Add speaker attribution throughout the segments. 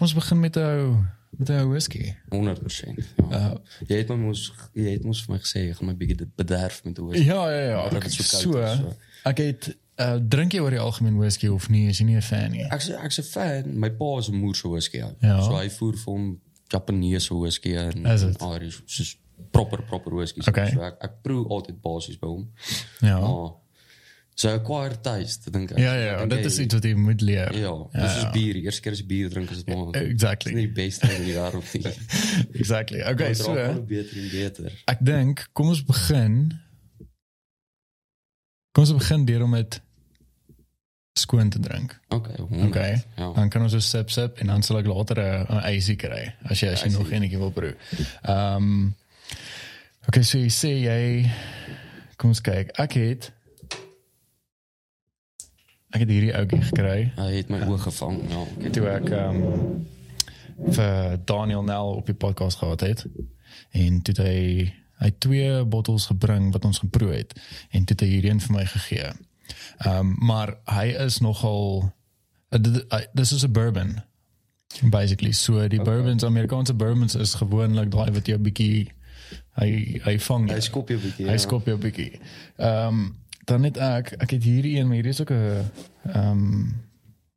Speaker 1: ons begin met jou met jou whisky.
Speaker 2: 100%. Ja.
Speaker 1: Uh,
Speaker 2: Jy het my mos jy het mos vir my gesê jy gaan my bietjie dit bederf met hoor.
Speaker 1: ja ja ja,
Speaker 2: dat
Speaker 1: ek
Speaker 2: het so koud
Speaker 1: so.
Speaker 2: is, so.
Speaker 1: Ek het uh, drink jy oor die algemeen whisky of nie? Is jy nie 'n fan nie?
Speaker 2: Ek sê ek's 'n fan. My pa is 'n moerse whisky.
Speaker 1: Ja.
Speaker 2: Ja. So hy voer vir hom Japaneese whisky en
Speaker 1: Is het?
Speaker 2: en Irish soos proper proper whisky.
Speaker 1: Okay.
Speaker 2: So ek ek proe altyd basies by hom.
Speaker 1: Ja.
Speaker 2: Maar so acquired taste dink ek.
Speaker 1: Ja ja,
Speaker 2: Oh, Ek dink
Speaker 1: dit is
Speaker 2: hy-
Speaker 1: iets wat jy moet leer.
Speaker 2: Ja, dis is bier. Eerste keer as jy bier drink is dit maar
Speaker 1: Exactly.
Speaker 2: Dis nie die beste ding daarop nie. Dit
Speaker 1: Exactly. Okay, eh. so
Speaker 2: raak al beter en beter.
Speaker 1: ek dink kom ons begin. Kom ons begin deur om dit skoon te drink.
Speaker 2: Okay. 100.
Speaker 1: Okay.
Speaker 2: Ja.
Speaker 1: Dan kan ons so sip sip en dan sal ek later eh, 'n- 'n icy kry as jy as jy nog enetjie wil proe. Ehm um, Okay, so jy sê jy kom ons kyk. Ek het ek het hierdie ouetjie gekry
Speaker 2: Hy het my oog gevang. Ja. ek het-
Speaker 1: toe ek ehm um, vir Daniel Nel op die podcast gehad het. En toe het hy hy twee bottels gebring wat ons geproe het en toe het hy hierdie een vir my gegee. Ehm um, maar hy is nogal uh, dit- hy- dis is 'n bourbon basically. So die bourbons, Amerikaanse bourbons is gewoonlik daai wat jou bietjie hy hy vang. jou.
Speaker 2: Hy skop jou 'n bietjie.
Speaker 1: Hy
Speaker 2: ja.
Speaker 1: skop jou 'n bietjie. Ehm dan het ek ek het hierdie een, maar hierdie is ook 'n ehm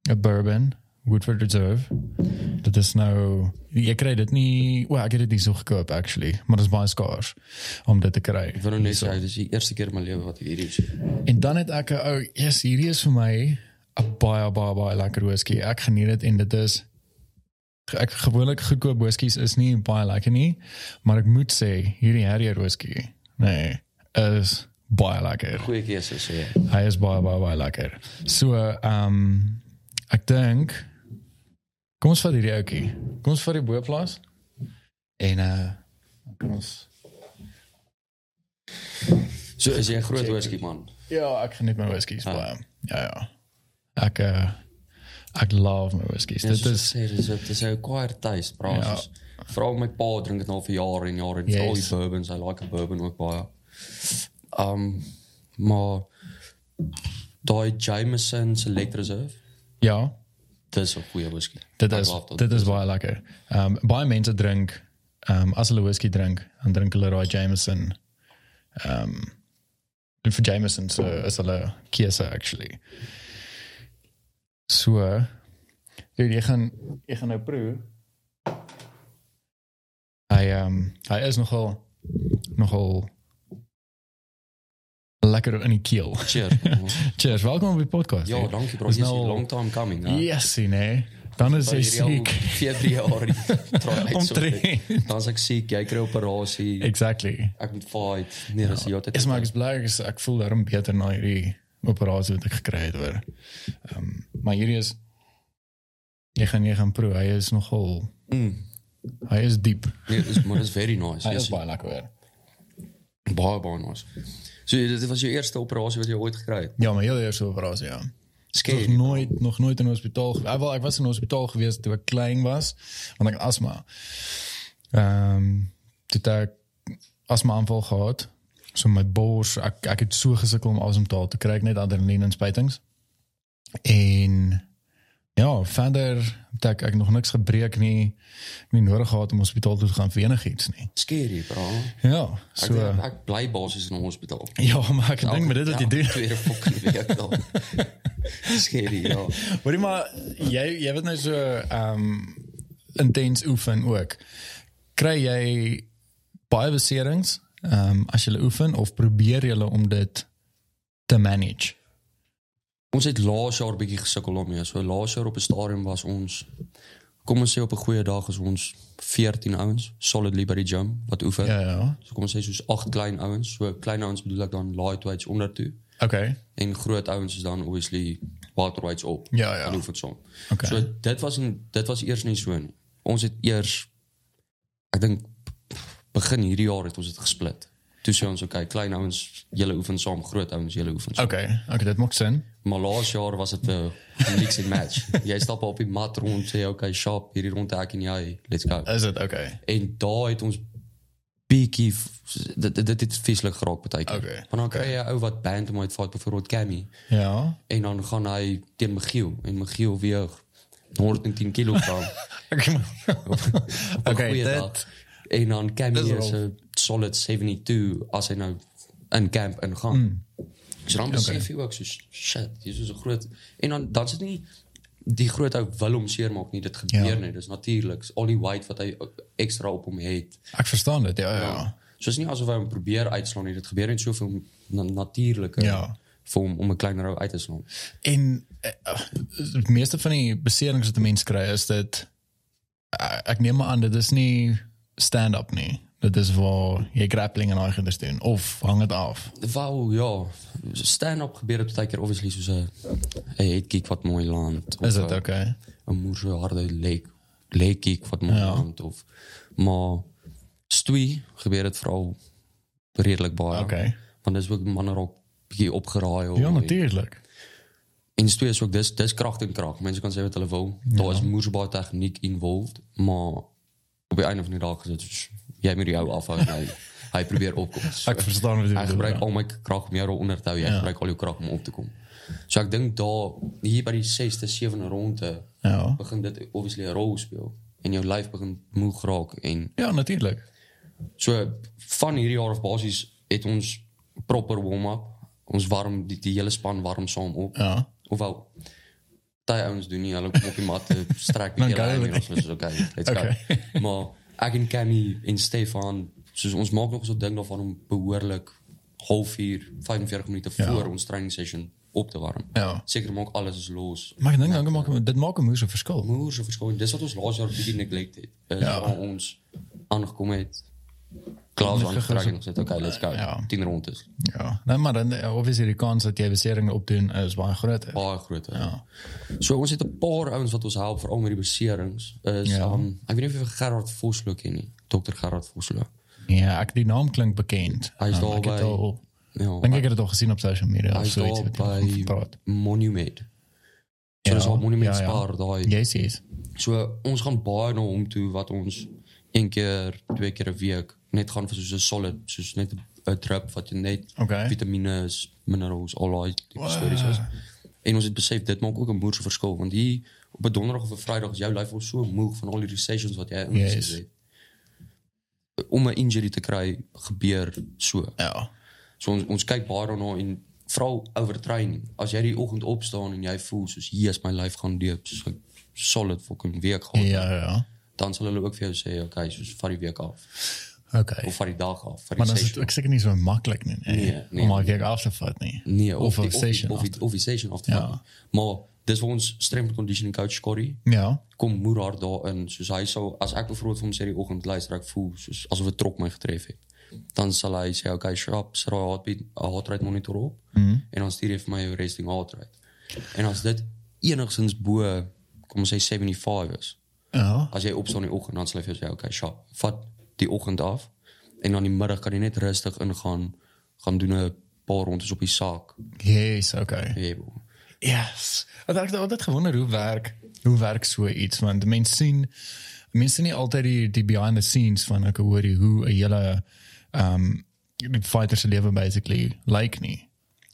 Speaker 1: 'n bourbon Woodford Reserve. Dit is nou jy kry dit nie, wel ek het dit nie so gekoop actually, maar dit is baie skaars om dit te kry.
Speaker 2: Ek wil nou net sê dis die eerste keer in my lewe wat ek hierdie sien.
Speaker 1: En dan het ek 'n ou, yes, hierdie is vir my 'n baie baie baie lekker whisky. Ek geniet dit en dit is ek gewoonlik goedkoop whiskies is nie baie lekker nie, maar ek moet sê hierdie Harrier whisky, nee, is baie lekker.
Speaker 2: Goeie keuse sê ek.
Speaker 1: Hy is baie baie baie lekker. So, ehm um, ek dink kom ons vat hierdie ouetjie. Kom ons vat die boplaas en uh dan kan ons
Speaker 2: So is jy 'n groot whisky man.
Speaker 1: Ja, ek geniet my whiskies baie. Ja ja. Ek uh, ek love my whiskies.
Speaker 2: Dis
Speaker 1: Dit is
Speaker 2: sê dis dit is 'n acquired taste, bro.
Speaker 1: Ja.
Speaker 2: Ja. Vra my pa drink dit al vir jare en jare. Yes.
Speaker 1: Yes.
Speaker 2: Al die bourbons, hy like 'n bourbon ook baie. Um maar daai Jameson Select Reserve,
Speaker 1: ja,
Speaker 2: dis 'n goeie whisky.
Speaker 1: dit
Speaker 2: Ek
Speaker 1: is
Speaker 2: love dit.
Speaker 1: dit is baie lekker. Ehm um, baie mense drink ehm um, as hulle whisky drink, dan drink hulle raai Jameson. Ehm um, vir Jameson so is hulle keuse actually. So dude, jy gaan jy gaan nou proe. Hy ehm um, hy is nogal nogal lekker in die keel.
Speaker 2: Cheers. bro.
Speaker 1: Cheers, welkom op die podcast.
Speaker 2: ja,
Speaker 1: dude.
Speaker 2: dankie bro.
Speaker 1: Dis
Speaker 2: Dis 'n
Speaker 1: nou-
Speaker 2: long time coming. Ja.
Speaker 1: Yes, nee. Dan is hy
Speaker 2: Daai hierdie al
Speaker 1: siek.
Speaker 2: Vier jaar. try uit so.
Speaker 1: Omtrent.
Speaker 2: Dan is ek siek, jy kry operasie.
Speaker 1: Exactly.
Speaker 2: Ek moet fight. Nee, dis ja, dit
Speaker 1: Dis maar ek is bly ek is- ek voel daarom beter na hierdie operasie wat ek gekry het hoor. Ehm um, maar hierdie is jy gaan jy gaan proe. Hy is nogal
Speaker 2: Mm.
Speaker 1: hy is diep.
Speaker 2: Nee, dis maar dis very nice.
Speaker 1: Hy
Speaker 2: Yes,
Speaker 1: Ja, is baie lekker hoor.
Speaker 2: baie baie nice. So dit was jou eerste operasie wat jy ooit gekry het.
Speaker 1: Ja, my heel eerste operasie ja. Ek
Speaker 2: Scary.
Speaker 1: nog nooit nog nooit in 'n hospitaal. ge- Ek wel ek was in 'n hospitaal gewees toe ek klein was want ek het asma. Ehm toe het ek asma aanval gehad. So my bors, ek ek het so gesukkel om asem te haal. Toe kry ek net adrenalien inspuitings. En ja, verder het ek ek nog niks gebreek nie. Ek het nie nodig gehad om hospitaal toe te gaan vir enigiets nie.
Speaker 2: Scary, bro.
Speaker 1: Ja,
Speaker 2: Ek, Ja.
Speaker 1: so
Speaker 2: so, ek bly basies in 'n hospitaal.
Speaker 1: ja, maar ek dink met dit wat jy doen.
Speaker 2: Tweede fucking week dan. Scary, ja.
Speaker 1: Hoorie maar jy jy weet nou so ehm intens oefen ook. Kry jy baie beserings ehm as jy hulle oefen of probeer jy hulle om dit te manage?
Speaker 2: Ons het laas jaar bietjie gesukkel daarmee. So laas jaar op 'n stadium was ons kom ons sê op 'n goeie dag is ons 14 ouens solidly by die gym wat oefen.
Speaker 1: Ja ja.
Speaker 2: So kom ons sê soos agt klein ouens. So klein ouens bedoel ek dan lightweights onder toe
Speaker 1: Okay.
Speaker 2: en groot ouens is dan obviously waterweights op.
Speaker 1: Ja, ja.
Speaker 2: Hulle oefen saam.
Speaker 1: Okay.
Speaker 2: So dit was in, dit was eers nie so nie. Ons het eers ek dink begin hierdie jaar het ons dit gesplit. Toe sê ons okay, klein ouens julle oefen saam, groot ouens julle oefen saam.
Speaker 1: Okay, okay, dit maak sin.
Speaker 2: Maar laas jaar was dit 'n mix and match. jy stap op die mat rond sê okay, sharp, hierdie rond ek en jy, let's go.
Speaker 1: Is dit okay?
Speaker 2: En daar het ons bietjie dit dit- dit het vieslik geraak baie keer.
Speaker 1: Okay,
Speaker 2: Want dan kry jy 'n ou wat band om uit vat byvoorbeeld Cammy
Speaker 1: Ja.
Speaker 2: en dan gaan hy teen Michiel en Michiel weer 110 kilogram.
Speaker 1: Oké,
Speaker 2: Op een goeie
Speaker 1: dit-
Speaker 2: dag. En dan Cammy
Speaker 1: dit is
Speaker 2: is
Speaker 1: wel-
Speaker 2: een solid 72 als hij nou in camp ingaan.
Speaker 1: Mm.
Speaker 2: Dus dan besef je ook, soos, shit, hier is een groot... En dan, dan zit niet die groot ook wil om seermaak nie, dit gebeur
Speaker 1: Ja.
Speaker 2: nie. Dis natuurlik, Dis al die white wat hy ook extra op hom het.
Speaker 1: ik verstaan het, ja, ja. ja.
Speaker 2: So is nie asof hy hom probeer uitslaan nie, dit gebeur net soveel na natuurliker
Speaker 1: Ja.
Speaker 2: vir hom om 'n kleiner ou uit te slaan.
Speaker 1: En eh, eh, het meeste van die beserings wat 'n mens kry is dat eh, ek neem maar aan dit is nie stand-up nie. Dit is waar jy grappling en daai goeders doen of hang dit af.
Speaker 2: Wauw, ja. Stand-up gebeur dit baie keer obviously soos 'n 'n head kick wat mooi land.
Speaker 1: Is dit okay?
Speaker 2: 'n moerse harde leek leek kick wat my hand of maar stoei gebeur dit veral redelik baie.
Speaker 1: Okay.
Speaker 2: Want dis ook manne raak bietjie opgeraai of
Speaker 1: Ja, natuurlik.
Speaker 2: en stoei is ook dis dis krag en krag. Mense kan sê wat hulle wil. Daar is moerse baie tegniek involved, maar op die einde van die dag is dit soos, jy moet jou afhou en hy hy probeer opkom. So,
Speaker 1: Ek verstaan wat jy
Speaker 2: Hy
Speaker 1: bedoel,
Speaker 2: gebruik
Speaker 1: ja.
Speaker 2: al my krag om jou daaronder te hou. Jy gebruik al jou krag om op te Dus kom. So ek dink daar hier by die 6de, 7de ronde
Speaker 1: Ja.
Speaker 2: begin dit obviously 'n rol speel en jou lyf begin moeg raak en
Speaker 1: Ja, natuurlik.
Speaker 2: so van hierdie jaar of basies het ons proper warm-up. Ons warm die, die hele span warm saam op.
Speaker 1: Ja.
Speaker 2: Ofwel daai ouens doen nie hulle kom op die mat eh, strek
Speaker 1: Dan
Speaker 2: met
Speaker 1: gaan
Speaker 2: hulle
Speaker 1: hulle-
Speaker 2: en ons is okay, let's
Speaker 1: Okay.
Speaker 2: go. Maar ek en Cammy en Stefan, soos ons maak nog so ding daarvan om behoorlik halfuur, 45 minute voor ons training session op te warm.
Speaker 1: Ja.
Speaker 2: Seker maak alles is los.
Speaker 1: Maar ek dink dan maak dit maak 'n moeë verskil.
Speaker 2: moerse verskoning. Dis wat ons laas jaar bietjie neglect het.
Speaker 1: Ja.
Speaker 2: Is ja. waar ons aangekom het. Klaas aangetrek en ons het okay, let's go.
Speaker 1: Ja.
Speaker 2: 10 rondes.
Speaker 1: Ja. Nee, maar dan ja, obviously die kans dat jy besering opdoen is baie groot.
Speaker 2: Baie groot. Ja. So ons het 'n paar ouens wat ons help veral met die beserings. Is
Speaker 1: Ja.
Speaker 2: ja. um, ek weet nie of jy vir Gerard Vosloo ken nie. Dr Gerard Vosloo.
Speaker 1: Ja, ek die naam klink bekend.
Speaker 2: Hy is
Speaker 1: Um,
Speaker 2: daar
Speaker 1: ek het
Speaker 2: by-
Speaker 1: al-
Speaker 2: Ja.
Speaker 1: Dink ek het dit al gesien op social media
Speaker 2: Hy
Speaker 1: of
Speaker 2: is
Speaker 1: so iets
Speaker 2: daar
Speaker 1: wat jy
Speaker 2: by
Speaker 1: praat.
Speaker 2: Monument. So
Speaker 1: Ja,
Speaker 2: ja. is al Monument
Speaker 1: ja,
Speaker 2: ja,
Speaker 1: ja.
Speaker 2: ja. spaar daai
Speaker 1: Yes, yes.
Speaker 2: So ons gaan baie na hom toe wat ons een keer, twee keer 'n week net gaan vir soos 'n solid, soos net 'n- 'n drip wat jy net
Speaker 1: Okay.
Speaker 2: vitamine, minerals, al daai tipe stories is. En ons het besef dit maak ook 'n moerse verskil want hier op 'n donderdag of 'n vrydag is jou lyf al so moeg van al die sessions wat jy ingesit
Speaker 1: Yes.
Speaker 2: het. Om 'n injury te kry gebeur so.
Speaker 1: Ja.
Speaker 2: So ons ons kyk baie daarna en vra overtraining. As jy die oggend opstaan en jy voel soos hier is my lyf gaan deep, soos ek solid fucking week gehad,
Speaker 1: Ja, ja.
Speaker 2: dan sal hulle ook vir jou sê, okay, soos vat die week af
Speaker 1: Okay.
Speaker 2: of vat die dag af, vat
Speaker 1: Maar dan
Speaker 2: die
Speaker 1: is het
Speaker 2: session.
Speaker 1: ook zeker niet zo makkelijk nu. hè?
Speaker 2: Nee, nee.
Speaker 1: Om al gek af te vatten. Nee.
Speaker 2: Nee,
Speaker 1: of,
Speaker 2: of,
Speaker 1: een
Speaker 2: die, of, die,
Speaker 1: session.
Speaker 2: of,
Speaker 1: af
Speaker 2: die,
Speaker 1: te-
Speaker 2: of die session af te
Speaker 1: Ja.
Speaker 2: vat. Maar dis vir ons strength and conditioning coach Corrie.
Speaker 1: Ja,
Speaker 2: Kom moer haar daarin, soos hy sal as ek bijvoorbeeld vir hom sê die oggend luister ek voel soos asof 'n trok my getref het. Dan sal hy sê, okay, sharp, sit haar heartbeat, haar heart rate monitor op
Speaker 1: Mhm.
Speaker 2: en dan stuur hy vir my jou resting heart rate. En as dit enigstens bo kom ons sê 75 is,
Speaker 1: ja.
Speaker 2: as jy opstaan in die oggend dan sal hy vir jou sê, okay, sharp, vat die oggend af en dan die middag kan jy net rustig ingaan, gaan doen 'n paar rondes op die saak.
Speaker 1: Jezus, oké. Okay.
Speaker 2: Jy weet.
Speaker 1: Yes. Want ek het altyd gewonder hoe werk hoe werk so iets want mense sien mense sien nie altyd die die behind the scenes van ek hoor jy hoe 'n hele ehm um, die fighter se lewe basically lyk nie.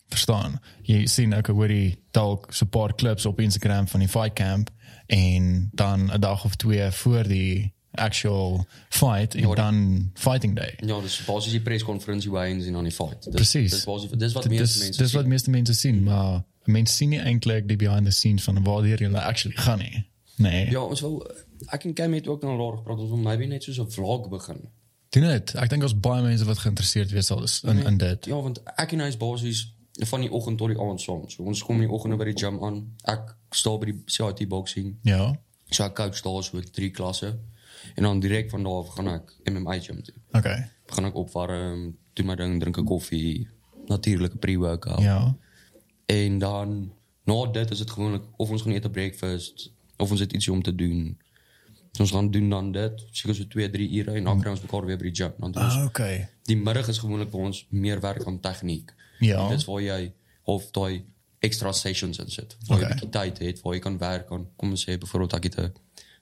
Speaker 1: Verstaan? Jy sien ek hoor jy dalk so 'n paar clips op Instagram van die fight camp en dan 'n dag of twee voor die actual fight en dan fighting day.
Speaker 2: Ja, dis basies die preskonferensie waar hy in aan die fight. Dis,
Speaker 1: Precies.
Speaker 2: Dis basies dis wat
Speaker 1: Dit
Speaker 2: meeste
Speaker 1: is
Speaker 2: mense
Speaker 1: dis
Speaker 2: sien.
Speaker 1: wat meeste mense sien, maar mense sien nie eintlik die behind the scenes van waartoe jy actually gaan nie. Nee.
Speaker 2: Ja, ons wil ek en Kim het ook na haar gepraat. Ons wil maybe net soos 'n vlog begin.
Speaker 1: Doen dit. Ek dink daar's baie mense wat geïnteresseerd wees sal is in in dit.
Speaker 2: Ja, want ek en hy is basies van die oggend tot die aand saam. So ons kom in die oggende by die gym aan. Ek staan by die CIT boxing.
Speaker 1: Ja.
Speaker 2: So ek coach daar so drie klasse. En dan direk van daar af gaan ek MMA gym toe.
Speaker 1: Okay.
Speaker 2: Gaan ek opwarm, doen my ding, drink 'n koffie, natuurlike pre-workout.
Speaker 1: Ja.
Speaker 2: En dan na dit is dit gewoonlik of ons gaan eet 'n breakfast of ons het ietsie om te doen. Dus ons gaan doen dan dit, seker so 2, 3 ure en dan
Speaker 1: Hmm.
Speaker 2: kry ons mekaar weer by die gym. Dan doen ons,
Speaker 1: okay.
Speaker 2: die middag is gewoonlik waar ons meer werk aan tegniek.
Speaker 1: Ja.
Speaker 2: Dit is waar jy half daai extra sessions in sit. Waar
Speaker 1: Oké.
Speaker 2: jy 'n bietjie tyd het waar jy kan werk aan kom ons sê byvoorbeeld ek het 'n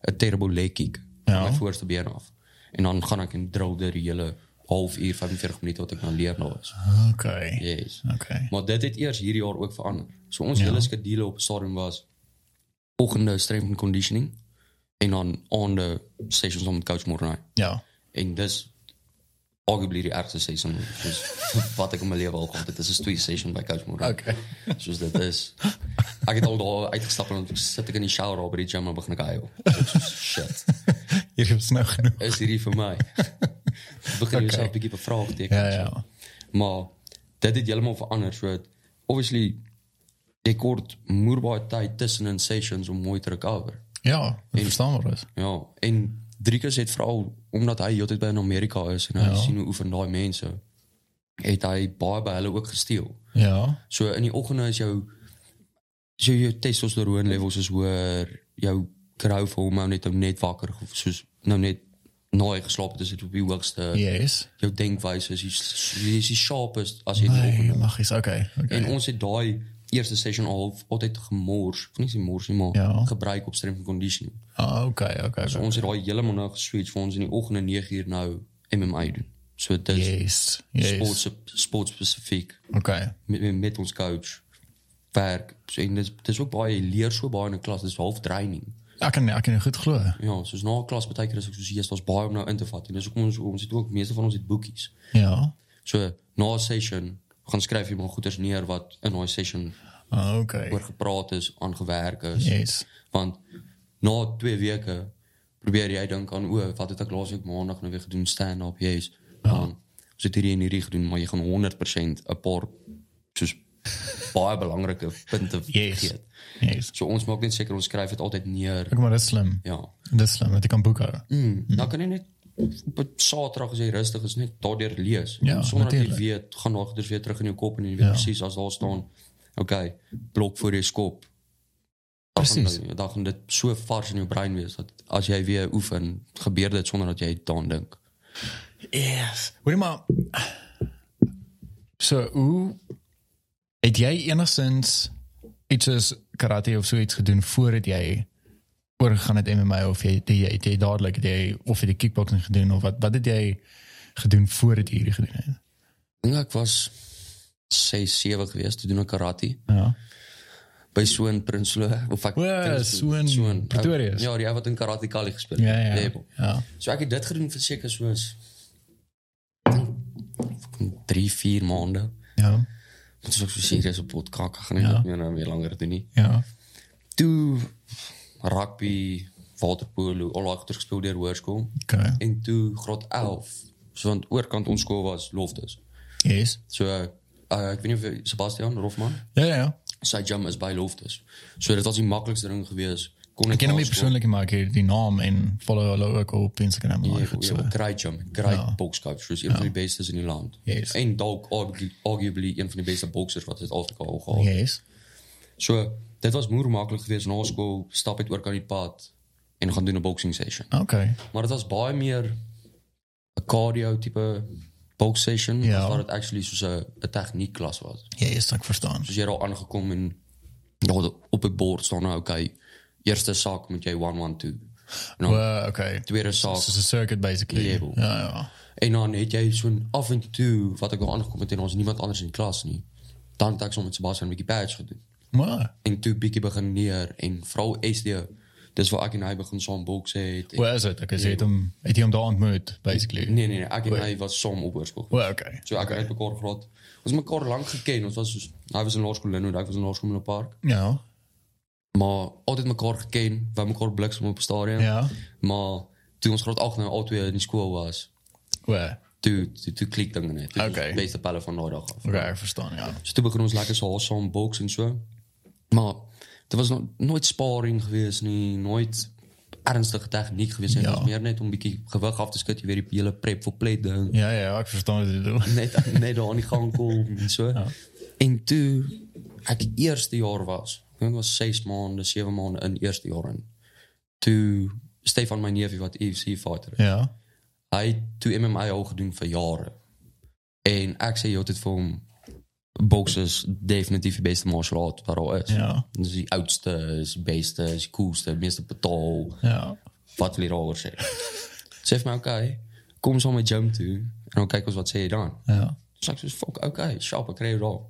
Speaker 2: 'n terrible leg kick
Speaker 1: Ja.
Speaker 2: my voorste been af. En dan gaan ek en drill deur die hele halfuur 45 minute wat ek nou leer nou is.
Speaker 1: Okay.
Speaker 2: Yes.
Speaker 1: Okay. Ja.
Speaker 2: Maar dit het eers hierdie jaar ook verander. So ons hele skedule op stadium was oggende strength and conditioning en dan aan de sessions om met coach Mornay.
Speaker 1: Ja.
Speaker 2: En dis arguably die ergste session soos wat ek in my lewe al gehad het. Dit is 'n twee session by coach Mornay.
Speaker 1: Okay.
Speaker 2: Soos dit is. Ek het al daar uitgestap en dan sit ek in die shower daar by die gym en begin ek huil. Soos, Shit.
Speaker 1: Hier heb snel genoeg.
Speaker 2: Is hierdie vir my? begin jouself 'n bietjie bevraagteken.
Speaker 1: Ja, ja.
Speaker 2: Maar dit het heeltemal verander. So het, obviously jy kort moer baie tyd tussen in sessions om mooi te recover.
Speaker 1: Ja, dat verstaan we dus.
Speaker 2: Ja, en Driekus het veral omdat hy heeltyd by in Amerika is en hy
Speaker 1: Ja.
Speaker 2: sien hoe oefen daai mense, het hy baie by hulle ook gesteel.
Speaker 1: Ja.
Speaker 2: So in die oggende is jou so jou testosteron levels is hoër, jou growth hormone het nou net wakker ge- soos nou net na hy geslaap het is dit op die hoogste.
Speaker 1: Ja. Yes.
Speaker 2: Jou denkwyse is die s- jy is die sharpest as jy in die oggend
Speaker 1: Nee, logisch. Oh, Oké. oké.
Speaker 2: En ons het daai eerste session al half- altyd gemors, of nie se mors nie, maar
Speaker 1: Ja.
Speaker 2: gebruik op strength and conditioning.
Speaker 1: Ah, Oké, oké.
Speaker 2: So
Speaker 1: oké.
Speaker 2: ons het daai heeltemal nou geswitch vir ons in die oggende 9 uur nou MMA doen. So dit is
Speaker 1: Yes. Yes.
Speaker 2: sport sport spesifiek
Speaker 1: Oké.
Speaker 2: met, met met ons coach werk. So, en dis dis ook baie jy leer so baie in 'n klas, dis half training.
Speaker 1: Ik kan ik kan je goed geloven.
Speaker 2: Ja, soos na 'n klas baie keer is ek soos hier, daar's baie om nou in te vat. En dis hoekom ons ons het ook meeste van ons het boekies.
Speaker 1: Ja.
Speaker 2: So na 'n session gaan skryf jy maar goeders neer wat in daai session
Speaker 1: Ah, Oké.
Speaker 2: oor gepraat is, aangewerk is.
Speaker 1: Yes.
Speaker 2: Want na twee weken probeer jij dan aan, oeh, wat het ik laatst ook maandag nou weer gedoen, stand-up, jezus. Dan zit hier in hier gedoen, maar je gaat 100% een paar, soos, baie belangrike punte
Speaker 1: Yes.
Speaker 2: vergeet.
Speaker 1: Yes.
Speaker 2: So ons maak net seker ons skryf dit altyd neer.
Speaker 1: Kijk maar, dat is slim.
Speaker 2: Ja.
Speaker 1: Dat is slim, want ik kan boeken houden.
Speaker 2: Mm, Dan kan jy net op 'n Saterdag as jy rustig is net daardeur lees.
Speaker 1: Ja,
Speaker 2: Sonder dat jy
Speaker 1: natuurlijk.
Speaker 2: weet gaan daar goeders weer terug in jou kop en jy weet
Speaker 1: Ja.
Speaker 2: presies as daar staan, okay, blok voor jou skop. Dan gaan
Speaker 1: Precies.
Speaker 2: dit- Dan gaan dit so vars in jou brein wees dat as jy weer oefen, gebeur dit sonder dat jy daaraan dink.
Speaker 1: Yes. Hoor jy maar. So, hoe het jy enigstens iets soos karate of so iets gedoen voordat jy oor gaan het MMA of jy het jy, het jy dadelik het jy of het jy kickboxing gedoen of wat wat het jy gedoen voordat jy hierdie gedoen het?
Speaker 2: Ek dink ek was 6, 7 gewees toe doen ek karate
Speaker 1: Ja.
Speaker 2: by Soen Prinsloo of ek
Speaker 1: O, ja, Soen Pretoria.
Speaker 2: Ja, die ou wat in karate Kali gespeel
Speaker 1: Ja,
Speaker 2: het.
Speaker 1: ja.
Speaker 2: Label.
Speaker 1: Ja.
Speaker 2: So ek het dit gedoen vir seker soos 3, 4 maande.
Speaker 1: Ja.
Speaker 2: Dit is ook so serieus op pot kak gaan nie
Speaker 1: Ja.
Speaker 2: ja. meer nou meer langer doen nie.
Speaker 1: Ja.
Speaker 2: Toe rugby, waterpolo, al daai goeie gespeel deur hoërskool
Speaker 1: Okay.
Speaker 2: en toe graad 11. So want oorkant ons skool was Loftus.
Speaker 1: Yes.
Speaker 2: So uh, ek weet nie of Sebastian Rofman
Speaker 1: Ja ja. ja.
Speaker 2: sy jam is by Loftus. So dit was die maklikste ding gewees. Kon
Speaker 1: Ek ken hom nie
Speaker 2: na skool-
Speaker 1: persoonlik maar ek het die naam en follow hulle ook op Instagram. maar
Speaker 2: Ja,
Speaker 1: goed,
Speaker 2: ja,
Speaker 1: so. Ja.
Speaker 2: great jump, great boxcoach. Dus een van de beste in die land.
Speaker 1: Yes.
Speaker 2: En dalk argu- arguably een van de beste boxers wat Zuid-Afrika al gehad.
Speaker 1: Yes.
Speaker 2: So, dit was moer maklik geweest na skool, stap uit oor kan die pad en gaan doen 'n boxing session.
Speaker 1: Okay.
Speaker 2: Maar dit was baie meer 'n cardio tipe box session
Speaker 1: Ja.
Speaker 2: as wat dit actually soos 'n 'n tegniek klas was.
Speaker 1: Yes, ek verstaan.
Speaker 2: Soos jy daar aangekom en ja, op 'n bord staan nou okay. Eerste saak moet jy 112. En dan
Speaker 1: Well, okay.
Speaker 2: Nou, tweede saak
Speaker 1: Soos 'n circuit basically.
Speaker 2: Label.
Speaker 1: Ja, ja.
Speaker 2: En dan het jy so'n af en toe wat ek al aangekom het en ons niemand anders in die klas nie. Dan het ek saam met Sebastian 'n bietjie patch gedoen.
Speaker 1: Maar,
Speaker 2: En toe bietjie begin leer en vrou SD dis waar ek en hy begin saam boks het. En,
Speaker 1: waar is dit? Ek sê dit om het jy hom daar ontmoet basically.
Speaker 2: nee nee nee, ek en hy was saam op hoërskool.
Speaker 1: Well, okay.
Speaker 2: So ek het mekaar gehad. Ons het mekaar lank geken. Ons was soos hy was in laerskool en ek was in laerskool in 'n park.
Speaker 1: Ja.
Speaker 2: Maar altyd mekaar geken, wou mekaar bliksem op 'n stadion.
Speaker 1: Ja.
Speaker 2: Maar toe ons graad 8 nou al twee in die skool was,
Speaker 1: Well,
Speaker 2: toe toe, toe klik dinge net. Toe het ons
Speaker 1: Okay.
Speaker 2: Beste pelle van daai dag af.
Speaker 1: okay, ek verstaan, ja.
Speaker 2: So toe begin ons lekker so saam boks en so. Maar dit was no nooit sparring gewees nie, nooit ernstige tegniek gewees nie.
Speaker 1: Ja.
Speaker 2: Dit was meer net om 'n bietjie gewig af te skud, jy weet die hele prep vir play ding.
Speaker 1: Ja, ja, ek verstaan wat jy doen.
Speaker 2: Net net daar aan die gang kom en so. En toe ek eerste jaar was, ek dink dit was 6 maande, 7 maande in eerste jaar in. Toe Stefan my neefie wat UFC fighter is.
Speaker 1: Ja.
Speaker 2: Hy het toe MMA al gedoen vir jare. En ek sê jy het dit vir hom boks is definitief die beste martial art wat daar is.
Speaker 1: Ja.
Speaker 2: Dis die oudste, is die beste, is die coolste, die meeste betaal,
Speaker 1: Ja.
Speaker 2: wat wil jy daaroor sê? sê vir my okay, kom saam met Jim toe en dan kyk ons wat sê jy dan.
Speaker 1: Ja.
Speaker 2: So ek sê fuck, okay, sharp, ek kry jou daar.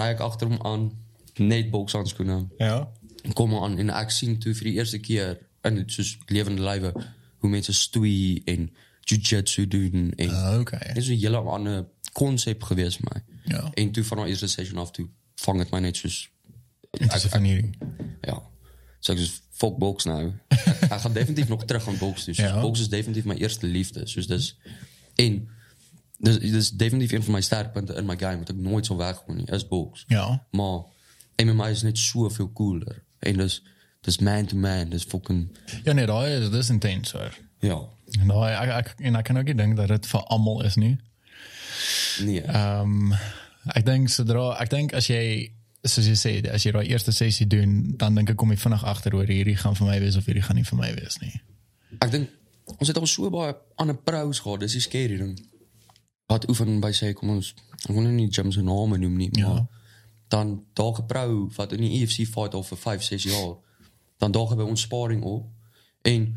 Speaker 2: Ry ek agter hom aan, net bokshandskoene,
Speaker 1: Ja.
Speaker 2: kom aan en ek sien toe vir die eerste keer in soos lewende lywe hoe mense stoei en jiu-jitsu doen en
Speaker 1: Ah, Oké.
Speaker 2: Dit is een hele ander concept geweest voor mij.
Speaker 1: Ja.
Speaker 2: En toen van de eerste session af, toen vang het mij net zoals...
Speaker 1: Het is een van jullie.
Speaker 2: Ja. Dus ik dus, fuck box nou. Hij gaat definitief nog terug aan box. Dus
Speaker 1: Ja.
Speaker 2: box is definitief mijn eerste liefde. Dus dat is... En... Dus dat is definitief een van mijn sterkpunten in mijn game. Wat ik nooit zal weggooi, nie, is box.
Speaker 1: Ja.
Speaker 2: Maar MMA is net zoveel cooler. En dus... Dus man-to-man. Dus fucking...
Speaker 1: Ja, nee, dat is, dat is intens hoor.
Speaker 2: Ja.
Speaker 1: En dat, ek, ek, en ek kan ook niet denken dat het voor allemaal is nu.
Speaker 2: Nee.
Speaker 1: Ehm ek dink sodra ek dink as jy soos jy sê, as jy daai eerste sessie doen, dan dink ek kom jy vinnig agter oor hierdie gaan vir my wees of hierdie gaan nie vir my wees nie.
Speaker 2: Ek dink ons het al so baie ander pros gehad, dis die scary ding. Wat oefen by sê kom ons ek wil nou nie Jim se naam noem nie, maar dan daar geprou wat in die UFC fight al vir 5, 6 jaar. Dan daar by ons sparring op en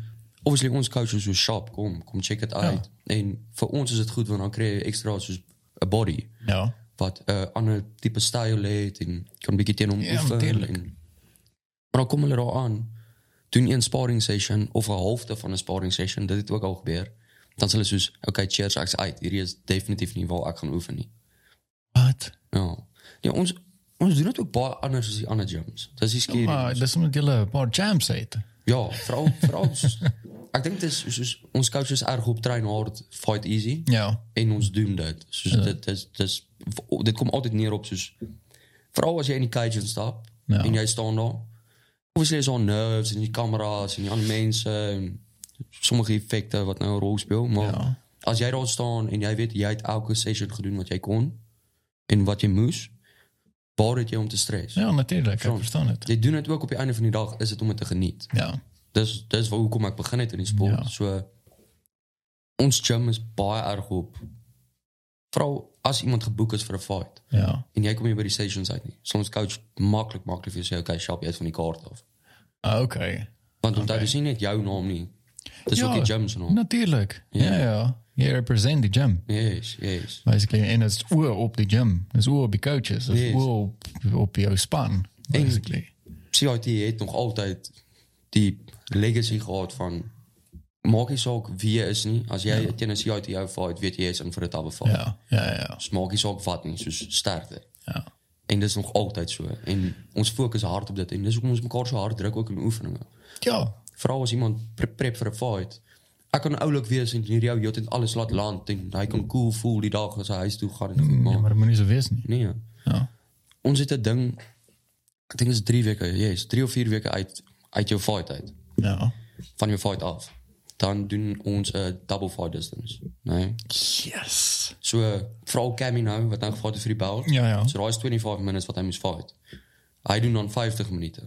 Speaker 2: obviously ons coach is so sharp, kom, kom check dit uit. En vir ons is dit goed want dan kry jy ekstra soos 'n body
Speaker 1: Ja.
Speaker 2: wat 'n ander tipe styl het en kan 'n bietjie teen hom
Speaker 1: Ja,
Speaker 2: oefen.
Speaker 1: natuurlijk.
Speaker 2: en, maar dan kom hulle daar aan, doen een sparring session of 'n halfte van 'n sparring session, dit het ook al gebeur. Dan sê hulle soos, okay, cheers, ek's uit. Hierdie is definitief nie waar ek gaan oefen nie.
Speaker 1: Wat?
Speaker 2: Ja. Ja, ons ons doen dit ook baie anders as die ander gyms. Dis die skeer.
Speaker 1: Ja, Maar dis omdat jy 'n paar jams het.
Speaker 2: Ja, veral veral ons- ek dink dit is soos ons coaches erg op train hard, fight easy.
Speaker 1: Ja.
Speaker 2: en ons Dus doen dit. Soos dit dis dis dit kom altyd neer op dus soos veral as jy in die cage instap
Speaker 1: Ja.
Speaker 2: en jy staan daar. Obviously is daar nerves en die kameras en die ander mense en sommige effekte wat nou 'n rol speel, maar
Speaker 1: Ja.
Speaker 2: as jy daar staan en jy weet jy het elke session gedoen wat jy kon en wat jy moes, waar het jy om te stres?
Speaker 1: Ja, natuurlik. Ek
Speaker 2: Zo.
Speaker 1: verstaan dit.
Speaker 2: Jy doen dit ook op die einde van die dag is dit om dit te geniet.
Speaker 1: Ja.
Speaker 2: Dis dis waar hoekom ek begin het in die sport.
Speaker 1: Ja.
Speaker 2: So ons gym is baie erg op veral as iemand geboek is vir 'n fight
Speaker 1: Ja.
Speaker 2: en jy kom nie by die sessions uit nie. Soms coach maklik maklik vir jou sê okay, shop jy uit van die kaart af.
Speaker 1: Ah, Oké.
Speaker 2: Want onthou dis nie net jou naam nie. Dis
Speaker 1: Ja.
Speaker 2: ook die gym se naam.
Speaker 1: Natuurlijk. Ja, ja. Jy represent die gym.
Speaker 2: Yes, yes.
Speaker 1: Basically en dit is oor op die gym. Dit is oor op die coaches, dit is
Speaker 2: Yes.
Speaker 1: oor op, op jou span basically.
Speaker 2: CIT het nog altyd die legacy gehad van maak nie saak wie jy is nie. As jy teen 'n CIT jou fight, weet jy jy is in vir 'n tawe fight.
Speaker 1: Ja. Ja, ja.
Speaker 2: Dus maak nie saak wat nie, soos sterkte.
Speaker 1: Ja.
Speaker 2: En dat is nog altijd zo. En ons focus is hard op dit. En dus hoekom ons mekaar zo hard druk ook in oefeningen.
Speaker 1: Ja.
Speaker 2: Vooral als iemand pre- prep voor een fight. Ek kan oulik wees en hier jou jot en alles laat land en hy kan cool voel die dag as hy huis toe gaan en goed
Speaker 1: Ja,
Speaker 2: maar
Speaker 1: maar dit moet nie so wees nie.
Speaker 2: nee.
Speaker 1: Ja.
Speaker 2: Ons het 'n ding ek dink is 3 weke, yes, 3 of 4 weke uit uit jou fight uit.
Speaker 1: Ja.
Speaker 2: Van jou fight af. Dan doen ons 'n double fight distance, nee.
Speaker 1: Yes.
Speaker 2: So veral Cammy nou wat nou gevat het vir die belt.
Speaker 1: Ja, ja.
Speaker 2: So daai is 25 minutes wat hy moes fight. Hy doen dan 50 minute.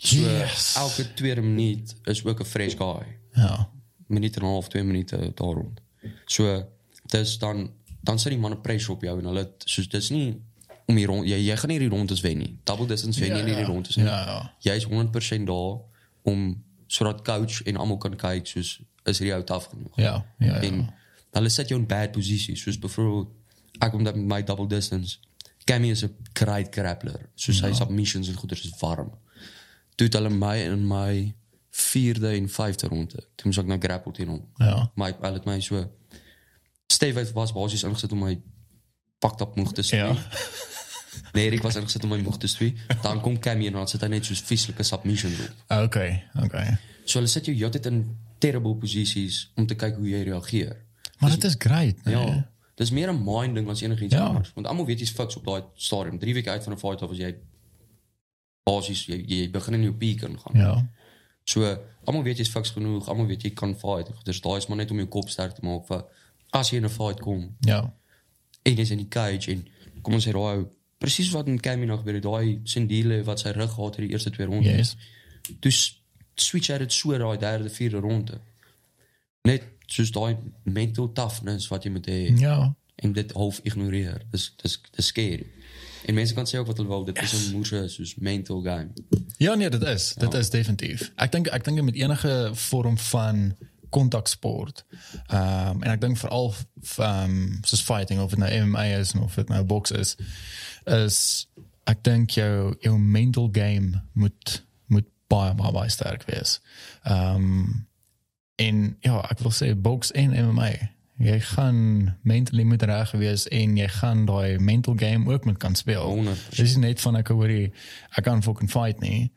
Speaker 2: So
Speaker 1: Yes.
Speaker 2: elke tweede minuut is ook 'n fresh guy.
Speaker 1: Ja.
Speaker 2: Minuut en 'n half, 2 minute daar rond. So dis dan dan sit die man 'n pressure op jou en hulle soos dis nie om hier rond jy jy gaan nie die rondes wen nie. Double distance wen
Speaker 1: Ja,
Speaker 2: jy nie
Speaker 1: ja.
Speaker 2: die rondes nie.
Speaker 1: Ja, ja.
Speaker 2: Jy is 100% daar om sodat coach en almal kan kyk soos is hierdie ou taaf genoeg.
Speaker 1: Ja, ja, ja.
Speaker 2: En hulle sit jou in bad posisies. Soos bijvoorbeeld, ek kom dat met my double distance. Cammy is 'n great grappler. Soos
Speaker 1: Ja.
Speaker 2: hy submissions en goeders is warm. Toe het hulle my in my vierde en vyfde ronde. Toe moes ek nou grapple teen hom.
Speaker 1: Ja.
Speaker 2: Maar hy hulle het my so Steve het was basies ingesit om my pak op moeg te sny.
Speaker 1: Ja.
Speaker 2: Nee, Erik was ingesit om my moeg te sny. Dan kom Cammy en dan sit hy net soos vieslike submissions op.
Speaker 1: Oké, Ah, oké.
Speaker 2: So hulle sit jou heeltyd in terrible posisies om te kyk hoe jy reageer.
Speaker 1: Maar dat is great. nee.
Speaker 2: Dus Ja. Dis meer 'n mind ding as enigiets
Speaker 1: Ja.
Speaker 2: anders. Want almal weet jy's fiks op daai stadium. 3 weke uit van 'n fight af as jy basies jy, jy begin in jou piek ingaan.
Speaker 1: Ja.
Speaker 2: So almal weet jy's fiks genoeg, almal weet jy kan fight. Dus daai is maar net om jou kop sterk te maak vir as jy in 'n fight kom
Speaker 1: Ja.
Speaker 2: en jy's in die cage en kom ons sê daai ou, presies wat in Cammy nog by daai Sindile wat sy rug gehad het die eerste twee rondes.
Speaker 1: Yes.
Speaker 2: Dus switch uit dit so daai derde, vierde ronde. Net soos daai mental toughness wat jy moet hê
Speaker 1: Ja.
Speaker 2: en dit half ignoreer. Dis dis dis scary. En mense kan sê ook wat hulle wil, dit is 'n moerse soos mental game.
Speaker 1: Ja, nee, dat is. Dat is definitief. Ik denk, ik denk met enige vorm van contactsport. ehm, en ik denk vooral ehm soos fighting, of het nou MMA is of het nou box is, is ik denk jou, jouw mental game moet, moet baie, baie, baie sterk wees. Ehm en ja, ik wil zeggen, box en MMA. Jy gaan mentally moet reg wees en jy gaan daai mental game ook moet kan speel.
Speaker 2: 100%.
Speaker 1: Dis nie net van ek hoor jy ek kan fucking fight nie.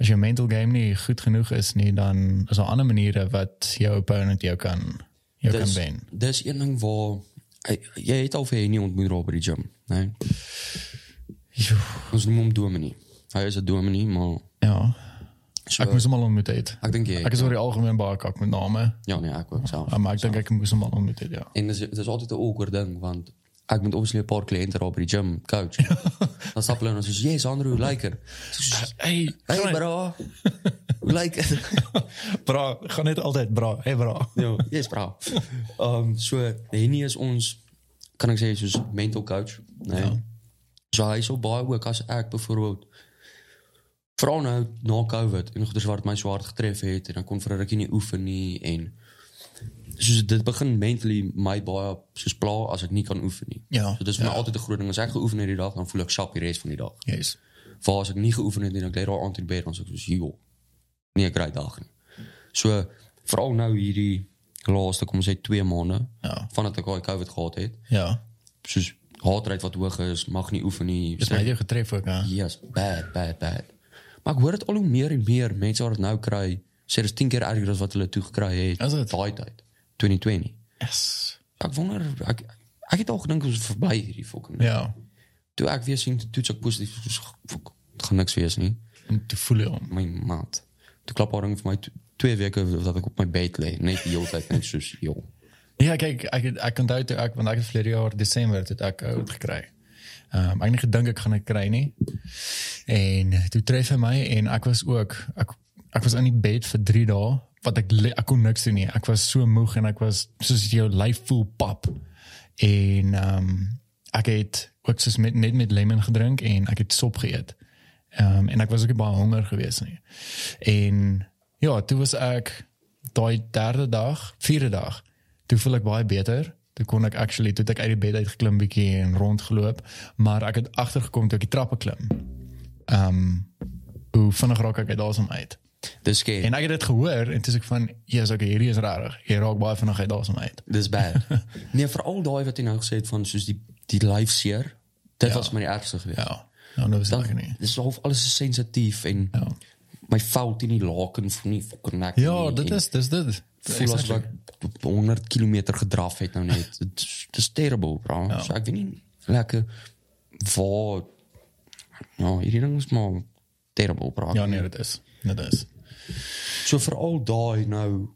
Speaker 1: As jou mental game nie goed genoeg is nie, dan is daar ander maniere wat jou opponent jou kan jou kan
Speaker 2: Dus,
Speaker 1: wen.
Speaker 2: dus één ding waar... Ey, Jij heet al veel niet ontmoet Robert die gym. Nee. Ons noemen hem Domini. Hij is een Domini, maar...
Speaker 1: Ja.
Speaker 2: So,
Speaker 1: Ek moes hom al ontmoet het.
Speaker 2: ek dink jy-
Speaker 1: Ek is oor die algemeen baie kak met name,
Speaker 2: ja, nee, ik ook zelf.
Speaker 1: maar ek dink ek moes hom al ontmoet het, ja.
Speaker 2: En dat is, dat is altijd een awkward ding, want ik moet obviously een paar cliënten op die gym, couch. dan stappen we en dan zeggen jezus Andrew, hoe lijkt er?
Speaker 1: Hey,
Speaker 2: Hey bro, hoe lijkt het?
Speaker 1: bra, gaan net altyd bra. Hey bra.
Speaker 2: Ja, dis braaf. Ehm so Henny is ons kan ek sê soos mental coach, né?
Speaker 1: Ja.
Speaker 2: Nee. So hy is so baie ook as ek byvoorbeeld vra nou na COVID en goeders wat my swaar getref het en dan kon vir 'n rukkie nie oefen nie en soos dit begin mentally my baie soos pla as ek nie kan oefen nie.
Speaker 1: Ja,
Speaker 2: So dis vir my altyd 'n groot ding as ek geoefen het die dag dan voel ek sap die res van die dag.
Speaker 1: Yes.
Speaker 2: Waar as ek nie geoefen het nie, dan lê daar aan in die bed dan sê ek soos joh. Nee, great dag nie. So veral nou hierdie laaste kom ons sê 2 maande
Speaker 1: Ja.
Speaker 2: vandat ek daai COVID gehad het,
Speaker 1: Ja.
Speaker 2: soos hartryd wat hoog is, mag nie oefen nie.
Speaker 1: Dis my jou getref ook, hè.
Speaker 2: Yes, bad, bad, bad. Maar ek hoor dit al hoe meer en meer mense wat dit nou kry, sê dit is 10 keer erger as wat hulle toe gekry het
Speaker 1: Is dit?
Speaker 2: daai tyd, 2020.
Speaker 1: Yes.
Speaker 2: Ek wonder ek ek het al gedink ons is verby hierdie fucking.
Speaker 1: Ja.
Speaker 2: Toe ek weer sien toets ek positief, soos, fuck, dit gaan niks wees nie.
Speaker 1: En te voel jy hom.
Speaker 2: my maat. Toe klap haar ding vir my t- twee weke dat ek op my bed lê, net die hele tyd net soos joh.
Speaker 1: Ja, kyk, ek het- ek onthou toe ek want ek het verlede jaar Desember het ek oud gekry. Ehm um, ek het nie gedink ek gaan dit kry nie. En toe tref hy my en ek was ook ek ek was in die bed vir 3 dae wat ek le- ek kon niks doen nie. Ek was so moeg en ek was soos jou lyf voel pap. En ehm um, ek het ook soos met net met lemon gedrink en ek het sop geëet. Ehm um, en ek was ook nie baie honger geweest nie. En ja, toe was ek daai derde dag, vierde dag, toe voel ek baie beter. Toe kon ek actually toe het ek uit die bed uitgeklim bietjie en rondgeloop, maar ek het agtergekom toe ek die trappe klim ehm hoe vinnig raak ek uit asem uit.
Speaker 2: Dis skerp.
Speaker 1: En ek het dit gehoor en toe sê ek van, "Ja, yes, okay, hierdie is rarig. Jy raak baie vinnig uit asem uit."
Speaker 2: Dis bad. nee, veral daai wat jy nou gesê het van soos die die lyf seer. Dit was my die ergste geweest.
Speaker 1: Ja. Nou nou is dit nie.
Speaker 2: Dis half alles is sensitief en
Speaker 1: Ja.
Speaker 2: my fout in die laken van nie fucking nek.
Speaker 1: Ja,
Speaker 2: nie,
Speaker 1: dit
Speaker 2: en
Speaker 1: is dis dit.
Speaker 2: voel asof ek 100 km gedraf het nou net. Dit is- dit is terrible, bro.
Speaker 1: Ja.
Speaker 2: So ek weet nie lekker waar Ja, hierdie ding is maar terrible, bro.
Speaker 1: Ja, nee, dit is. Dit is.
Speaker 2: So veral daai nou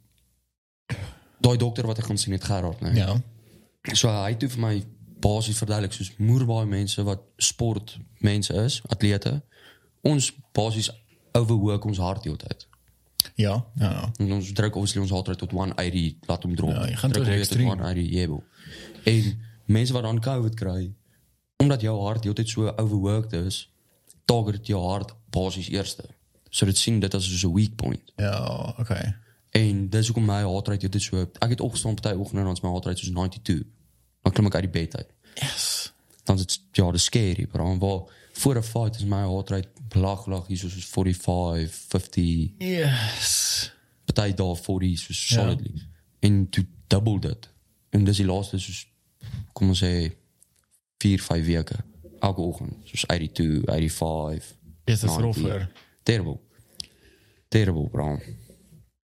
Speaker 2: daai dokter wat ek gaan sien het Gerard, né?
Speaker 1: Ja.
Speaker 2: So hy het toe vir my basies verduidelik soos moer baie mense wat sport mense is, atlete. Ons basies overwork ons hard heeltyd.
Speaker 1: Ja. Ja. ja.
Speaker 2: En ons druk obviously ons hard uit tot 180 laat hom drop.
Speaker 1: Ja, jy gaan
Speaker 2: Druk
Speaker 1: tot
Speaker 2: hom weer
Speaker 1: extreem.
Speaker 2: 180 jebel. En mense wat dan COVID kry omdat jou hart heeltyd so overworked is, target dit jou hart basies eerste. So dit sien dit as soos 'n weak point.
Speaker 1: Ja, okay.
Speaker 2: En dis hoekom my haatryd dit so. Ek het opgestaan party oggende en dan is my haatryd soos 92. Dan klim ek uit die bed uit.
Speaker 1: Yes.
Speaker 2: Dan is dit ja, dis scary, bro. En Waar voor 'n fight is my haatryd lag lag hier soos 45, 50,
Speaker 1: Yes.
Speaker 2: party daar 40 soos solidly. En toe double dit. En dis die laaste soos kom ons sê 4, 5 weke elke oggend soos 82, 85.
Speaker 1: Yes, dis
Speaker 2: 90.
Speaker 1: roffer.
Speaker 2: Terrible. Terrible, bro.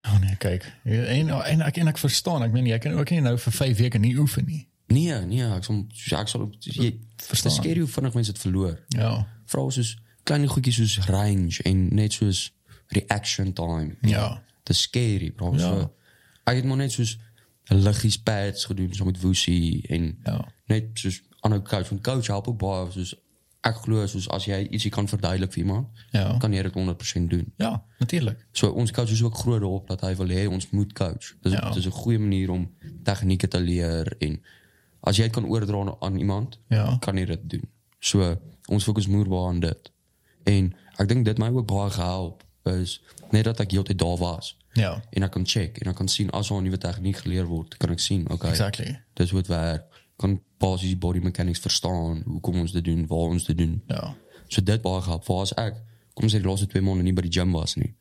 Speaker 1: Oh nee, kyk. En en ek en ek verstaan. Ek meen jy kan ook nie nou vir 5 weke nie oefen nie.
Speaker 2: Nee, nee, ek sal ek sal jy
Speaker 1: Verstaan.
Speaker 2: verstaan skeer hoe vinnig mense dit verloor.
Speaker 1: Ja.
Speaker 2: Vra soos klein goedjies soos range en net soos reaction time.
Speaker 1: Ja.
Speaker 2: Dit is scary, bro. Ja.
Speaker 1: Ja.
Speaker 2: So, ek het maar net soos liggies pads gedoen so met Woosie en
Speaker 1: Ja.
Speaker 2: net soos aanhou coach van coach help ook baie soos ek glo soos as jy ietsie kan verduidelik vir iemand,
Speaker 1: Ja.
Speaker 2: kan jy dit 100% doen.
Speaker 1: Ja, natuurlik.
Speaker 2: So ons coach is ook groot daarop dat hy wil hê ons moet coach. Dis
Speaker 1: Ja.
Speaker 2: ja. dis 'n goeie manier om tegnieke te leer en as jy dit kan oordra aan- aan iemand,
Speaker 1: Ja.
Speaker 2: kan jy dit doen. So ons fokus moerbaar aan dit. En ek dink dit my ook baie gehelp is net dat ek heeltyd daar was
Speaker 1: Ja.
Speaker 2: en ek kan check en ek kan sien as 'n nuwe tegniek geleer word, kan ek sien, okay.
Speaker 1: Exactly.
Speaker 2: Dis hoe dit werk. Kan basies die body mechanics verstaan, hoekom ons dit doen, waar ons dit doen.
Speaker 1: Ja.
Speaker 2: So dit baie gehad. Vir as ek kom sê die laaste 2 maande nie by die gym was nie,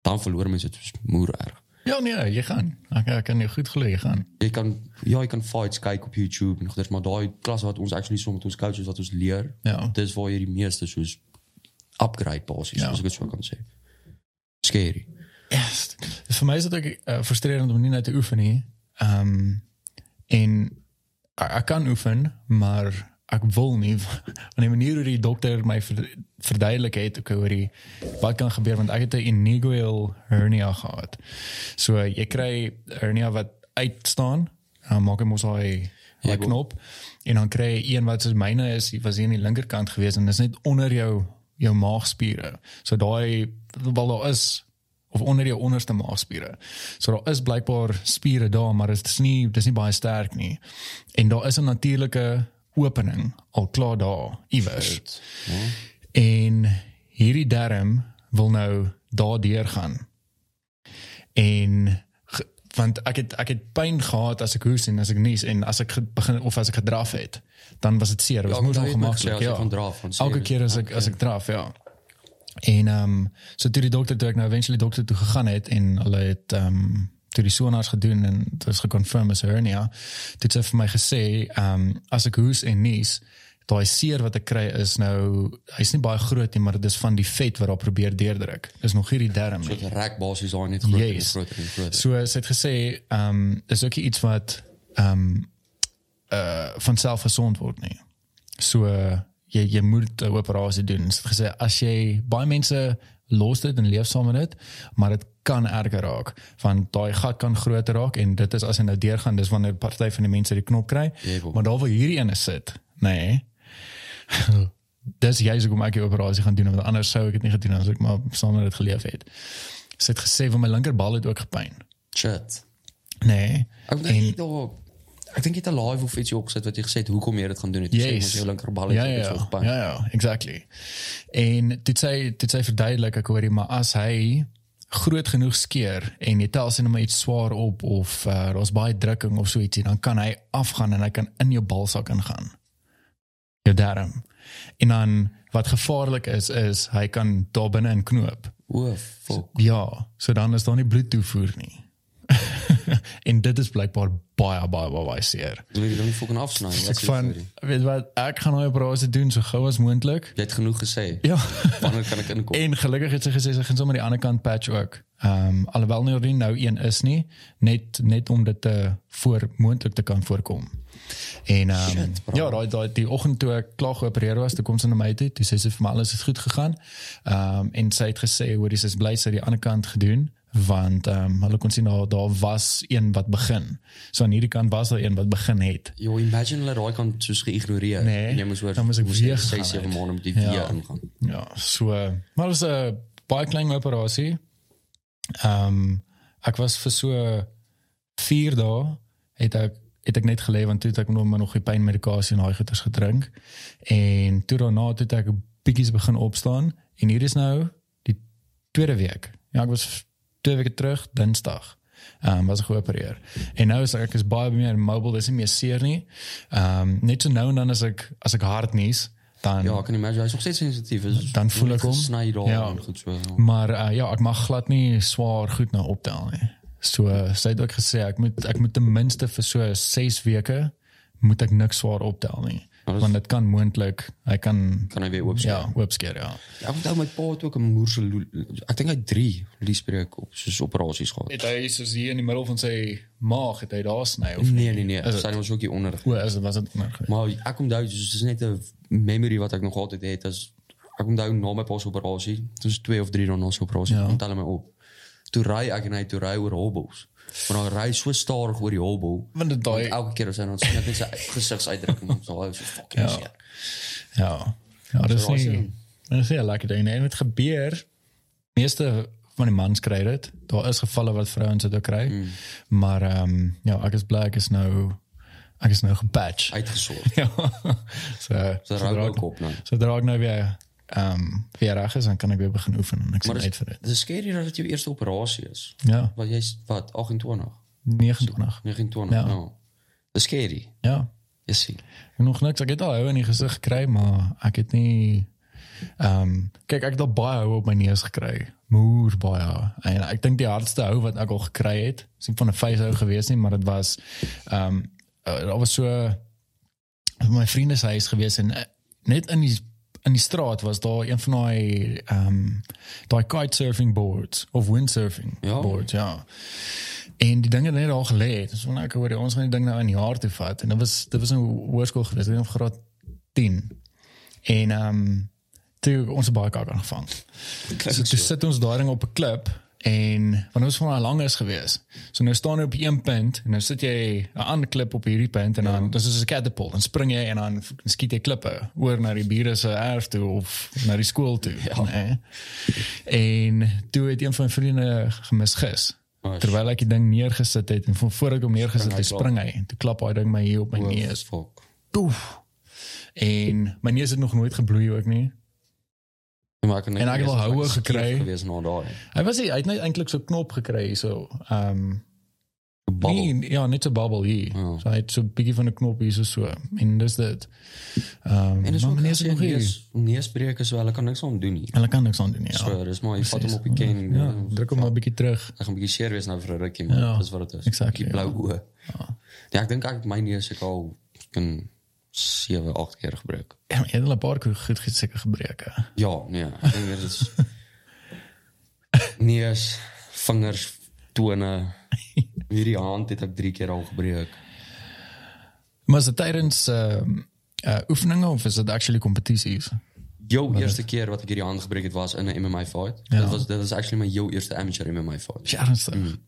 Speaker 2: dan verloor mense dit moer erg.
Speaker 1: Ja, nee, je gaat. Ik, ik kan je goed gelegen gaan.
Speaker 2: Jy kan ja, jy kan fights kyk op YouTube en goeders, maar daai klas wat ons actually so met ons coaches wat ons leer,
Speaker 1: Ja.
Speaker 2: dis waar jy die meeste soos upgrade basies,
Speaker 1: Ja.
Speaker 2: ja. as ek dit so kan sê. Scary.
Speaker 1: Yes. Voor mij is het ook eh, frustrerend om niet naar te oefenen. Ehm en ik- ik kan oefenen, maar ik wil niet. Want die manier hoe die dokter mij ver, verduidelijk heeft, ook hoe die- wat kan gebeuren. Want ik heb een inigual hernia gehad. Zo, eh, je krijgt hernia wat uitstaan. Dan maak ik moest hij
Speaker 2: Ja,
Speaker 1: een
Speaker 2: bo-
Speaker 1: knop. En dan krijg je een wat zoals mijne is, die was hier aan die linkerkant geweest. En dat is net onder jou, jou maagspieren. Zo daar, wat daar is, of onder jou onderste maagspiere. So daar is blykbaar spiere daar, maar dit is nie dis nie baie sterk nie. En daar is 'n natuurlike opening al klaar daar iewers.
Speaker 2: Ja.
Speaker 1: En hierdie darm wil nou daardeur gaan. En ge- want ek het ek het pyn gehad as ek hoes en as ek nies en as ek ge- begin of as ek gedraf het, dan was dit seer, dit was
Speaker 2: Ja,
Speaker 1: moes
Speaker 2: ek het gesê,
Speaker 1: ongemaklik.
Speaker 2: as jy
Speaker 1: Ja.
Speaker 2: van draf, van seer
Speaker 1: Elke
Speaker 2: is-
Speaker 1: keer as ek as ek draf, ja. En ehm um, so toe die dokter toe ek nou eventually dokter toe gegaan het en hulle het ehm um, toe die sonars gedoen en dit is geconfirm as hernia. Dit het sy vir my gesê ehm um, as ek hoes en nies daai seer wat ek kry is nou hy's nie baie groot nie, maar dit is van die vet wat daar probeer deurdruk. Dis nog hierdie darm. nie.
Speaker 2: Dit rek basies daar net groter en
Speaker 1: Yes.
Speaker 2: groter en groter.
Speaker 1: So sy het gesê ehm um, is ook nie iets wat ehm um, uh vanself gesond word nie. So eh, jy jy moet 'n operasie doen. Sy het gesê as jy baie mense los dit en leef saam met dit, maar dit kan erger raak want daai gat kan groter raak en dit is as hy nou deurgaan, dis wanneer 'n party van die mense die knop kry.
Speaker 2: Jebel.
Speaker 1: Maar daar waar hierdie een is sit, nê. Nee, dis juist hoekom ek die operasie gaan doen want anders sou ek dit nie gedoen het as ek maar saam met dit geleef het. Sy het gesê van my linkerbal het ook gepyn.
Speaker 2: Shit.
Speaker 1: Nee.
Speaker 2: Ek dink nie daar Ek dink jy het 'n live of iets opgesit wat jy gesê het hoekom jy dit gaan doen het. Jy sê mos jou linkerbal
Speaker 1: ja,
Speaker 2: het
Speaker 1: ja,
Speaker 2: so
Speaker 1: ja,
Speaker 2: gepan.
Speaker 1: ja, ja, exactly. En dit sê dit sê verduidelik ek hoorie maar as hy groot genoeg skeer en jy tel sy net maar iets swaar op of uh, daar's baie drukking of so ietsie dan kan hy afgaan en hy kan in jou balsak ingaan. Jou darm. En dan wat gevaarlik is is hy kan daar binne in knoop.
Speaker 2: O, fuck.
Speaker 1: Ja, so dan is daar nie bloedtoevoer nie. en dit is blykbaar baie baie baie, baie seer.
Speaker 2: Wil jy dit nie fucking afsny? Wat
Speaker 1: Ek
Speaker 2: sê jy
Speaker 1: van
Speaker 2: vir die-
Speaker 1: weet wat ek gaan nou operasie doen so gou as moontlik.
Speaker 2: Jy het genoeg gesê.
Speaker 1: Ja.
Speaker 2: Wanneer kan ek inkom?
Speaker 1: en gelukkig het sy gesê sy gaan sommer die ander kant patch ook. Ehm um, alhoewel nou nie nou een is nie, net net om dit te voor moontlik te kan voorkom. En ehm um,
Speaker 2: Shit, bro.
Speaker 1: ja, daai daai die oggend toe ek klaar geopereer was, toe kom sy na my toe, toe sê sy vir my alles het goed gegaan. Ehm um, en sy het gesê hoor, dis is bly sy het die ander kant gedoen want ehm um, hulle kon sien daar daar was een wat begin. So aan hierdie kant was daar een wat begin het.
Speaker 2: Jy imagine hulle raai kan soos geïgnoreer.
Speaker 1: Nee,
Speaker 2: En jy moes oor
Speaker 1: dan moes ek weer gegaan
Speaker 2: 6 7
Speaker 1: het.
Speaker 2: maande met die
Speaker 1: Ja.
Speaker 2: weer ingaan.
Speaker 1: Ja, so eh, maar dit was 'n baie klein operasie. Ehm ek was vir so 4 dae het ek het ek net gelê want toe het ek nog maar nog die pynmedikasie en daai goeters gedrink en toe daarna toe het ek bietjies begin opstaan en hier is nou die tweede week. Ja, ek was twee weke terug Dinsdag. Ehm um, was ek geopereer. En nou is ek is baie meer mobile, dis nie meer seer nie. Ehm um, net so nou en dan as ek as ek hard nies, dan
Speaker 2: Ja, ek kan imagine hy's nog steeds sensitief. is-
Speaker 1: Dan voel ek hom.
Speaker 2: Sny daar
Speaker 1: Ja.
Speaker 2: en goed so. ja.
Speaker 1: Maar eh, ja, ek mag glad nie swaar goed nou optel nie. So eh, sy het ook gesê ek moet ek moet ten minste vir so 6 weke moet ek niks swaar optel nie.
Speaker 2: dis-
Speaker 1: Want dit kan moontlik, hy kan
Speaker 2: Kan hy weer oop
Speaker 1: ja, oopskeer ja.
Speaker 2: Ek onthou my pa het ook 'n moerse loel- ek dink hy het 3 liesbreuk op soos operasies gehad.
Speaker 1: Het hy soos hier in die middel van sy maag het hy daar sny of
Speaker 2: Nee nee nee,
Speaker 1: Is
Speaker 2: sy
Speaker 1: dit?
Speaker 2: het ons ook hier onder.
Speaker 1: O, is dit was dit onder. gewees?
Speaker 2: Maar ek onthou dus dis net 'n memory wat ek nog altyd het as ek onthou na my pa se operasie, dis 2 of 3 dae na sy operasie,
Speaker 1: Ja.
Speaker 2: ja. onthou my op. Toe ry ek en hy toe ry oor hobbels. Maar hy ry so stadig oor die hobbel.
Speaker 1: Want dit daai-
Speaker 2: elke keer as hy dan sien ek net sy gesigsuitdrukking op daai so fucking
Speaker 1: Ja.
Speaker 2: ja. seer.
Speaker 1: Ja. Ja, dis
Speaker 2: Verrassing.
Speaker 1: nie. Dis ja, lekker ding. nie. En dit gebeur meeste van die mans kry dit. Daar is gevalle wat vrouens dit ook kry. Mm. Maar ehm ja, ek is bly ek is nou ek is nou gepatch.
Speaker 2: Uitgesort.
Speaker 1: Ja. so
Speaker 2: So
Speaker 1: sodra
Speaker 2: rou
Speaker 1: ek-
Speaker 2: ook op nou.
Speaker 1: Sodra ek nou weer ehm weer reg is, dan kan ek weer begin oefen en ek
Speaker 2: Maar
Speaker 1: sien uit
Speaker 2: dis
Speaker 1: vir dit.
Speaker 2: dis skerry dat dit jou eerste operasie is.
Speaker 1: Ja,
Speaker 2: Want jy's wat 28,
Speaker 1: 29.
Speaker 2: 29.
Speaker 1: Ja.
Speaker 2: Ja. Nou. Dis skerry.
Speaker 1: Ja.
Speaker 2: Jy sien.
Speaker 1: Nog niks. Ek het al hou in die gesig gekry, maar ek het nie Ehm, kijk, ek het al baie hou op my neus gekry. Moer baie. hou. En ek dink die hardste hou wat ek al gekry het, is nie van 'n vyf hou gewees nie, maar dit was ehm um, daar was so by my vriende se huis gewees en eh, net in die in die straat was daar een van daai ehm daai kitesurfing boards of windsurfing
Speaker 2: Ja.
Speaker 1: boards, ja. En die dinge het net al gelê. Dis van ek hoor ons gaan die ding nou in jaar toe vat en dit was dit was 'n hoërskool gewees, ek het in graad 10. En ehm um, toe ons het baie kak aangevang. So, toe sit ons daai ding op 'n klip en want ons van daai lang is gewees. So nou staan jy op een punt en nou sit jy 'n ander klip op hierdie punt en dan dis soos 'n catapult. Dan spring jy en dan skiet jy klippe oor na die bure se erf toe of na die skool toe, ja. né? En toe het een van my vriende gemisgis.
Speaker 2: Oh, shit.
Speaker 1: terwyl ek die ding neergesit het en van voor ek hom neergesit het,
Speaker 2: Spring
Speaker 1: spring hy en toe klap hy ding my hier op my neus.
Speaker 2: Yes, fuck.
Speaker 1: Poef. En my neus het nog nooit gebloei ook nie.
Speaker 2: Ja, maar ek
Speaker 1: En ek het al houe gekry.
Speaker 2: gewees na daai.
Speaker 1: Hy was hy, hy het net eintlik so knop gekry so. Ehm um,
Speaker 2: Bubble.
Speaker 1: Nee, ja, net so bubble hier.
Speaker 2: Ja.
Speaker 1: So hy het so 'n bietjie van 'n knop hier so so. En dis dit. Ehm
Speaker 2: En dis
Speaker 1: maar
Speaker 2: ook
Speaker 1: meneer
Speaker 2: net
Speaker 1: is
Speaker 2: so
Speaker 1: nog hier.
Speaker 2: neus neusbreek is wel, ek kan niks aan doen nie.
Speaker 1: Hulle kan niks aan doen nie. Ja.
Speaker 2: So, dis maar jy vat hom op die
Speaker 1: Presies.
Speaker 2: ken. eh,
Speaker 1: Ja, druk hom maar 'n bietjie terug.
Speaker 2: Ek gaan 'n bietjie seer wees nou vir 'n rukkie,
Speaker 1: Ja,
Speaker 2: maar dis wat dit is.
Speaker 1: exactly,
Speaker 2: die blou oë. Ja, ek dink ek my neus ek al kan 7, 8 keer gebruik.
Speaker 1: Ja, maar Jy het al 'n paar keer goed goed seker gebreek. hè.
Speaker 2: Ja, nee, ek dink dit is neus, vingers, tone. Hierdie hand het ek 3 keer al gebreek.
Speaker 1: Maar is dit tydens ehm uh, oefeninge of is dit actually kompetisies?
Speaker 2: Jou eerste keer wat ek hierdie hand gebreek het was in 'n MMA fight.
Speaker 1: Ja.
Speaker 2: Dit was dit was actually my jou eerste amateur MMA fight.
Speaker 1: Is jy ernstig? Mm.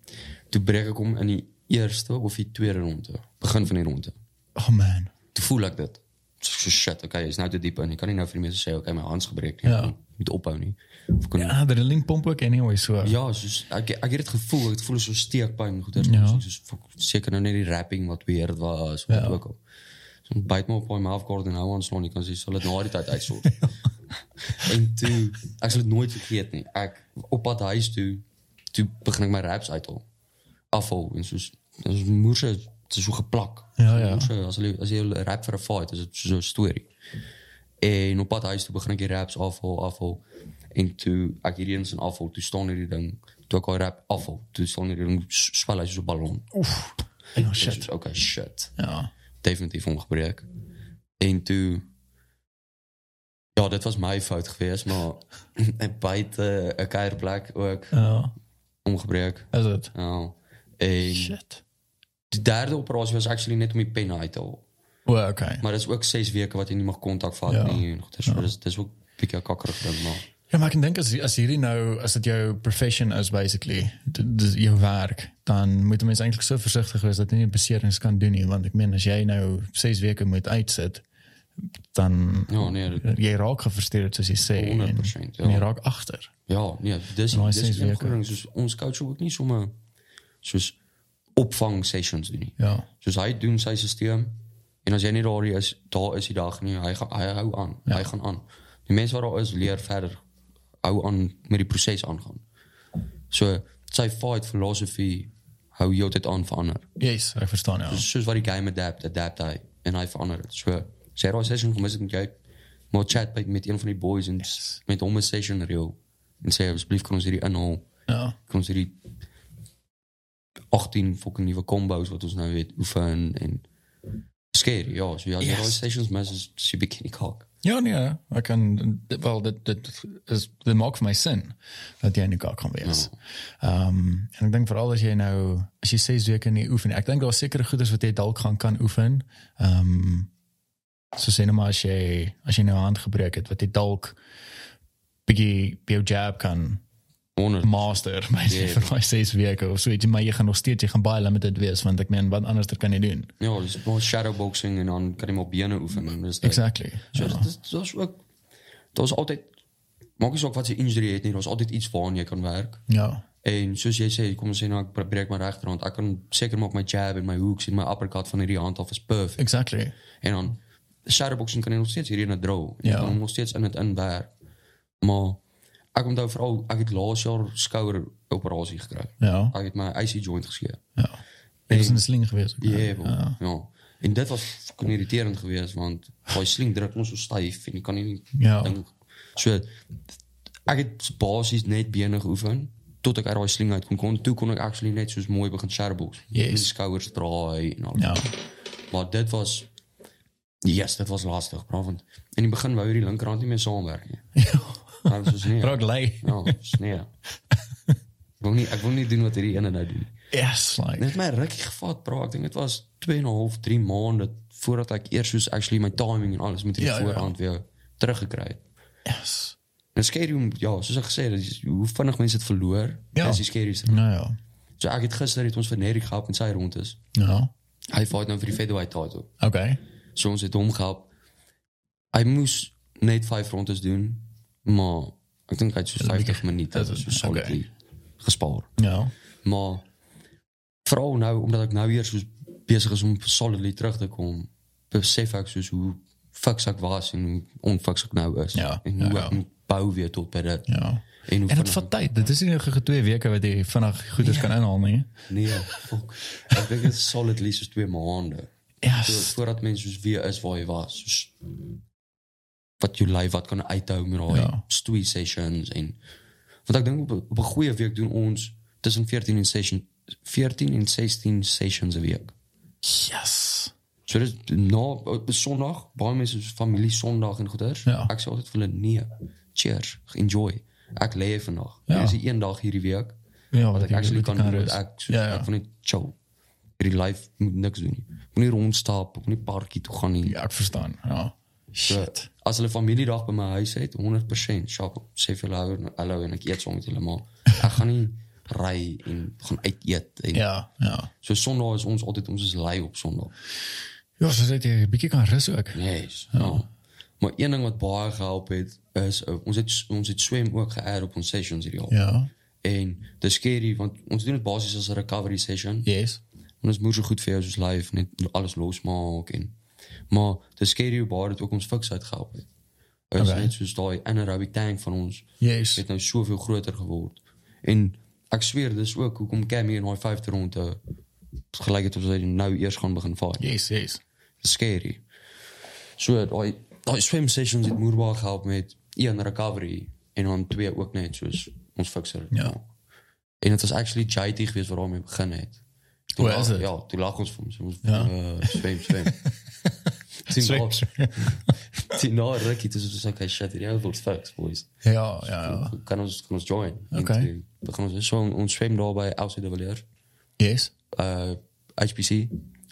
Speaker 2: Toe breek ek hom in die eerste of die tweede ronde, begin van die ronde.
Speaker 1: Oh man.
Speaker 2: Toe voel ek dit. So shit, okay, is nou te diep in. Ek kan nie nou vir die mense sê okay, my hand's gebreek nie.
Speaker 1: Ja.
Speaker 2: Ek Moet ophou nie. Of kon ja,
Speaker 1: Ja, die link Ah, pomp ook anyway so.
Speaker 2: ja soos, ek ek het dit gevoel, ek het voel so steekpyn goeie. Ja. Soos fuck, seker nou net die rapping wat weer was, wat ja. ook al. So byt my op my mouth guard en hou aan slaan, jy kan sê sal dit na die tyd uitsort. en toe ek sal dit nooit vergeet nie. Ek op pad huis toe, toe begin ek my raps uithol. Afhol en soos ons moerse dit is so geplak.
Speaker 1: Ja, ja.
Speaker 2: Moerse, as jy as jy rap vir 'n fight, is dit so 'n storie. En op pad huis toe begin ek die raps afhol, afhol. En toe ek hierdie eens en afhol, toe staan hierdie ding, toe ek al rap afhol, toe staan hierdie ding s- swel hy soos 'n ballon.
Speaker 1: Oef. Oh shit.
Speaker 2: Soos, Okay, shit
Speaker 1: Ja.
Speaker 2: definitief ongebreek. En toe ja, dit was my fout geweest, maar en buite 'n kuierplek ook
Speaker 1: Ja.
Speaker 2: ongebreek.
Speaker 1: Is dit?
Speaker 2: Ja. En
Speaker 1: Shit.
Speaker 2: die derde operasie was actually net om die pen uit te haal.
Speaker 1: O, well, okay.
Speaker 2: Maar dit is ook 6 weke wat jy nie mag kontak vat
Speaker 1: Ja.
Speaker 2: nie en goed, dis dis dis ook 'n bietjie kakkerig ding maar.
Speaker 1: Ja, maar ek dink as as hierdie nou as dit jou profession is basically, d- dis jou werk, dan moet 'n mens eintlik so versigtig wees dat jy nie beserings kan doen nie, want ek meen as jy nou 6 weke moet uitsit, dan
Speaker 2: Ja, nee, dit,
Speaker 1: jy raak gefrustreerd soos jy sê en-
Speaker 2: 100%, ja.
Speaker 1: en jy raak agter.
Speaker 2: ja, nee, dis
Speaker 1: Nou,
Speaker 2: dis
Speaker 1: ses
Speaker 2: een
Speaker 1: weke.
Speaker 2: ding soos ons coach ook nie sommer soos opvang sessions doen nie.
Speaker 1: Ja.
Speaker 2: Soos hy doen sy stelsel en as jy nie daar is, daar is die dag nie. Hy gaan hy hou aan. Ja. Hy gaan aan. Die mense wat daar is leer verder hou aan met die proses aangaan. So sy fight philosophy hou jy dit aan verander.
Speaker 1: Yes, ek verstaan ja.
Speaker 2: Soos wat die game adapt, adapt hy en hy verander dit. So sy raai session gemis het met jy maar chat by met een van die boys en yes. met hom 'n session reël en sê asseblief kan ons hierdie inhaal
Speaker 1: Ja.
Speaker 2: kom ons hierdie 18 fucking nuwe combos wat ons nou weet oefen en skeer ja so ja yes.
Speaker 1: Yes.
Speaker 2: daai sessions mas is so bikini kak
Speaker 1: Ja nee, ek kan dit- wel dit dit is dit maak vir my sin dat jy in die kak kan wees.
Speaker 2: Ja.
Speaker 1: Ehm um, en ek dink veral as jy nou as jy 6 weke nie oefen, ek dink daar is sekere goeders wat jy dalk gaan kan oefen. Ehm um, so sê nou maar as jy as jy nou 'n hand gebreek het wat jy dalk bietjie by jou jab kan
Speaker 2: 100
Speaker 1: master by yeah.
Speaker 2: Ja.
Speaker 1: vir daai 6 weke of so, weet jy, maar jy gaan nog steeds jy gaan baie limited wees want ek meen wat anders kan jy doen.
Speaker 2: ja dis maar shadowboxing en dan kan jy maar bene oefen en dis dit.
Speaker 1: Exactly.
Speaker 2: so dit is daar's ook daar's altyd maak nie saak wat jy injury het nie daar's altyd iets waaraan jy kan werk
Speaker 1: Ja.
Speaker 2: en soos jy sê kom ons sê nou ek breek my regterhand ek kan seker maak my jab en my hooks en my uppercut van hierdie hand af is perfect
Speaker 1: Exactly.
Speaker 2: En dan shadowboxing kan jy nog steeds hierdie in 'n drill. Jy
Speaker 1: Ja.
Speaker 2: kan hom nog steeds in dit inwerk. Maar ek onthou veral ek het laas jaar skouer operasie gekry.
Speaker 1: Ja.
Speaker 2: Ek het my IC joint geskeur.
Speaker 1: Ja. Dit is 'n sling gewees. ook, né?
Speaker 2: Jebel. Ja. ja. En dit was fucking irriterend geweest want daai sling druk ons so styf en jy kan nie
Speaker 1: Ja.
Speaker 2: ding So ek het basies net bene geoefen tot ek uit daai sling uit kon kom. Toe kon ek actually net soos mooi begin sharebox.
Speaker 1: Yes.
Speaker 2: Die skouers draai en al.
Speaker 1: Ja.
Speaker 2: Maar dit was Yes, dit was lastig, bro, want in die begin wou hierdie linkerhand nie meer saamwerk nie.
Speaker 1: Ja.
Speaker 2: Maar dit was nie.
Speaker 1: Raak lei.
Speaker 2: Ja, dis nee. Ek wil nie ek wil nie doen wat hierdie ene nou doen.
Speaker 1: Yes,
Speaker 2: Dit
Speaker 1: like.
Speaker 2: het my rukkie gevat, bro. Ek dink dit was 2 en 'n half, 3 maande voordat ek eers soos actually my timing en alles met die
Speaker 1: Ja, ja, ja.
Speaker 2: voorhand weer teruggekry het.
Speaker 1: Yes.
Speaker 2: En scary om ja, soos ek gesê het, dis- hoe vinnig mense dit verloor,
Speaker 1: Ja.
Speaker 2: ja. is die scariest.
Speaker 1: Nou ja.
Speaker 2: So ek het gister het ons vir Nerik gehad en sy rond is.
Speaker 1: Nou.
Speaker 2: Hy fight nou vir die featherweight title.
Speaker 1: Oké.
Speaker 2: So ons het hom gehad. Hy moes net 5 rondes doen, maar ek dink hy het so 50 minute
Speaker 1: dit is-
Speaker 2: so solidly
Speaker 1: okay.
Speaker 2: gespaar.
Speaker 1: Nou.
Speaker 2: Maar veral nou omdat ek nou weer soos besig is om solidly terug te kom, besef ek soos hoe fiks ek was en hoe onfiks ek nou is
Speaker 1: Ja,
Speaker 2: en hoe
Speaker 1: ja,
Speaker 2: ek
Speaker 1: ja.
Speaker 2: moet bou weer tot by dit.
Speaker 1: Ja.
Speaker 2: En
Speaker 1: En
Speaker 2: hoe
Speaker 1: het
Speaker 2: vinnig-
Speaker 1: vat tijd. Dit is in ieder geval twee weken wat je vannacht goed is kan inhalen. hè?
Speaker 2: nee, fuck. ek dink dit is solidly soos 2 maande. So,
Speaker 1: Yes.
Speaker 2: voordat mens soos weer is waar jy was. Soos, wat jou lyf wat kan uithou met daai
Speaker 1: Ja.
Speaker 2: twee sessions en want ek dink op, op 'n goeie week doen ons tussen 14 en 16 14 en 16 sessions 'n week.
Speaker 1: Yes.
Speaker 2: So dis na op Sondag, baie mense is familie Sondag en goeders.
Speaker 1: Ja.
Speaker 2: Ek sê altyd vir hulle nee. Cheers, enjoy. Ek lê vandag.
Speaker 1: Ja.
Speaker 2: Ja. Dis die een dag hierdie week
Speaker 1: Ja,
Speaker 2: wat ek
Speaker 1: je
Speaker 2: actually
Speaker 1: goed
Speaker 2: kan doen wat
Speaker 1: rust.
Speaker 2: ek soos,
Speaker 1: Ja, ja.
Speaker 2: ek van net chill. Hierdie life moet niks doen nie. Ek Moet nie rondstap, ek moet nie parkie toe gaan nie.
Speaker 1: Ja, ik verstaan. Ja.
Speaker 2: So,
Speaker 1: Shit.
Speaker 2: as hulle familiedag by my huis het, 100% shop sê vir hulle hallo, hallo en ek eet saam met hulle maar ek gaan nie ry en gaan uit eet en ja.
Speaker 1: Ja, ja.
Speaker 2: so Sondag is ons altyd ons is lui op Sondag.
Speaker 1: Ja, ze zit hier een beetje kan rust ook.
Speaker 2: Yes. Ja. Maar een ding wat baie gehelp het is uh, ons het ons het swem ook geëer op ons sessions hierdie jaar.
Speaker 1: Ja.
Speaker 2: En dis scary want ons doen dit basies as 'n recovery session.
Speaker 1: Yes.
Speaker 2: En ons moet so goed vir jou soos live net alles losmaak en maar dis scary hoe baie dit ook ons fiks uitgehelp het. Ons
Speaker 1: Okay.
Speaker 2: okay. net soos daai anaerobic tank van ons
Speaker 1: Yes.
Speaker 2: het nou soveel groter geword. En ek sweer dis ook hoekom Cam hier in daai 5de ronde gelyk het of hy nou eers gaan begin vaar.
Speaker 1: Yes, yes.
Speaker 2: scary. So daai daai swim sessions het moerbaar gehelp met een recovery en dan twee ook net soos ons fikser.
Speaker 1: Ja.
Speaker 2: En dit was actually JT geweest waar hom mee begin het. Toe
Speaker 1: Hoe is
Speaker 2: lag-
Speaker 1: dit?
Speaker 2: Ja, toe lag ons vir hom. So ons
Speaker 1: Ja.
Speaker 2: ja. uh, swem swem. Sien
Speaker 1: Swem,
Speaker 2: daar. Sien daar rukkie dis soos okay shit hierdie ou wil fiks boys.
Speaker 1: Ja, ja.
Speaker 2: Kan ons kan ons join.
Speaker 1: Okay.
Speaker 2: En toe Begin ons so ons swem daar by Elsie de Villiers
Speaker 1: Yes.
Speaker 2: uh HPC,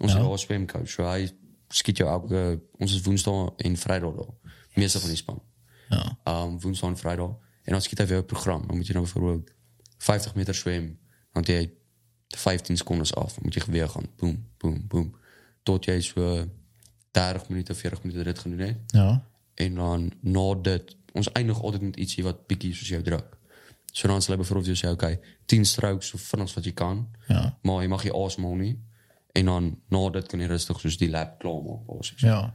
Speaker 2: ons ja. swemcoach. So hy skiet jou elke eh, ons is Woensdag en Vrydag daar. Meeste van die span.
Speaker 1: Ja.
Speaker 2: Um Woensdag en Vrydag en dan skiet hy vir jou 'n program. Dan moet jy nou bijvoorbeeld 50 meter swem, dan het jy 15 sekondes af. Dan moet jy weer gaan. Boom, boom, boom. Tot eh, jy so 30 minute, 40 minute dit gedoen het.
Speaker 1: Ja.
Speaker 2: En dan na dit, ons eindig altyd met ietsie wat bietjie soos jou druk. So dan sal hy byvoorbeeld vir jou sê, okay, 10 strokes so vinnig as wat jy kan.
Speaker 1: Ja.
Speaker 2: Maar jy mag jy asemhaal nie. En dan na dit kan jy rustig soos die lap klaar maak basies.
Speaker 1: Ja.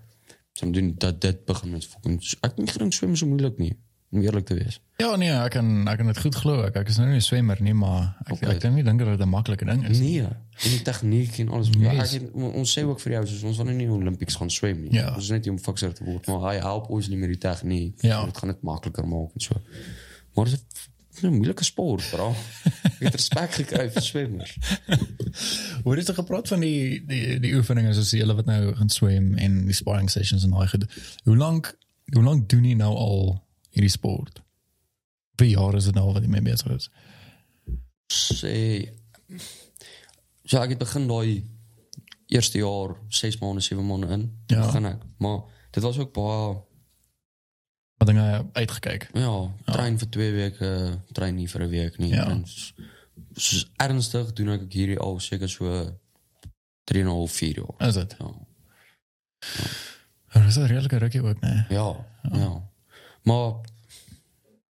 Speaker 2: So dan doen dat dit begin met fucking ek dink gedink swem is so moeilik nie, om eerlik te wees.
Speaker 1: Ja, nee, ik kan, ik kan het goed geloven. Ik is nou nu een zwemmer, niet, maar ik,
Speaker 2: Oké.
Speaker 1: ik denk niet dat het een makkelijke ding is.
Speaker 2: Nee, en die tegniek en alles. Maar
Speaker 1: Yes.
Speaker 2: Ek het, ons sê ook vir jou soos ons wil nou nie Olympics gaan swem nie.
Speaker 1: Ja.
Speaker 2: Ons is net nie om fikser te word, maar hy help ons nie met die tegniek.
Speaker 1: Ja.
Speaker 2: Dit gaan dit makliker maak en so. Maar dit is 'n moeilike sport, bro. Ek het respek gekry vir swemmers.
Speaker 1: Hoe is er gepraat van die, die, die oefeningen zoals jullie wat nou gaan zwemmen en die sparring sessions en al gedoe? Hoe lang, hoe lang doen die nou al in die sport? Hoeveel jaar is het nou al wat die mee bezig is?
Speaker 2: sê ja, ek het begin daai eerste jaar 6 maande, 7 maande in.
Speaker 1: Ja.
Speaker 2: Begin ek, maar dit was ook baie
Speaker 1: Wat heb je uitgekeken?
Speaker 2: Ja, trein vir 2 weke, trein nie vir 'n week nie.
Speaker 1: Ja.
Speaker 2: En s- soos ernstig doen ek ook hierdie al seker so 3 en 'n half 4 jaar.
Speaker 1: Is het?
Speaker 2: Ja.
Speaker 1: Er is een redelijke rukje ook, nee.
Speaker 2: Ja, ja. Maar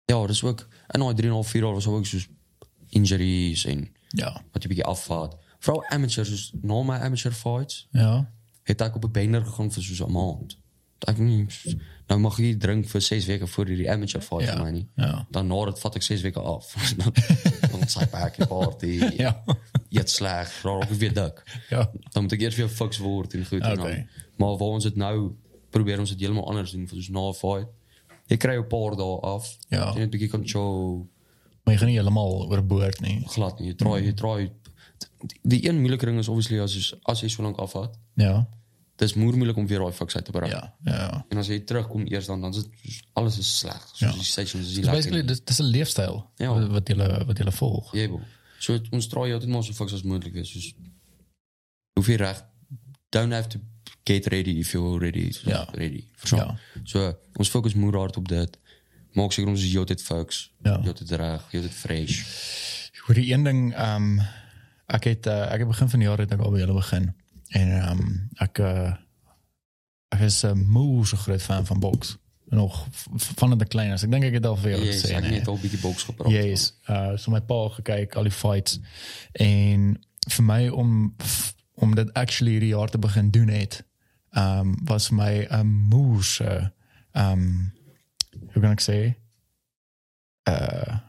Speaker 2: ja, dis ook en daai 3 en 'n half 4 jaar was daar ook soos injuries en
Speaker 1: Ja.
Speaker 2: wat jy bietjie afvat. Veral amateurs, soos dus na my amateur fights
Speaker 1: Ja.
Speaker 2: het ek op 'n bender gegaan vir soos 'n maand. Ek nie nou mag ek nie drink vir 6 weke voor hierdie amateur fight
Speaker 1: Ja.
Speaker 2: ja. my nie.
Speaker 1: Ja.
Speaker 2: Dan na dit vat ek 6 weke af. dan dan sy back en party. Ja.
Speaker 1: Ja.
Speaker 2: Eet sleg, raak ek weer dik.
Speaker 1: Ja.
Speaker 2: Dan moet ek eers weer fiks word en goed en
Speaker 1: Okay.
Speaker 2: dan. Maar waar ons dit nou probeer ons dit heeltemal anders doen vir soos na 'n fight. Je krijgt een paar dagen af.
Speaker 1: Ja.
Speaker 2: En een beetje kan show
Speaker 1: Maar je gaat niet helemaal overboord, nee.
Speaker 2: glad. niet. Je draait, je draait. Die een moeilijke ding is obviously als je, als je zo lang af had.
Speaker 1: Ja,
Speaker 2: Het is moer moeilijk om weer al vaccin te bereiken.
Speaker 1: ja, ja. ja.
Speaker 2: En als je terugkomt eerst dan, dan is het- alles is slecht. Dus
Speaker 1: Ja.
Speaker 2: die stations die
Speaker 1: Dus basically,
Speaker 2: lekker.
Speaker 1: dat dat is een leefstijl
Speaker 2: Ja.
Speaker 1: wat- wat jullie wat jullie volgen.
Speaker 2: Jebel. Zo, het- ons draai je altijd maar zo vaak als mogelijk is. Dus hoef je recht. Down have to get ready if you're ready. So,
Speaker 1: Ja.
Speaker 2: Ready.
Speaker 1: Ja.
Speaker 2: Zo, Zo, ons focus moer hard op dat. Maak zeker ons je altijd focus.
Speaker 1: Ja.
Speaker 2: Je altijd recht, je altijd fresh.
Speaker 1: Voor die één ding, ehm ik het, eh, ek het begin van die jaar het ek al by julle begin. En ehm ek, eh, ek is een moe so groot fan van boks. Nog v- vanaf de klein is. Ek dink ek het al vir julle
Speaker 2: Jezus,
Speaker 1: gesê.
Speaker 2: ik
Speaker 1: nee.
Speaker 2: net al een beetje box gepraat.
Speaker 1: Yes. Uh, so my pa gekyk al die fights en vir my om om dit actually hierdie jaar te begin doen het, um was my 'n moerse um hoe kan ek sê? Uh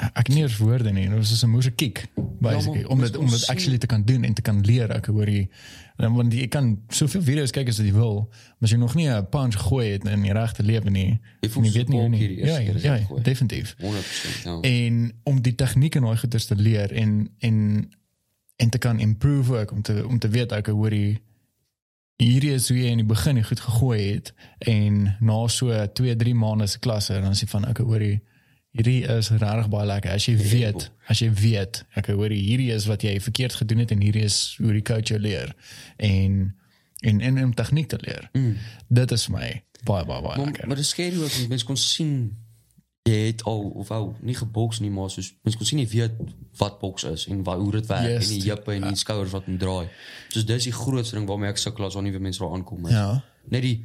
Speaker 1: ek het nie eens woorde nie. Dit was soos 'n moerse kick basically
Speaker 2: Ja, maar
Speaker 1: om
Speaker 2: dis
Speaker 1: dit om dit
Speaker 2: ons
Speaker 1: actually te kan doen en te kan leer. Ek hoor jy en want jy kan soveel video's kyk as wat jy wil, maar as jy nog nie 'n punch gooi het in die regte lewe nie,
Speaker 2: Je
Speaker 1: en
Speaker 2: voelt
Speaker 1: je
Speaker 2: zo'n
Speaker 1: weet niet hoe
Speaker 2: balk
Speaker 1: niet.
Speaker 2: hier de
Speaker 1: Ja,
Speaker 2: eerste keer is
Speaker 1: ja, ja,
Speaker 2: gegooid.
Speaker 1: definitief.
Speaker 2: 100%. Ja.
Speaker 1: En om die techniek en al goeders te leren en, en, en te kan improve ook, om te, om te weten ook hoe die hierdie is hoe jy in die begin die goed gegooi het en na so 2, 3 maande se klasse dan sê van okay hoor jy hierdie is regtig baie lekker as jy weet as jy weet okay hoor jy hierdie is wat jy verkeerd gedoen het en hierdie is hoe die coach jou leer en en en om tegniek te leer
Speaker 2: Mm.
Speaker 1: dit is vir my baie baie baie
Speaker 2: Maar,
Speaker 1: lekker
Speaker 2: maar de scary was, want mensen kon zien, je heet al, of al, niet gebokst niet, maar dus mensen kon zien je weet wat boks is en wat, hoe het werkt.
Speaker 1: Juist.
Speaker 2: En die jeppen en die
Speaker 1: Ja.
Speaker 2: schouders wat hem draait. Dus dat is die grootste ding waarmee ik sukkel als al nieuwe mensen er aankomen.
Speaker 1: Ja.
Speaker 2: Net die,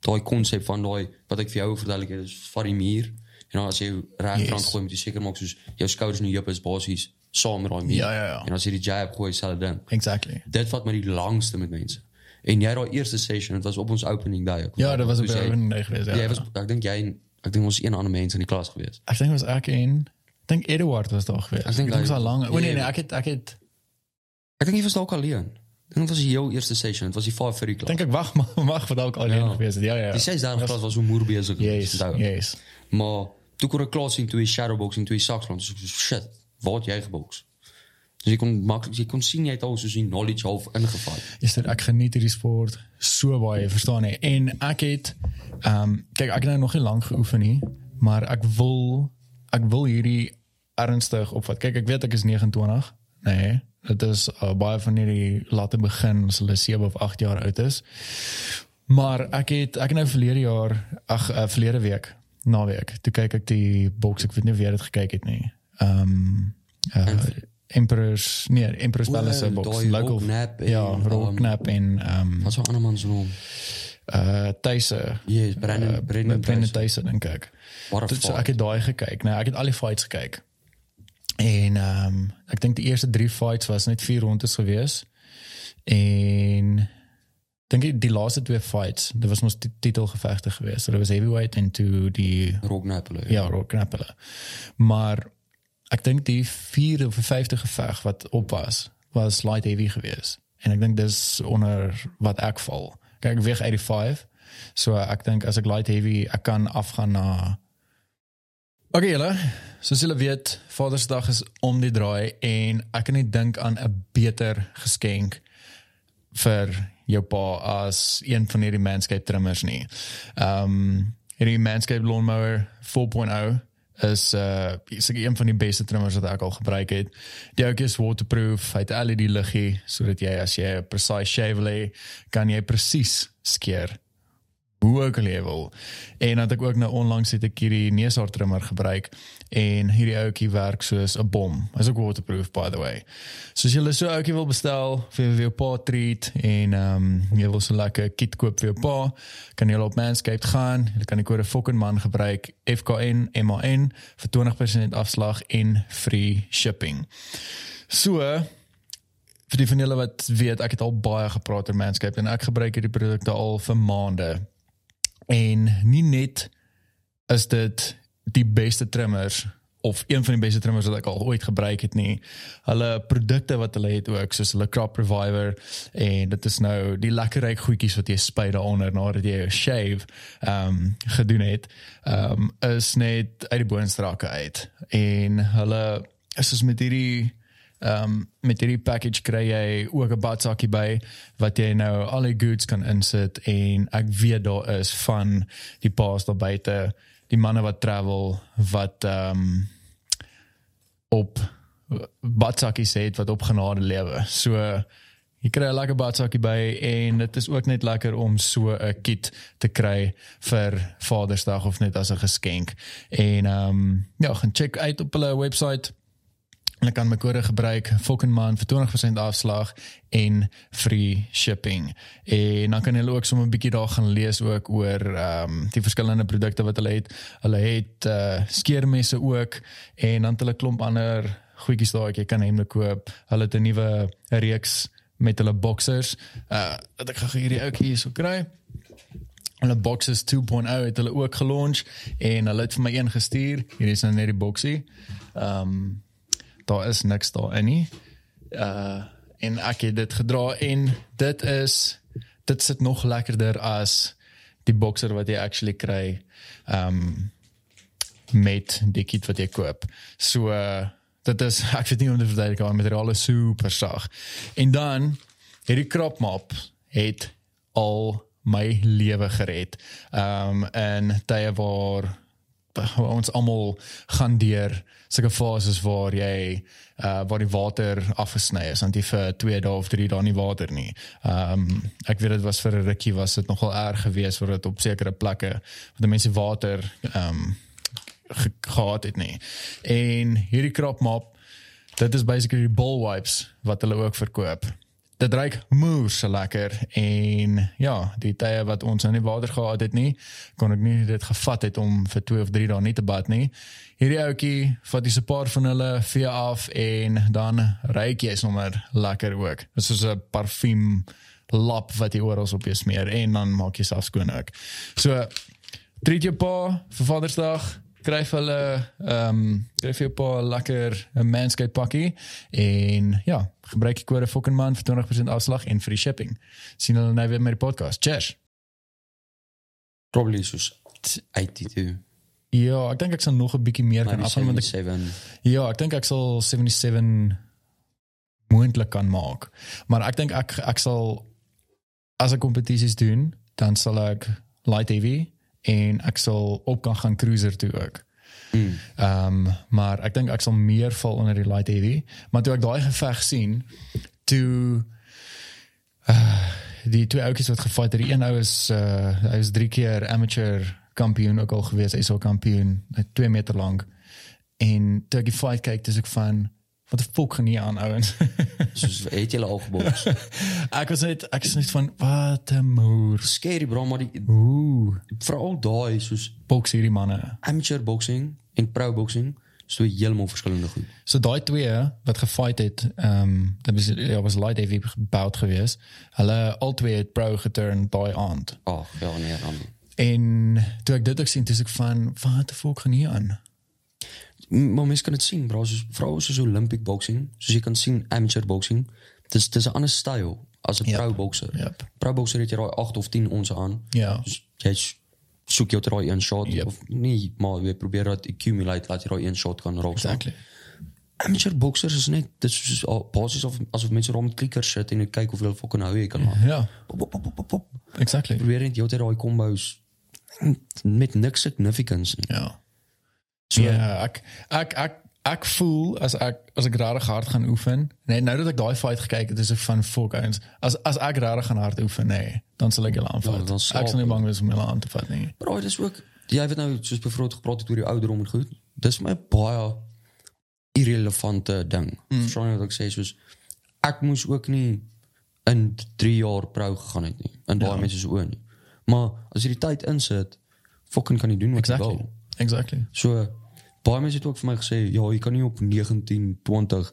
Speaker 2: dat concept van die, wat ik voor jou vertel, ik, is varimier. En dan als je rechterhand
Speaker 1: Yes.
Speaker 2: gooit, moet je zeker maken, dus jouw schouders en je jeppen is basis samen aan meer.
Speaker 1: Ja, ja, ja.
Speaker 2: En als je die jab gooit, is dat dan.
Speaker 1: exactly
Speaker 2: Dit vat my die langste met mense. En jy daai eerste session, dit was op ons opening day.
Speaker 1: Ja, dit was op
Speaker 2: Dus
Speaker 1: jou
Speaker 2: jy-
Speaker 1: opening day geweest, ja.
Speaker 2: Jy was ek dink jy en- ek dink ons een ander mens in die klas gewees.
Speaker 1: Ek dink was ek en ek dink Edward was daar geweest. Ek
Speaker 2: dink
Speaker 1: dink dit was
Speaker 2: hy-
Speaker 1: al lank. O nee nee,
Speaker 2: Nee.
Speaker 1: ek het ek het
Speaker 2: Ek dink jy was dalk alleen. Ek dink dit was die heel eerste session, dit was die 5 vir die klas.
Speaker 1: dink ek wag maar wag vir dalk alleen
Speaker 2: Ja.
Speaker 1: geweest. het. Ja ja.
Speaker 2: Die
Speaker 1: ja.
Speaker 2: 6 dae klas was hoe moer besig.
Speaker 1: Yes, yes.
Speaker 2: Maar toe kon ek klas sien toe hy shadowbox en toe hy saxland. Dus ek so shit, wat jy geboks. Dus jy kon maklik jy kon sien jy het al so sien knowledge half ingevat.
Speaker 1: Is dit ek geniet hierdie sport so baie, verstaan jy? En ek het ehm kyk ek het nou nog nie lank geoefen nie, maar ek wil ek wil hierdie ernstig opvat. Kyk, ek weet ek is 29. Nee, dit is uh, baie van hierdie laat begin as hulle 7 of 8 jaar oud is. Maar ek het ek het nou verlede jaar, ag uh, verlede week, naweek, toe kyk ek die boks, ek weet nie of jy dit gekyk het nie. Ehm uh, Emperor's nee, Emperor's Palace
Speaker 2: Oeh,
Speaker 1: boks,
Speaker 2: daai
Speaker 1: local
Speaker 2: Rocknap en,
Speaker 1: ja,
Speaker 2: ehm,
Speaker 1: Rocknap en ehm
Speaker 2: Wat so 'n ander man se naam?
Speaker 1: uh Tuise.
Speaker 2: Yes, Brandon-
Speaker 1: Eh,
Speaker 2: Brandon
Speaker 1: Brandon
Speaker 2: Tuise.
Speaker 1: Tuise dink ek.
Speaker 2: What a
Speaker 1: Dit so
Speaker 2: fuck.
Speaker 1: ek het daai gekyk. Nou ek het al die fights gekyk. En ehm ek dink die eerste 3 fights was net 4 rondes gewees. En dink ek die laaste twee fights, dit was mos die titelgevegte gewees. So dit was heavyweight en toe die
Speaker 2: Rock Napoli.
Speaker 1: ja, rook knap hulle. Maar ek dink die 4 of 50 geveg wat op was, was light heavy geweest. En ek dink dis onder wat ek val. Kyk, ek weeg 85. So ek dink as ek light heavy, ek kan afgaan na Okay, julle. Soos julle weet, Vadersdag is om die draai en ek kan nie dink aan 'n beter geskenk vir jou pa as een van hierdie manscape trimmers nie. Ehm um, hierdie manscape lawnmower 4.0 is uh is ek een van die beste trimmers wat ek al gebruik het. Die ouetjie is waterproof, hy het LED liggie sodat jy as jy 'n precise shave wil hê, kan jy presies skeer hoe ook al jy wil. En dat ek ook nou onlangs het ek hierdie neushaartrimmer gebruik en hierdie ouetjie werk soos 'n bom. Is ook waterproof by the way. So as jy so 'n ouetjie wil bestel vir vir jou pa treat en ehm um, jy wil so lekker kit koop vir jou pa, kan jy op Manscaped gaan. Jy kan die kode FOKKENMAN gebruik FKN MAN vir 20% afslag en free shipping. So vir die van julle wat weet, ek het al baie gepraat oor Manscaped en ek gebruik hierdie produkte al vir maande. En nie net is dit die beste trimmers of een van die beste trimmers wat ek al ooit gebruik het nie. Hulle produkte wat hulle het ook soos hulle crop reviver en dit is nou die lekkerryk goedjies wat jy spuit daaronder nadat jy jou shave ehm gedoen het. Ehm is net uit die boonstrake uit en hulle is soos met hierdie Ehm um, met hierdie package kry jy ook 'n badsakkie by wat jy nou al die goods kan insit en ek weet daar is van die paas daar buite, die manne wat travel wat ehm um, op badsakkies het wat op genade lewe. So jy kry 'n lekker badsakkie by en dit is ook net lekker om so 'n kit te kry vir Vadersdag of net as 'n geskenk. En ehm um, ja, gaan check uit op hulle website en ek kan my kode gebruik fucking man vir 20% afslag en free shipping. En dan kan hulle ook sommer 'n bietjie daar gaan lees ook oor ehm um, die verskillende produkte wat hulle het. Hulle het uh, skeermesse ook en dan het hulle klomp ander goedjies daar wat jy kan hemde koop. Hulle het 'n nuwe reeks met hulle boxers. Uh dat ek gou hierdie ook hierso kry. Hulle boxes 2.0 het hulle ook gelons en hulle het vir my een gestuur. Hier is nou net die boxie. Ehm um, daar is niks daarin nie. Uh en ek het dit gedra en dit is dit sit nog lekkerder as die boxer wat jy actually kry. Um met die kit wat jy koop. So uh, dit is ek weet nie hoe om te verduidelik maar materiaal is super sag. En dan hierdie crop mop het al my lewe gered. Um in tye waar ons almal gaan deur sulke fases waar jy uh waar die water afgesny is want jy vir 2 dae of 3 dae nie water nie. Ehm um, ek weet dit was vir 'n rukkie was dit nogal erg geweest waar dit op sekere plekke waar die mense water ehm um, ge- gehad het nie. En hierdie krapmap dit is basically die ball wipes wat hulle ook verkoop dit ruik moers lekker en ja, die tye wat ons nou nie water gehad het nie, kon ek nie dit gevat het om vir 2 of 3 dae nie te bad nie. Hierdie ouetjie vat dis 'n paar van hulle vee af en dan ruik jy sommer lekker ook. Dit is soos 'n parfuum lap wat jy oral op jou smeer en dan maak jy self skoon ook. So treat jou pa vir Vadersdag kry vir hulle ehm um, kry vir jou pa lekker 'n manscape pakkie en ja, gebruik die kode fucking man vir 20% afslag en free shipping. sien hulle nou weer met die podcast. Cheers.
Speaker 2: Probably soos 82.
Speaker 1: Ja, ek dink ek sal nog 'n bietjie meer kan
Speaker 2: Maar
Speaker 1: afhang want ek
Speaker 2: 7.
Speaker 1: ja, ek dink ek sal 77 moontlik kan maak. Maar ek dink ek ek sal as ek kompetisies doen, dan sal ek light heavy en ek sal op kan gaan cruiser toe ook.
Speaker 2: Mm.
Speaker 1: Ehm um, maar ek dink ek sal meer val onder die light heavy, maar toe ek daai geveg sien, toe uh, die twee ouetjies wat gefight het, die een ou is uh, hy is 3 keer amateur kampioen ook al gewees, hy is al kampioen, hy is 2 meter lank. En toe ek die fight kyk, dis ek van wat die fuck gaan hier aan ouens.
Speaker 2: Soos het julle Dus al geboks.
Speaker 1: ek was net ek is net van wat 'n moer.
Speaker 2: Scary bro, maar die
Speaker 1: Ooh,
Speaker 2: veral daai soos
Speaker 1: boks hierdie manne.
Speaker 2: amateur boxing en pro boxing is twee heeltemal verskillende goed.
Speaker 1: So daai twee wat gefight het, ehm um, dit was ja, was light heavy gebouwd geweest. Hulle al twee het pro geturn daai aand.
Speaker 2: Ag, ja nee dan.
Speaker 1: En toe ek dit ook sien, dis ek van wat die fuck gaan hier aan?
Speaker 2: M- Maar mense kan dit sien, bro, soos veral soos Olympic boxing, soos jy kan sien amateur boxing, dis dis 'n ander styl as 'n
Speaker 1: Ja.
Speaker 2: pro boxer.
Speaker 1: Yep.
Speaker 2: Pro boxer het jy daai 8 of 10 ons aan.
Speaker 1: Ja.
Speaker 2: Dus jy s- soek jou daai een shot
Speaker 1: Yep.
Speaker 2: of nie, maar jy probeer dat accumulate laat jy daai een shot kan raak.
Speaker 1: Exactly.
Speaker 2: Amateur boxers is net dit is soos al- basies of asof mense rond klikkers sit en kyk hoeveel fucking hou jy kan maak.
Speaker 1: Ja,
Speaker 2: Pop, pop, pop, pop, pop, pop.
Speaker 1: exactly.
Speaker 2: probeer net heeltyd daai combos met niks significance nie.
Speaker 1: Ja.
Speaker 2: So
Speaker 1: Ja, ek ek ek ek voel as ek as ek regtig hard gaan oefen, nee, nou dat ek daai fight gekyk het, is ek van fuck ouens. As as ek regtig gaan hard oefen, nee, dan sal ek hulle
Speaker 2: Ja,
Speaker 1: aanvat.
Speaker 2: dan slaap
Speaker 1: ek sal nie bang wees om hulle aan te vat nie.
Speaker 2: bro, dis ook jy het nou soos bevrot gepraat het oor die ouderdom en goed. Dis my baie irrelevante ding. Mm. Verstaan jy wat ek sê soos ek moes ook nie in 3 jaar prou gegaan het nie. In baie ja. mense se oë nie. Maar as jy die tyd insit, fucking kan jy doen wat exactly. jy
Speaker 1: Exactly. Exactly.
Speaker 2: wil. So baie mense het ook vir my gesê, ja, jy kan nie op 19, 20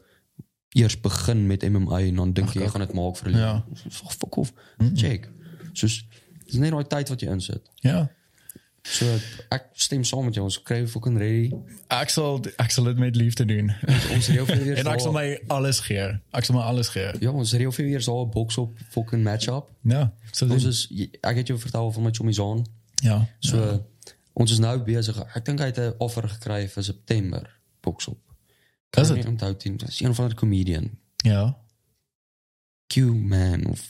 Speaker 2: eers begin met MMA en dan dink jy jy gaan dit maak vir 'n lewe.
Speaker 1: Ja.
Speaker 2: Fuck off. Check. Soos dis net daai tyd wat jy insit.
Speaker 1: Ja.
Speaker 2: So ek stem saam met jou, ons kry fucking ready.
Speaker 1: Ik zal, ik zal het met liefde doen.
Speaker 2: Ons het heel veel weer.
Speaker 1: en ik zal
Speaker 2: daar-
Speaker 1: mij alles geven. Ik zal mij alles geven.
Speaker 2: Ja, ons het heel veel weer so 'n boks op fucking match-up.
Speaker 1: Nou, ik zal
Speaker 2: Ons
Speaker 1: doen.
Speaker 2: is jy- ek het jou vertel van my chommies aan.
Speaker 1: Ja.
Speaker 2: So ons is nou besig. Ek dink hy het 'n offer gekry vir September boksop.
Speaker 1: Is
Speaker 2: het? Onthou teen, dis een van die comedian.
Speaker 1: Ja.
Speaker 2: Q man of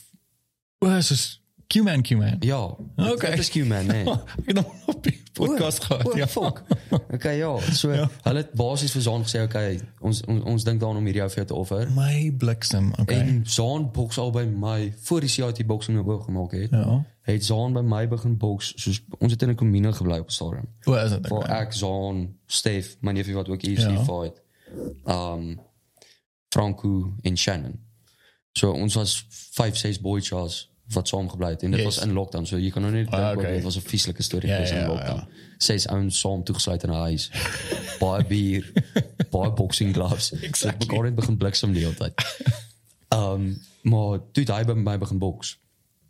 Speaker 1: Oh, ze is Q-man, Q-man.
Speaker 2: ja.
Speaker 1: Oké.
Speaker 2: Dit is Q man, nee.
Speaker 1: Ik heb nog op die podcast gehad.
Speaker 2: O,
Speaker 1: ja.
Speaker 2: fuck. Okay, ja. So hulle het basies vir Zaan gesê, okay, ons ons, ons dink daaraan om hierdie ou vir jou te offer.
Speaker 1: My bliksem, oké.
Speaker 2: En Zaan boks al by my voor die CIT boksing nou gemaak het.
Speaker 1: Ja.
Speaker 2: Het Zaan by my begin boks. Soos ons het in 'n kommune gebly op die stadium.
Speaker 1: Hoe is het?
Speaker 2: Waar ek Zaan, Stef, my neefie wat ook hier is,
Speaker 1: Ja.
Speaker 2: ja. fight. Um Franco en Shannon. So ons was 5 6 boychas wat saam gebly het en dit
Speaker 1: Yes.
Speaker 2: was in lockdown. So jy kan nou net dink
Speaker 1: Ah,
Speaker 2: ah,
Speaker 1: oké.
Speaker 2: dit was 'n vieslike storie
Speaker 1: Ja,
Speaker 2: gewees
Speaker 1: ja,
Speaker 2: in
Speaker 1: ja,
Speaker 2: lockdown.
Speaker 1: ja.
Speaker 2: Ses ouens saam toegesluit in 'n huis. baie bier, baie boxing gloves. Exactly. Ek kon net begin bliksem die hele tyd. Um maar toe daai by my begin boks.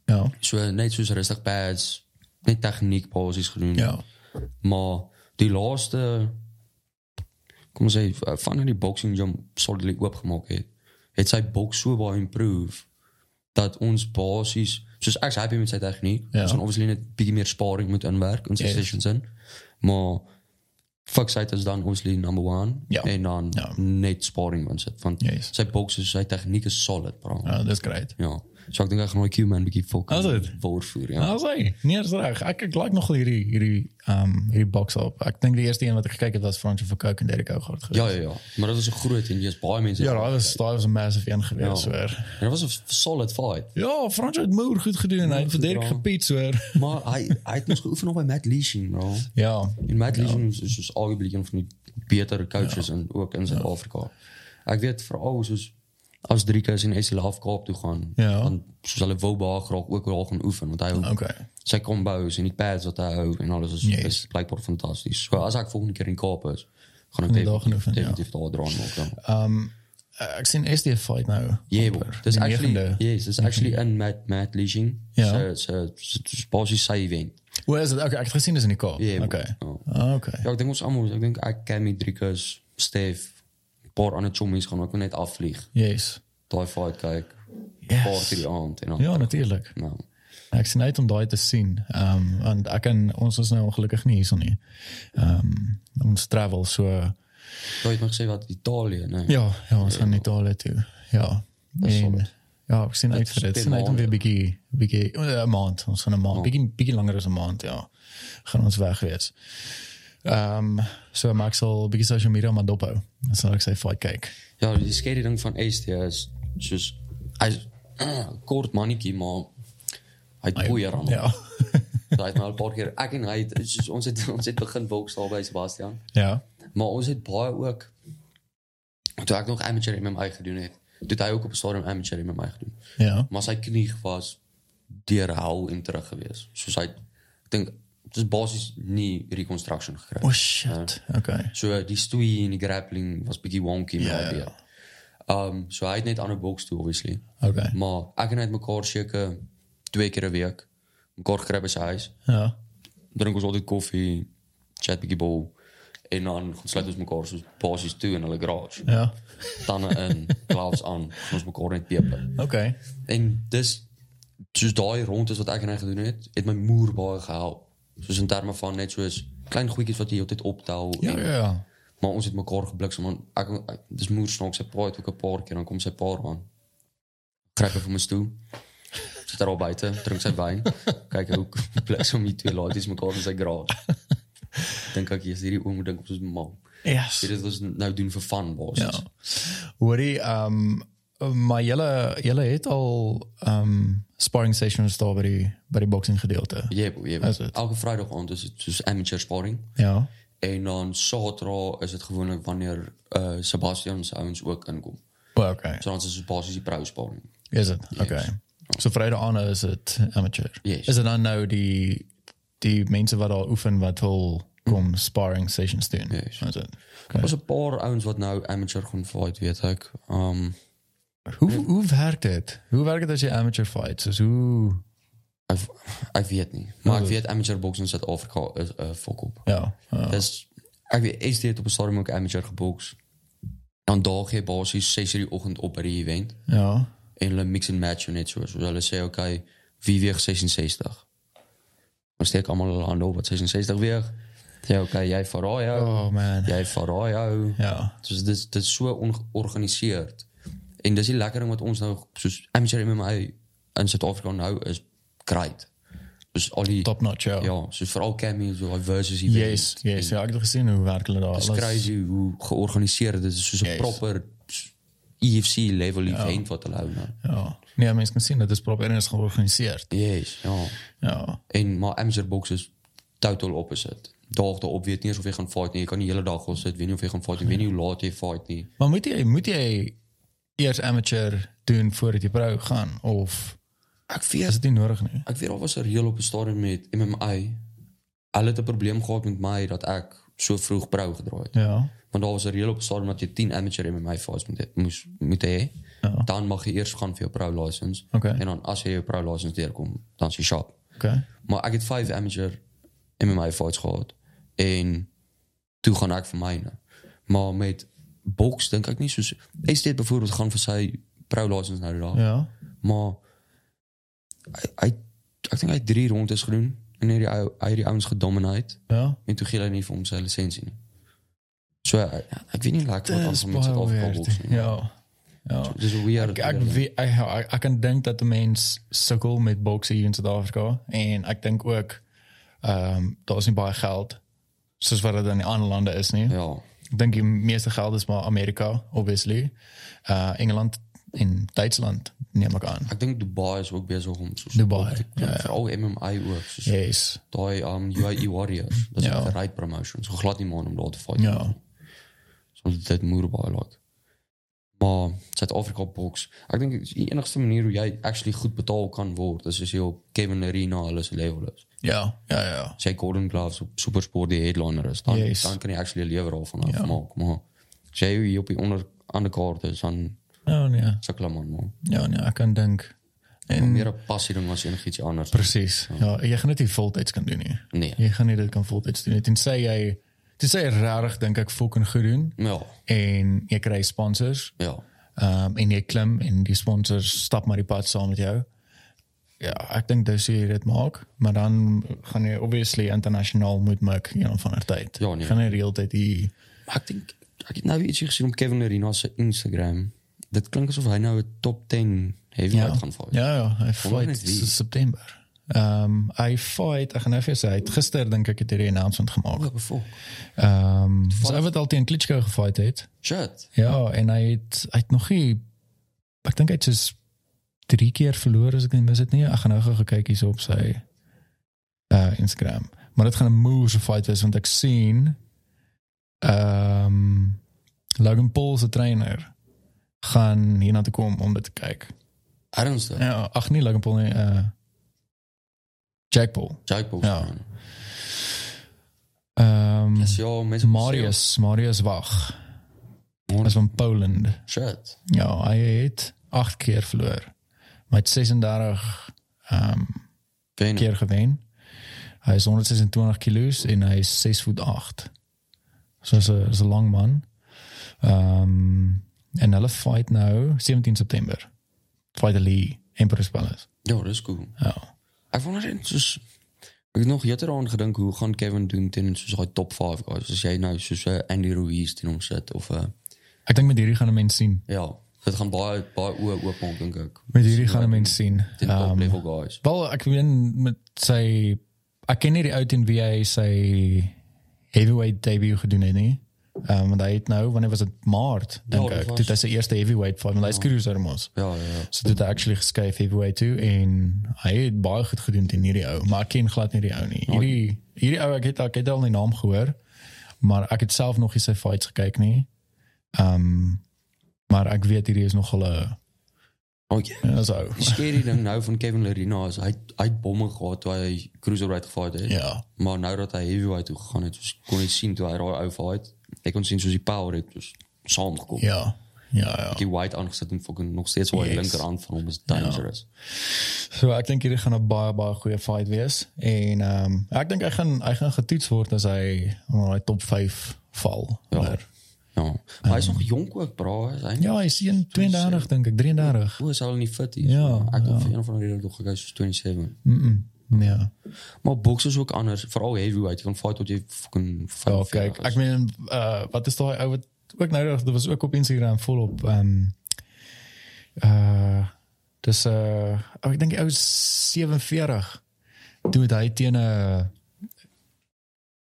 Speaker 1: Ja.
Speaker 2: So net soos rustig pads, net tegniek basies gedoen.
Speaker 1: Ja.
Speaker 2: Maar die laaste kom ons sê van die boxing gym solidly oopgemaak het, het sy boks so baie improve dat ons basies soos ek's happy met sy tegniek,
Speaker 1: Ja.
Speaker 2: ja. ons gaan obviously net bietjie meer sparring moet inwerk in sy
Speaker 1: Yes.
Speaker 2: sessions in. Maar fuck sy is dan obviously number 1
Speaker 1: Ja.
Speaker 2: en dan
Speaker 1: Ja.
Speaker 2: net sparring insit want
Speaker 1: Yes.
Speaker 2: sy boks is sy tegniek is solid, bro. Ja.
Speaker 1: Ja, dat is great.
Speaker 2: ja. So ek dink ek gaan my Q man bietjie fok.
Speaker 1: Is dit?
Speaker 2: Waarvoor ja.
Speaker 1: Nou, zei, niet eens raar. Ik, ik like nog hierdie, hierdie, um, hierdie box op. Ik denk de eerste een wat ik gekeken heb was Fransje van Kuik en Derek Ooghoort geweest.
Speaker 2: Ja ja ja, maar dit is 'n groot en jy's baie mense.
Speaker 1: Ja, dat was, dat was een massive een geweest,
Speaker 2: Ja.
Speaker 1: hoor.
Speaker 2: En dit was 'n solid fight.
Speaker 1: Ja, Frans het moer goed gedaan. Hij heeft
Speaker 2: goed
Speaker 1: Dirk
Speaker 2: gedaan.
Speaker 1: gepiet, hoor.
Speaker 2: Maar hy hy het mos geoefen op by Matt Leashing, bro.
Speaker 1: Ja,
Speaker 2: En Matt Leashing is is soos arguably een van die betere coaches in ook in Suid-Afrika. Ek weet veral soos as Driekus en SLF Kaap toe gaan,
Speaker 1: Ja.
Speaker 2: dan soos hulle wou baie graag ook daar gaan oefen want hy
Speaker 1: oké. Okay.
Speaker 2: sy combos en die pads wat hy hou en alles is,
Speaker 1: Yes.
Speaker 2: is blykbaar fantasties. So as ek volgende keer in Kaap is, gaan ek
Speaker 1: Moet daar gaan
Speaker 2: definitief
Speaker 1: oefen, ja.
Speaker 2: definitief daar draan maak dan.
Speaker 1: Eh, ik zie een eerste fight nou.
Speaker 2: Yeah,
Speaker 1: Amper.
Speaker 2: bro. Dis
Speaker 1: Die
Speaker 2: actually
Speaker 1: negende.
Speaker 2: yes, dis actually in Matt Matt Leashing.
Speaker 1: Ja.
Speaker 2: So so so basies sy event.
Speaker 1: Hoe is het? Oké, ik heb het gezien, dus in die kop.
Speaker 2: Yeah, bro.
Speaker 1: Oké.
Speaker 2: Ja.
Speaker 1: Oké.
Speaker 2: Ja, ek dink ons almal, ek dink ek ken met Driekus, Stef, 'n paar ander chommies gaan ook net afvlieg.
Speaker 1: Jeez.
Speaker 2: Daai fight kyk.
Speaker 1: Yes.
Speaker 2: Party die aand en dan.
Speaker 1: Ja, natuurlijk.
Speaker 2: Nou.
Speaker 1: Ik zie uit om dat te zien. Ehm, want ik en ons is nou ongelukkig niet, zo niet. Ehm, ons travel, zo.
Speaker 2: Jy het nog gesê wat Italië, nee.
Speaker 1: ja, ja, ons gaan niet alle toe. Ja.
Speaker 2: is
Speaker 1: En-
Speaker 2: solid.
Speaker 1: ja, ik zie uit voor
Speaker 2: is
Speaker 1: dit. Ik zie
Speaker 2: twee
Speaker 1: uit om weer een beetje, beetje, eh, een maand. Ons gaan een maand. Beetje, beetje langer dan een maand, ja. Gaan ons weg wees. Ehm, so, maar ik zal een beetje social media maar dophou. Dan zal ik sy fight kijken.
Speaker 2: Ja, die skare ding van Ace is soos hy's kort mannetjie, maar hy het poeier aan. Ja.
Speaker 1: Ja.
Speaker 2: Hy het nou al 'n paar keer ek en hy het, soos, ons het ons het begin boks daar by Sebastian.
Speaker 1: ja.
Speaker 2: Maar ons het baie ook toe ek nog amateur MMA gedoen het, toe het hy ook op 'n stadium amateur MMA gedoen.
Speaker 1: Ja.
Speaker 2: maar sy knie was deur hel en terug gewees. Soos hy ek dink dit is basies nie reconstruction gekry.
Speaker 1: Oh shit. Okay.
Speaker 2: So die stoei en die grappling was bietjie wonky maar weer. Um so hy het net ander boks toe obviously.
Speaker 1: Okay.
Speaker 2: Maar ek en hy het mekaar seker twee keer 'n week mekaar gekry by sy huis.
Speaker 1: Ja.
Speaker 2: Drink ons altyd koffie, chat bietjie bol en dan gaan sluit ons mekaar so basies toe in hulle garage.
Speaker 1: Ja.
Speaker 2: Tande in, gloves aan, gaan ons mekaar net peper.
Speaker 1: Okay.
Speaker 2: En dus, dis soos daai rondes wat ek en hy gedoen het, het my moer baie gehelp. Soos in terme van net soos klein goedjies wat jy altyd optel.
Speaker 1: Ja,
Speaker 2: en-
Speaker 1: ja, ja.
Speaker 2: Maar ons het mekaar gebliksem en ek, ek dis moer snaaks sy pa het ook 'n paar keer dan kom sy pa aan. Kry hy vir my toe. Sit daar al buite, drink sy wyn, kyk hoe bliksem die twee ladies mekaar in sy graad. Dink ek hier is hierdie oom moet dink op soos mal.
Speaker 1: Yes.
Speaker 2: Dit was nou doen vir fun
Speaker 1: Ja.
Speaker 2: basis.
Speaker 1: Hoorie, ehm maar julle julle het al ehm sparring sessions daar by die by die boxing gedeelte.
Speaker 2: Ja, ja.
Speaker 1: Is dit?
Speaker 2: Elke Vrydag aand is dit soos amateur sparring.
Speaker 1: Ja.
Speaker 2: En dan Saterdag is dit gewoonlik wanneer eh Sebastian se ouens ook inkom.
Speaker 1: Oh, okay.
Speaker 2: So dan is dit basies die pro sparring.
Speaker 1: Is dit? Okay. So Vrydag aan is dit amateur.
Speaker 2: Yes.
Speaker 1: Is dit dan nou die die mense wat daar oefen wat wil kom sparring sessions doen?
Speaker 2: Yes.
Speaker 1: Is dit? Okay.
Speaker 2: Daar's 'n paar ouens wat nou amateur gaan fight, weet ek. Um
Speaker 1: Hoe hoe werk dit? Hoe werk dit as jy amateur fights? Soos hoe
Speaker 2: Ek ek weet nie. Maar ek weet amateur boks in Suid-Afrika is 'n fok op.
Speaker 1: Ja. ja.
Speaker 2: Dis ek weet eens dit op 'n stadium ook amateur geboks. Dan daag jy basies 6:00 die oggend op by die event
Speaker 1: ja.
Speaker 2: en hulle mix and match jou net so. So hulle sê okay, wie weeg 66? Ons steek almal hulle hande op wat 66 weeg. Sê okay, jy verraai jou.
Speaker 1: Oh man.
Speaker 2: Jy verraai jou.
Speaker 1: Ja.
Speaker 2: Dus dit is- dit is so ongeorganiseerd. En dis die lekker ding wat ons nou soos amateur MMA in Suid-Afrika nou is great. Dus al die
Speaker 1: Top notch, ja.
Speaker 2: ja, soos veral Cammy so daai versus
Speaker 1: Yes, yes. Ja, ik heb het gezien hoe werkelijk dat
Speaker 2: Dis
Speaker 1: alles-
Speaker 2: crazy hoe georganiseerd dit is soos 'n
Speaker 1: Yes.
Speaker 2: proper EFC level event wat hulle hou nou.
Speaker 1: Ja. Nee, mensen kunnen zien, dat is proper en is georganiseerd.
Speaker 2: Yes, ja.
Speaker 1: Ja.
Speaker 2: En maar amateur boks is total opposite. Daag daarop weet nie eens of jy gaan fight nie. Jy kan die hele dag al sit, weet nie of jy gaan fight nie, weet nie hoe laat jy fight nie.
Speaker 1: Maar moet jij moet jy eerst amateur doen voordat je pro gaan? Of
Speaker 2: Ek
Speaker 1: is
Speaker 2: weet
Speaker 1: het niet nodig nu?
Speaker 2: Ek weet al was 'n reël op 'n stadium met MMA. Hulle het 'n probleem gehad met my dat ek so vroeg brou gedraai het.
Speaker 1: Ja.
Speaker 2: Want daar was 'n reël op 'n stadium dat jy 10 amateur MMA fights moet moes moet hê.
Speaker 1: Ja.
Speaker 2: Dan mag jy eers gaan vir jou pro license
Speaker 1: Oké.
Speaker 2: en dan as jy jou pro license deurkom, dan is jy sharp.
Speaker 1: Oké.
Speaker 2: Maar ek het 5 amateur MMA fights gehad en toe gaan ek vir myne. Maar met boks dink ek nie soos is dit byvoorbeeld gaan vir sy pro license nou daar.
Speaker 1: Ja.
Speaker 2: Maar hy, hy ek dink hy het drie rondes gedoen en hy het die ou hy het die ouens gedominate
Speaker 1: Ja.
Speaker 2: en toe gee hy nie vir hom sy lisensie nie. So ek, ek weet nie lekker wat
Speaker 1: Dat is
Speaker 2: ons met Suid-Afrika
Speaker 1: weird.
Speaker 2: boks nie.
Speaker 1: Ja. Ja.
Speaker 2: Dis 'n weird.
Speaker 1: Ek
Speaker 2: ding.
Speaker 1: weet ek, ek, ek kan dink dat 'n mens sukkel met bokse hier in Suid-Afrika en ek dink ook ehm daar is nie baie geld soos wat dit in die ander lande is nie.
Speaker 2: ja,
Speaker 1: Ek dink die meeste geld is maar Amerika obviously. Uh Engeland en Duitsland neem ek aan.
Speaker 2: ek dink Dubai is ook besig om so
Speaker 1: Dubai,
Speaker 2: ja, ja. veral MMA ook. Soos
Speaker 1: Yes.
Speaker 2: daai um UAE Warriors. Dis
Speaker 1: Ja.
Speaker 2: 'n right promotion. So glad nie man om daar te fight.
Speaker 1: Ja.
Speaker 2: So dit moet baie laat. Maar Suid-Afrika boks, ek dink dis die enigste manier hoe jy actually goed betaal kan word is as jy op Kevin Arena hulle se level is.
Speaker 1: Ja, ja, ja.
Speaker 2: As jy Golden Gloves op SuperSport die headliner is, dan
Speaker 1: Yes. Ja.
Speaker 2: dan kan jy actually 'n lewer daarvan afmaak, maar as jy hier op die onder ander kaart is dan
Speaker 1: Ja, nee.
Speaker 2: sukkel man. man.
Speaker 1: Ja, nee, ek kan dink. En
Speaker 2: Meer 'n passie ding as enigiets anders.
Speaker 1: presies. Ja, jy gaan dit nie voltyds kan doen nie.
Speaker 2: Nee.
Speaker 1: Jy gaan nie dit kan voltyds doen nie. Tensy jy tensy jy regtig dink ek fucking goed doen.
Speaker 2: Ja,
Speaker 1: en jy kry sponsors
Speaker 2: ja.
Speaker 1: um, en jy klim en die sponsors stap maar die pad saam met jou. Ja, ek dink dis hoe jy dit maak, maar dan gaan jy obviously internasionaal moet maak in 'n van 'n tyd.
Speaker 2: Ja, nee.
Speaker 1: Gaan jy realiteit hier
Speaker 2: Maar ek dink ek het nou ietsie gesien op Kevin Arena se Instagram. Dit klink asof hy nou 'n top 10 heavyweight gaan fight.
Speaker 1: Ja, ja, hy fight
Speaker 2: net wie.
Speaker 1: in September. Ehm um, hy fight, ek gaan nou vir jou sê, hy het gister dink ek het hierdie announcement gemaak.
Speaker 2: Ja, bevol.
Speaker 1: Ehm um, so hy het al teen Klitschko gefight het.
Speaker 2: Shit.
Speaker 1: Ja, en hy het hy het nog nie ek dink hy het soos 3 keer verloor as ek nie mis het nie. Ek gaan nou gou gekyk hier op sy uh Instagram. Maar dit gaan 'n moeëse fight wees want ek sien ehm Logan Paul se trainer gaan hierna toe kom om dit te kyk.
Speaker 2: Ernstig. Ja.
Speaker 1: Ja, ag nee, Logan Paul nie uh Jack Paul.
Speaker 2: Jack Box.
Speaker 1: Ja.
Speaker 2: Ja.
Speaker 1: Ehm
Speaker 2: Yes, ja, mense
Speaker 1: Marius, Marius Wag. Hy's van Poland.
Speaker 2: Shit.
Speaker 1: Ja, hy het 8 keer verloor. Maar hy het 36 ehm
Speaker 2: Geen.
Speaker 1: keer gewen. Hy is 126 kg en hy is 6 voet 8. So is 'n is 'n lang man. Ehm um, en hulle fight nou 17 September. Fight Ali Empress Palace.
Speaker 2: Ja, dis cool.
Speaker 1: Ja.
Speaker 2: Ek wonder net soos ek het nog gisteraan gedink hoe gaan Kevin doen teen soos daai top 5 guys. As jy nou soos 'n Andy Ruiz teen hom sit of 'n
Speaker 1: Ek dink met hierdie gaan 'n mens sien.
Speaker 2: ja, dit gaan baie baie oë oopmaak dink ek.
Speaker 1: Met hierdie gaan 'n mens sien.
Speaker 2: Teen top um, level guys.
Speaker 1: Wel, ek weet met sy ek ken nie die ou teen wie hy sy heavyweight debut gedoen het nie. Ehm um, want hy het nou wanneer was dit Maart dink
Speaker 2: Ja, dit
Speaker 1: ek.
Speaker 2: was-
Speaker 1: Dit is sy eerste heavyweight fight want hy is Cyrus Hermos.
Speaker 2: Ja, ja, ja.
Speaker 1: So dit het hy actually geskuif heavyweight toe en hy het baie goed gedoen teen hierdie ou, maar ek ken glad nie die ou nie.
Speaker 2: Ja,
Speaker 1: Hierdie hierdie ou ek het ek het al die naam gehoor, maar ek het self nog nie sy fights gekyk nie. Ehm um, maar ek weet hierdie is nogal 'n
Speaker 2: Oh, yeah.
Speaker 1: is ou.
Speaker 2: Die scary ding nou van Kevin Lerina is hy hy het bomme gehad toe hy cruiserweight gefight het.
Speaker 1: Ja.
Speaker 2: Maar nou dat hy heavyweight toe gegaan het, dus kon jy sien toe hy daai ou fight. Ek kon sien soos die power het dus saamgekom.
Speaker 1: Ja. Ja, ja.
Speaker 2: Ek het white aangesit en fucking nog steeds hoe hy
Speaker 1: Yes.
Speaker 2: linkerhand van hom is dangerous.
Speaker 1: So ek dink hierdie gaan 'n baie baie goeie fight wees en ehm ek dink hy gaan hy gaan getoets word as hy onder daai top 5 val. Ja. Maar
Speaker 2: Ja. Maar hy is nog jonk ook, bro. Is hy nie?
Speaker 1: ja, hy is 32 dink ek, 33.
Speaker 2: Hoe is hy al in die 40s?
Speaker 1: Ja,
Speaker 2: Ek dink vir een van die rede dog gegaan soos 27.
Speaker 1: Mm. -mm. Ja.
Speaker 2: Maar boks is ook anders, veral heavyweight. Jy kan fight tot jy fucking
Speaker 1: Ja, kyk, ek meen uh wat is daai ou wat ook nou dat was ook op Instagram volop ehm uh dis uh oh, ek dink die ou is 47 toe het hy teen 'n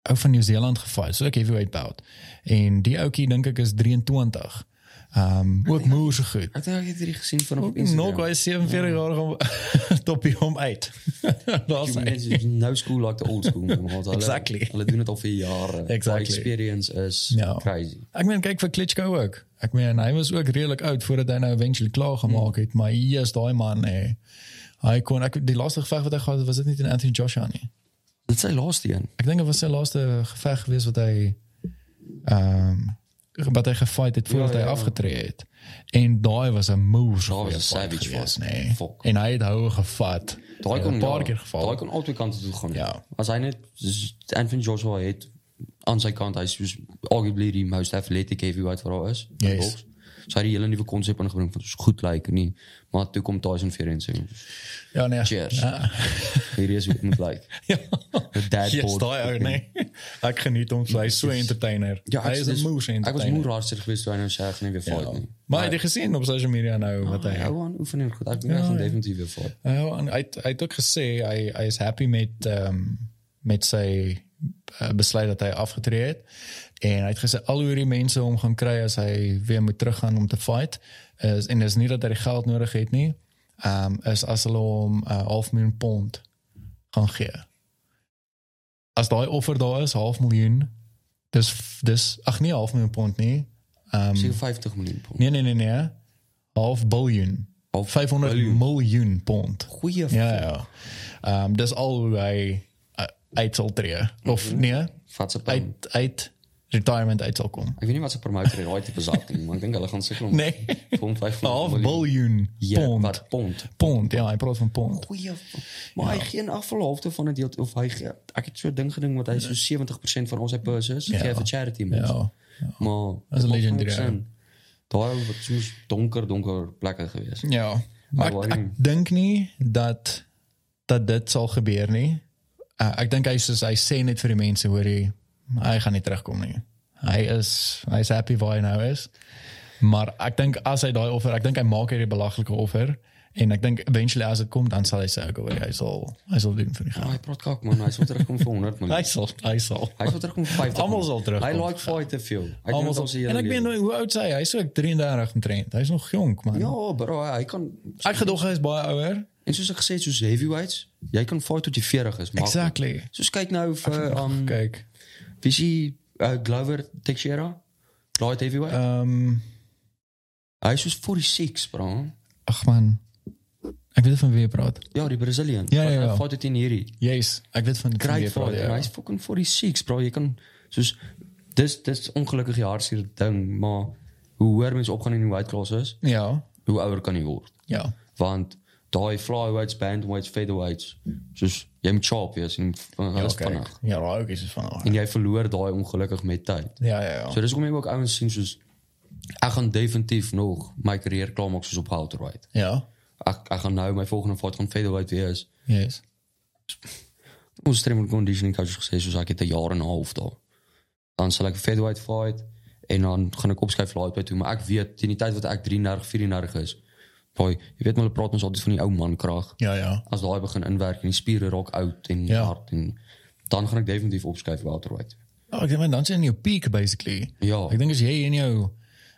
Speaker 1: ou van Nieu-Seeland gefight, so ek heavyweight bout. En die ouetjie dink ek is 23. Ehm um, ook moer se goed.
Speaker 2: Ek dink ek het hierdie gesien van op
Speaker 1: Nog
Speaker 2: Instagram. Ja.
Speaker 1: hy is 47 jaar om toppie hom uit. Daar's
Speaker 2: Die
Speaker 1: hy.
Speaker 2: mense is No school like the old school. want hulle-
Speaker 1: Exactly.
Speaker 2: Hulle doen dit al vir jare. Die
Speaker 1: Exactly.
Speaker 2: Experience is
Speaker 1: Ja.
Speaker 2: crazy.
Speaker 1: Ek meen kyk vir Klitschko ook. Ek meen hy was ook redelik oud voordat hy nou eventually klaar gemaak het, maar hier is daai man hè. Hy kon ek die laaste geveg wat hy gehad het was dit nie teen Anthony Joshua nie.
Speaker 2: Dit is sy laaste een.
Speaker 1: Ek dink dit was sy laaste geveg gewees wat hy ehm wat hy gefight het voordat
Speaker 2: Ja, ja,
Speaker 1: hy
Speaker 2: ja.
Speaker 1: afgetree het. En daai was 'n moose.
Speaker 2: Daar was
Speaker 1: goeie
Speaker 2: een
Speaker 1: fight
Speaker 2: savage
Speaker 1: gewees,
Speaker 2: fight.
Speaker 1: nee.
Speaker 2: Fuck.
Speaker 1: En hy het houe gevat. Hy
Speaker 2: Daai
Speaker 1: het
Speaker 2: kon
Speaker 1: 'n paar
Speaker 2: ja,
Speaker 1: keer geval.
Speaker 2: Daai kon albei kante toe gaan.
Speaker 1: Ja.
Speaker 2: As hy net dus Anthony Joshua het aan sy kant hy's soos arguably die most athletic heavyweight wat daar is. in
Speaker 1: Yes.
Speaker 2: boks. So hy het 'n hele nuwe konsep ingebring van soos goed lyk like, nie. Maar toe kom Tyson Fury en sê
Speaker 1: Ja nee.
Speaker 2: cheers.
Speaker 1: Ja.
Speaker 2: hierdie is hoe dit moet lyk. Like.
Speaker 1: Ja.
Speaker 2: The dad
Speaker 1: Yes,
Speaker 2: bod.
Speaker 1: daai ou nee. Ek geniet hom, so hy is so 'n entertainer.
Speaker 2: Ja,
Speaker 1: hy
Speaker 2: ek
Speaker 1: is 'n moose entertainer.
Speaker 2: Ek was moe raarster geweest toe hy nou sê hy gaan nie weer fight nie.
Speaker 1: Maar het je gezien op social media nou wat Ja,
Speaker 2: Hy
Speaker 1: hij...
Speaker 2: hou aan oefen en goed. Ek dink hy gaan definitief weer fight.
Speaker 1: Hij hou aan- Hij hij het ook gesê, hij, hij is happy met, ehm met zijn eh, besluit dat hij afgetreden het. En hij heeft gezegd, al hoe die mensen om gaan krijgen als hij weer moet teruggaan om te fight. Is, en het is niet dat hij die geld nodig heeft, niet. Ehm is als hulle om eh, half miljoen pond gaan geven. Als dat offer daar is, half miljoen. Dus, dus ach nee, half miljoen pond, nee. Ehm,
Speaker 2: Seker 50 miljoen pond.
Speaker 1: Nee, nee, nee, nee. Half biljoen.
Speaker 2: Half
Speaker 1: 500
Speaker 2: biljoen.
Speaker 1: miljoen pond.
Speaker 2: Goeie
Speaker 1: Ja, ja. Ehm dis al hoe hy uh, uit sal tree of
Speaker 2: Mhm.
Speaker 1: nee,
Speaker 2: vat se plan.
Speaker 1: uit uit retirement uit sal kom.
Speaker 2: Ek weet nie wat se promotor hy daai tipe zak nie, maar ek dink hulle gaan seker om
Speaker 1: Nee.
Speaker 2: om 500
Speaker 1: Half
Speaker 2: miljoen-
Speaker 1: biljoen
Speaker 2: Ja,
Speaker 1: pond.
Speaker 2: wat pond.
Speaker 1: Pond, ja, hy praat van pond.
Speaker 2: Goeie. Maar
Speaker 1: Ja.
Speaker 2: hy gee 'n afvalhoofde van 'n deel of hy gee ek het so 'n ding gedink wat hy so 70% van ons sy purse is, gee hy vir charity mens.
Speaker 1: Ja.
Speaker 2: Maar
Speaker 1: is een legendary,
Speaker 2: maak sin. Daai wat so donker donker plekke gewees.
Speaker 1: Ja. Maar
Speaker 2: Maar
Speaker 1: ek,
Speaker 2: waarin-
Speaker 1: ek dink nie dat dat dit sal gebeur nie. Uh, ek dink hy soos hy sê net vir die mense hoor hy hy gaan nie terugkom nie. Hy is hy's happy waar hy nou is. Maar ek dink as hy daai offer, ek dink hy maak hierdie belaglike offer en ek dink eventually as dit kom dan sal hy sê okay, hoor, hy sal hy sal doen vir die
Speaker 2: Ah,
Speaker 1: geld.
Speaker 2: hy praat kak man, hy sou terugkom vir 100 miljoen.
Speaker 1: Hy sal hy sal.
Speaker 2: Hy sou terugkom vir 50.
Speaker 1: Almal sal
Speaker 2: miljoen.
Speaker 1: terugkom.
Speaker 2: Hy like fight te veel. Hy doen
Speaker 1: Almal
Speaker 2: dit al sy
Speaker 1: sal.
Speaker 2: hele
Speaker 1: En ek
Speaker 2: lewe.
Speaker 1: weet nou hoe oud hy is. Hy's ook 33 omtrent. Hy's nog jonk man. Ja.
Speaker 2: Ja, bro, hy kan
Speaker 1: Ek gedog hy is baie ouer.
Speaker 2: en soos ek gesê het, soos heavyweights, jy kan fight tot jy 40 is, maar
Speaker 1: Exactly.
Speaker 2: Soos kyk nou
Speaker 1: Eh,
Speaker 2: vir um
Speaker 1: Kyk.
Speaker 2: Wie is die uh, Glover Teixeira? Light heavyweight?
Speaker 1: Ehm um, Ja.
Speaker 2: Hy is soos 46, bro.
Speaker 1: Ag man. Ek weet van wie jy praat.
Speaker 2: Ja, die Brazilian.
Speaker 1: Ja, ja, ja.
Speaker 2: Hy vat dit in hierdie.
Speaker 1: Yes, ek weet van van wie
Speaker 2: Great
Speaker 1: jy praat.
Speaker 2: fight. Ja.
Speaker 1: Ja.
Speaker 2: Hy's fucking 46, bro. Jy kan soos dis dis ongelukkig jaarsier ding, maar hoe hoër mens opgaan in die weight class is,
Speaker 1: ja.
Speaker 2: hoe ouer kan jy word.
Speaker 1: Ja.
Speaker 2: Want daai flyweights, bandweights, featherweights, soos jy moet sharp wees en uh,
Speaker 1: Ja,
Speaker 2: alles
Speaker 1: kyk.
Speaker 2: vinnig.
Speaker 1: Ja, raai ook is het van.
Speaker 2: En jy verloor daai ongelukkig met tyd.
Speaker 1: Ja, ja, ja.
Speaker 2: So dis hoekom ek ook ouens sien soos ek gaan definitief nog my karier klaarmaak soos op welterweight.
Speaker 1: Ja.
Speaker 2: Ek ek gaan nou my volgende fight gaan featherweight wees.
Speaker 1: Yes.
Speaker 2: Ons strength and conditioning coach het gesê soos ek het 'n jaar en 'n half daar. Dan sal ek featherweight fight en dan gaan ek opskuif lightweight toe, maar ek weet teen die tyd wat ek 33 34 is, boy, jy weet maar hulle praat ons altyd van die ou man krag.
Speaker 1: Ja, ja.
Speaker 2: As daai begin inwerk en die spiere raak oud en
Speaker 1: Ja.
Speaker 2: hard en dan gaan ek definitief opskuif welterweight.
Speaker 1: Oh, ek dink man, dan is jy in jou peak basically.
Speaker 2: Ja.
Speaker 1: Ek dink as jy in jou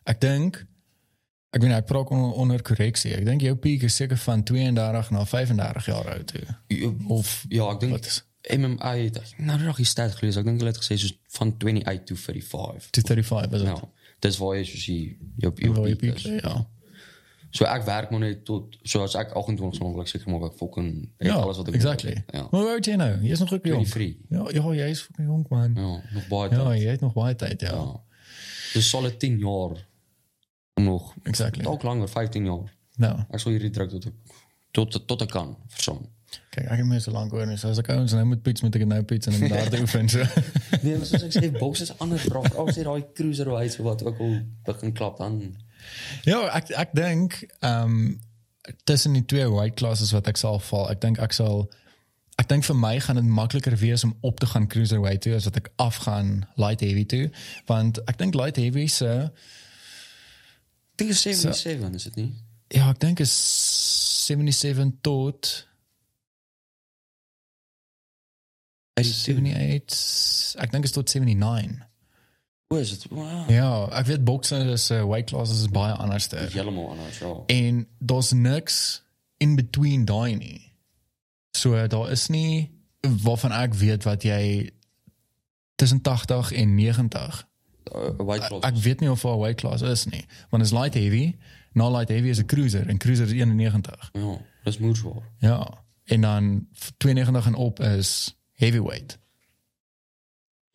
Speaker 1: ek dink ek weet nie, ek praat onder, onder korreksie. Ek dink jou peak is seker van 32 na 35 jaar oud toe.
Speaker 2: Of ja, ek dink
Speaker 1: is-
Speaker 2: MMA het ek- nou nog die stat gelees. Ek dink hulle het gesê soos van 28 to 35.
Speaker 1: 235 is dit.
Speaker 2: Nou, dis waar jy soos jy jou jou
Speaker 1: Waar
Speaker 2: piek
Speaker 1: jy peak
Speaker 2: is.
Speaker 1: ja.
Speaker 2: So ek werk maar net tot soos ek 28 maak, ek seker maak ek fucking het
Speaker 1: Ja,
Speaker 2: alles wat ek moet
Speaker 1: exactly.
Speaker 2: hê. Ja.
Speaker 1: Maar hoe oud jy nou? Jy's nog ook jong.
Speaker 2: 23.
Speaker 1: Ja, ja, jy is fucking jong man.
Speaker 2: Ja, nog baie
Speaker 1: Ja,
Speaker 2: tyd.
Speaker 1: jy het nog baie tyd, ja.
Speaker 2: Ja. Dis solid 10 jaar nog
Speaker 1: Exactly.
Speaker 2: ook langer, 15 jaar.
Speaker 1: Nou,
Speaker 2: Ek sal hierdie druk tot ek tot tot ek kan verstaan.
Speaker 1: kijk, ik heb me zo lang gehoord. Dus als ik ons nou moet pizza, moet ik het nou pizza en hem daar te oefenen. zo.
Speaker 2: Nee, maar soos ek sê, boks is ander vraag. Al sê daai cruiserweights of wat ook al begin klap dan
Speaker 1: Ja, ik, ik denk ehm, tussen die twee white classes wat ik zal val. Ik denk ik zal. Ik denk voor mij gaan het makkelijker wees om op te gaan cruiserweight toe als dat ik afgaan light heavy toe. Want ik denk light heavy eh, se
Speaker 2: Dit is 77 is dit nie?
Speaker 1: ja, ik denk is 77 tot 78. Ik denk is tot 79.
Speaker 2: Hoe is dit? Wow.
Speaker 1: Ja, ik weet boksen is eh, white classes is baie anders. eh.
Speaker 2: Dit is Heeltemal anders, ja.
Speaker 1: En daar's niks in between daai nie. So daar is nie waarvan ek weet wat jy tussen 80 en 90.
Speaker 2: Uh, White Claw.
Speaker 1: Ek weet nie of daar 'n weight class is nie, want is light heavy, na light heavy is 'n cruiser en cruiser is 91.
Speaker 2: Ja, dis moeilik hoor.
Speaker 1: Ja. En dan 92 en op is heavyweight.